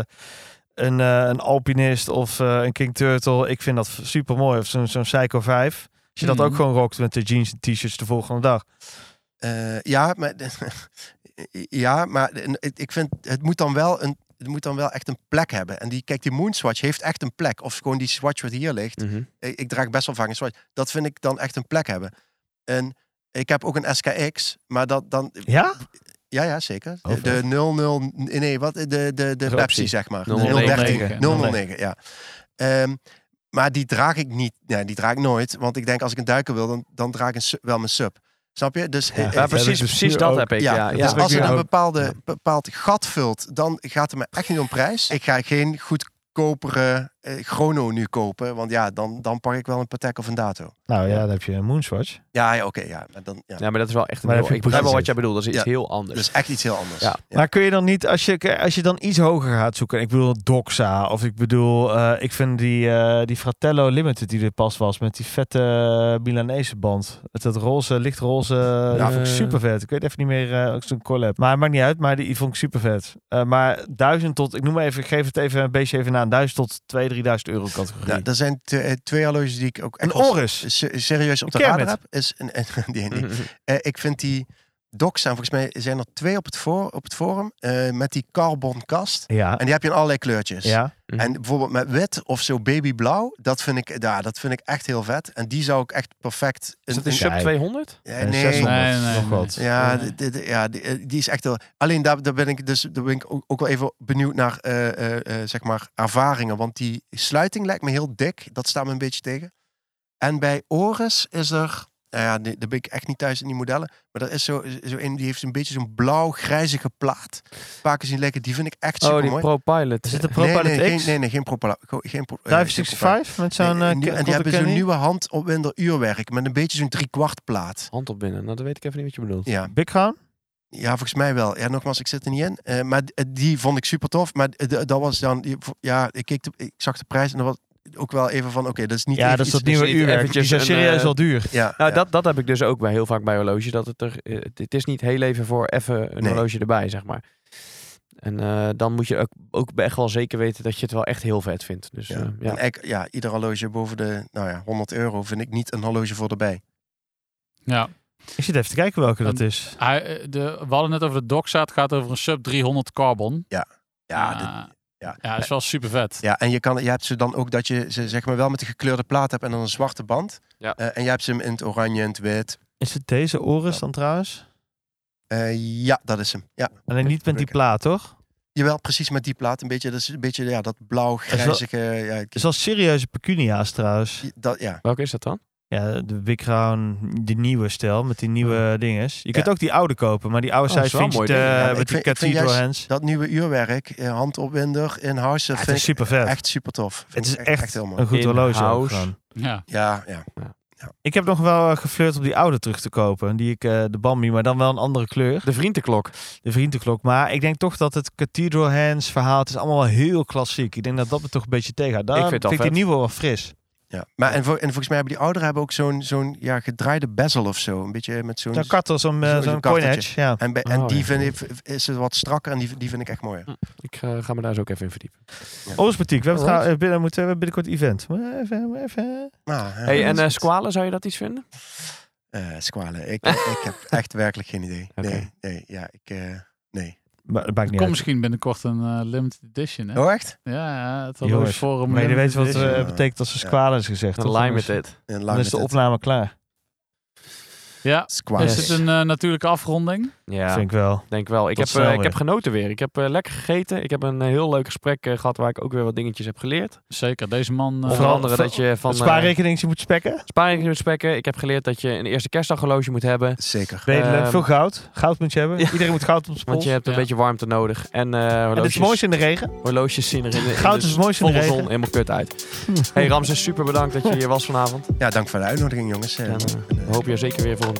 [SPEAKER 3] een, eh, een Alpinist of eh, een King Turtle. Ik vind dat super mooi. Of zo'n zo'n Seiko 5. Als je dat
[SPEAKER 6] Mhm.
[SPEAKER 3] ook gewoon rockt met de jeans en t-shirts de volgende dag.
[SPEAKER 2] Eh, ja, maar, ja, maar ik vind het moet dan wel een. Het moet dan wel echt een plek hebben. En die, kijk, die Moonswatch heeft echt een plek. Of gewoon die Swatch wat hier ligt.
[SPEAKER 3] Mhm.
[SPEAKER 2] ik, ik draag best wel vaak een Swatch. Dat vind ik dan echt een plek hebben. En ik heb ook een SKX, maar dat dan...
[SPEAKER 3] Ja?
[SPEAKER 2] Ja, ja, zeker.
[SPEAKER 3] Oh, vet. Oh,
[SPEAKER 2] de 00... Nee, wat? De, de, de
[SPEAKER 4] Optie.
[SPEAKER 2] Pepsi, zeg maar.
[SPEAKER 4] 009.
[SPEAKER 2] 013. 009, ja. Ehm, maar die draag ik niet. Nee, die draag ik nooit. Want ik denk, als ik een duiker wil, dan, dan draag ik een, su- wel mijn sub. Snap je? Dus... eh, eh,
[SPEAKER 4] Ja,
[SPEAKER 3] heb
[SPEAKER 4] precies,
[SPEAKER 3] ik dus
[SPEAKER 4] precies
[SPEAKER 3] nu
[SPEAKER 4] dat
[SPEAKER 3] ook.
[SPEAKER 4] heb ik.
[SPEAKER 2] ja,
[SPEAKER 4] Ja,
[SPEAKER 2] dus
[SPEAKER 3] dat
[SPEAKER 4] ja.
[SPEAKER 3] is
[SPEAKER 2] als
[SPEAKER 3] ik
[SPEAKER 2] het een
[SPEAKER 3] nu
[SPEAKER 2] eh,
[SPEAKER 3] ook.
[SPEAKER 2] bepaalde, bepaald gat vult, dan gaat het me echt niet om prijs. Ik ga geen goedkopere eh, chrono nu kopen. Want ja, dan, dan pak ik wel een Patek of een Dato.
[SPEAKER 3] Nou ja, dan heb je een Moonswatch.
[SPEAKER 2] Ja, ja oké. ja, maar dan, ja.
[SPEAKER 4] Ja, maar dat is wel echt een
[SPEAKER 3] Maar
[SPEAKER 4] heel...
[SPEAKER 3] heb je
[SPEAKER 4] Ik begrijp wel wat
[SPEAKER 3] precies.
[SPEAKER 4] jij bedoelt. Dat is iets
[SPEAKER 2] Ja.
[SPEAKER 4] heel anders.
[SPEAKER 2] Dat is echt iets heel anders.
[SPEAKER 4] Ja.
[SPEAKER 3] Maar kun je dan niet, als je, als je dan iets hoger gaat zoeken, ik bedoel Doxa, of ik bedoel, eh, ik vind die, eh, die Fratello Limited die er pas was, met die vette Milanese band. Met dat roze, lichtroze, die vond ik
[SPEAKER 4] eh.
[SPEAKER 3] super vet. Ik weet even niet meer, eh, ook zo'n collab. Maar maakt niet uit, maar die vond ik super vet. Eh, maar duizend tot, ik noem maar even, ik geef het even een beetje even na, duizend tot 2.000, 3.000 euro categorie.
[SPEAKER 2] Nou, er zijn te- eh, twee horloges die ik ook echt
[SPEAKER 3] een
[SPEAKER 2] wel
[SPEAKER 3] Oris.
[SPEAKER 2] se- serieus op de
[SPEAKER 3] Een Mhm. Kermit.
[SPEAKER 2] radar heb. Is een, en- die, die,
[SPEAKER 4] Mhm.
[SPEAKER 2] Eh, ik vind die docs zijn volgens mij zijn er twee op het, voor, op het forum eh, met die carbon kast.
[SPEAKER 3] Ja,
[SPEAKER 2] En die heb je in allerlei kleurtjes.
[SPEAKER 3] ja.
[SPEAKER 4] Mhm.
[SPEAKER 2] En bijvoorbeeld met wit of zo babyblauw, dat vind ik, ja, dat vind ik echt heel vet. En die zou ik echt perfect.
[SPEAKER 4] Is dat
[SPEAKER 2] een-
[SPEAKER 4] een sub
[SPEAKER 3] Nee.
[SPEAKER 4] 200?
[SPEAKER 2] eh,
[SPEAKER 3] en
[SPEAKER 2] nee,
[SPEAKER 3] 600,
[SPEAKER 6] Nee, nee,
[SPEAKER 3] nog
[SPEAKER 6] nee.
[SPEAKER 3] wat.
[SPEAKER 2] Ja,
[SPEAKER 6] Nee.
[SPEAKER 2] d- d- d- ja, die, eh, die is echt heel. Alleen daar, daar ben ik dus daar ben ik ook, ook wel even benieuwd naar eh, eh, eh, zeg maar ervaringen. Want die sluiting lijkt me heel dik. Dat staat me een beetje tegen. En bij Oris is er. Nou ja, die- daar ben ik echt niet thuis in die modellen. Maar er is zo, zo een die heeft een beetje zo'n blauw-grijzige plaat. Vaak zien lekker. Die vind ik echt
[SPEAKER 4] Oh,
[SPEAKER 2] super
[SPEAKER 4] die
[SPEAKER 2] mooi.
[SPEAKER 4] ProPilot.
[SPEAKER 3] Is het de
[SPEAKER 2] nee,
[SPEAKER 3] Propilot
[SPEAKER 2] nee, geen,
[SPEAKER 3] X?
[SPEAKER 2] nee, nee, geen Propilot. Geen, pro- eh, geen
[SPEAKER 3] 565 met
[SPEAKER 2] Propilot.
[SPEAKER 3] zo'n...
[SPEAKER 2] Nee,
[SPEAKER 3] eh,
[SPEAKER 2] een nieuw- en die
[SPEAKER 3] Cotton
[SPEAKER 2] hebben zo'n
[SPEAKER 3] Candy?
[SPEAKER 2] nieuwe hand op minder uurwerk. Met een beetje zo'n driekwart plaat.
[SPEAKER 4] Hand op binnen. Nou, dat weet ik even niet wat je bedoelt.
[SPEAKER 2] Ja.
[SPEAKER 3] Big Crown?
[SPEAKER 2] Ja, volgens mij wel. Ja, nogmaals, ik zit er niet in. Eh, maar d- die vond ik super tof. Maar d- d- dat was dan. die- Ja, ik, keek de- ik zag de prijs en dat was ook wel even van: oké, dat is niet.
[SPEAKER 3] Ja,
[SPEAKER 2] even
[SPEAKER 3] dat is dat
[SPEAKER 2] iets-
[SPEAKER 3] nieuwe
[SPEAKER 4] niet
[SPEAKER 3] uurwerk. Die
[SPEAKER 4] eventjes
[SPEAKER 3] zijn
[SPEAKER 4] een,
[SPEAKER 3] serieus
[SPEAKER 4] eh,
[SPEAKER 3] wel duur.
[SPEAKER 2] Ja,
[SPEAKER 4] Nou,
[SPEAKER 2] ja.
[SPEAKER 4] dat, dat heb ik dus ook bij, heel vaak bij horloges. Dat het er, eh, het, het is niet heel even voor even een
[SPEAKER 2] Nee.
[SPEAKER 4] horloge erbij, zeg maar. En eh, dan moet je ook, ook echt wel zeker weten dat je het wel echt heel vet vindt. Dus eh,
[SPEAKER 2] Ja.
[SPEAKER 4] ja.
[SPEAKER 2] En e- ik- ja, ieder horloge boven de nou ja, 100 euro vind ik niet een horloge voor erbij.
[SPEAKER 6] Ja.
[SPEAKER 3] Ik zit even te kijken welke dat
[SPEAKER 6] Een-
[SPEAKER 3] is.
[SPEAKER 6] Hij, eh, de, we hadden het over de Doxa. Het gaat over een sub 300 carbon.
[SPEAKER 2] Ja,
[SPEAKER 6] Eh,
[SPEAKER 2] dit- ja.
[SPEAKER 6] ja. is wel super vet.
[SPEAKER 2] ja en je, kan, je hebt ze dan ook dat je ze zeg maar wel met een gekleurde plaat hebt en dan een zwarte band.
[SPEAKER 4] Ja.
[SPEAKER 2] Eh, en je hebt ze hem in het oranje en het wit.
[SPEAKER 3] Is het deze Oris dan trouwens?
[SPEAKER 2] Eh, ja, dat is hem. Ja.
[SPEAKER 3] Alleen niet met die plaat, toch?
[SPEAKER 2] Jawel, precies met die plaat. Een beetje, dat is een beetje ja, dat
[SPEAKER 3] wel-
[SPEAKER 2] blauw-grijzige. Ja, ik-
[SPEAKER 3] Het is wel serieuze pecunia's trouwens.
[SPEAKER 2] dat, ja.
[SPEAKER 4] Welke is dat dan?
[SPEAKER 3] Ja, de Big Crown, die nieuwe stijl, met die nieuwe dinges. Je kunt ook die oude kopen, maar die oude
[SPEAKER 4] Oh, dat
[SPEAKER 3] zijn
[SPEAKER 4] is wel
[SPEAKER 3] vintage
[SPEAKER 4] mooi ding.
[SPEAKER 2] Ja,
[SPEAKER 3] eh,
[SPEAKER 2] ik
[SPEAKER 3] met die
[SPEAKER 2] vind- ik vind
[SPEAKER 3] cathedral
[SPEAKER 2] juist-
[SPEAKER 3] hands.
[SPEAKER 2] Dat nieuwe uurwerk, eh, handopwinder in house, dat
[SPEAKER 3] Ja, het
[SPEAKER 2] vind
[SPEAKER 3] is
[SPEAKER 2] ik
[SPEAKER 3] super vet.
[SPEAKER 2] echt super tof. Vind
[SPEAKER 3] het is
[SPEAKER 2] ik
[SPEAKER 3] echt,
[SPEAKER 2] heel
[SPEAKER 3] een
[SPEAKER 2] mooi.
[SPEAKER 3] goed horloge. ook
[SPEAKER 4] In-house.
[SPEAKER 3] gewoon.
[SPEAKER 6] Ja.
[SPEAKER 2] Ja, ja.
[SPEAKER 3] Ik heb nog wel eh, geflirt om die oude terug te kopen. Die ik, eh, de Bambi, maar dan wel een andere kleur.
[SPEAKER 4] De vriendenklok.
[SPEAKER 3] De vriendenklok. Maar ik denk toch dat het Cathedral Hands verhaal, het is allemaal wel heel klassiek. Ik denk dat dat me toch een beetje tegenhoudt. Daarom
[SPEAKER 4] Ik vind
[SPEAKER 3] vind,
[SPEAKER 4] het al
[SPEAKER 3] ik die
[SPEAKER 4] vet.
[SPEAKER 3] nieuwe wel fris.
[SPEAKER 2] ja. Maar en, vol- en volgens mij hebben die ouderen hebben ook zo'n zo'n ja, gedraaide bezel of zo. Een beetje met zo'n...
[SPEAKER 3] Zo'n kartel, zo'n eh,
[SPEAKER 2] Zo'n-
[SPEAKER 3] zo'n
[SPEAKER 2] zo'n
[SPEAKER 3] coin
[SPEAKER 2] karteltje.
[SPEAKER 3] edge. Ja.
[SPEAKER 2] en bij- en
[SPEAKER 4] Oh,
[SPEAKER 2] die
[SPEAKER 4] ja.
[SPEAKER 2] vind ik, is het wat strakker en die, die vind ik echt mooier.
[SPEAKER 4] Ik eh, ga me daar eens ook even in verdiepen.
[SPEAKER 3] Oris Boutique, we hebben,
[SPEAKER 4] Alright.
[SPEAKER 3] trouw- eh, binnen, moeten, we hebben binnenkort event. Maar Even, maar even.
[SPEAKER 2] Nou, ja,
[SPEAKER 4] hey, en
[SPEAKER 2] dat
[SPEAKER 4] eh
[SPEAKER 2] is-
[SPEAKER 4] squalen, zou je dat iets vinden?
[SPEAKER 2] Eh, squalen. Ik, ik heb echt werkelijk geen idee.
[SPEAKER 4] Oké.
[SPEAKER 2] Nee, nee, ja, ik... eh, nee.
[SPEAKER 3] Maar dat maakt niet
[SPEAKER 6] Er komt
[SPEAKER 3] uit.
[SPEAKER 6] misschien binnenkort een eh, limited edition. Hè?
[SPEAKER 2] Oh, echt?
[SPEAKER 6] Ja, ja, het
[SPEAKER 3] Jongens,
[SPEAKER 6] horloge forum.
[SPEAKER 3] Maar jullie weten wat het
[SPEAKER 6] limited edition.
[SPEAKER 2] eh,
[SPEAKER 3] betekent als ze squalen is gezegd.
[SPEAKER 4] Een
[SPEAKER 3] toch?
[SPEAKER 4] lime met
[SPEAKER 3] Dan is-
[SPEAKER 4] dit.
[SPEAKER 2] Een
[SPEAKER 3] Dan is de opname klaar. eh,
[SPEAKER 6] Ja.
[SPEAKER 2] Squalen.
[SPEAKER 6] Is het een eh, natuurlijke afronding?
[SPEAKER 4] Ja,
[SPEAKER 3] Vind ik wel.
[SPEAKER 4] denk wel. Ik
[SPEAKER 3] Tot
[SPEAKER 4] heb,
[SPEAKER 3] snel
[SPEAKER 4] eh, ik
[SPEAKER 3] weer.
[SPEAKER 4] heb genoten weer. Ik heb eh, lekker gegeten. Ik heb een eh, heel leuk gesprek eh, gehad waar ik ook weer wat dingetjes heb geleerd.
[SPEAKER 6] Zeker. Deze man. eh,
[SPEAKER 4] Onder
[SPEAKER 3] Vooral-
[SPEAKER 4] andere dat je van...
[SPEAKER 3] het
[SPEAKER 4] eh, Ehm,
[SPEAKER 3] spaarrekening je moet spekken.
[SPEAKER 4] Sparing moet spekken. Ik heb geleerd dat je een eerste kerstdaghorloge moet hebben.
[SPEAKER 2] Zeker.
[SPEAKER 3] Nederland,
[SPEAKER 4] Ehm,
[SPEAKER 3] veel goud. Goud moet je hebben.
[SPEAKER 4] Ja.
[SPEAKER 3] Iedereen moet goud op zijn
[SPEAKER 4] Want
[SPEAKER 3] pols.
[SPEAKER 4] je hebt een
[SPEAKER 6] Ja.
[SPEAKER 4] beetje warmte nodig. En, eh
[SPEAKER 3] En dit is
[SPEAKER 4] horloges,
[SPEAKER 3] het mooiste in de regen.
[SPEAKER 4] horloges zien er in de, in
[SPEAKER 3] Goud
[SPEAKER 4] de
[SPEAKER 3] is het mooiste in de
[SPEAKER 4] volle
[SPEAKER 3] regen.
[SPEAKER 4] zon helemaal kut uit. hey Ramses, super bedankt dat je hier was vanavond.
[SPEAKER 2] Ja, dank voor de uitnodiging, jongens. Eh,
[SPEAKER 4] En eh, we hopen je zeker weer volgende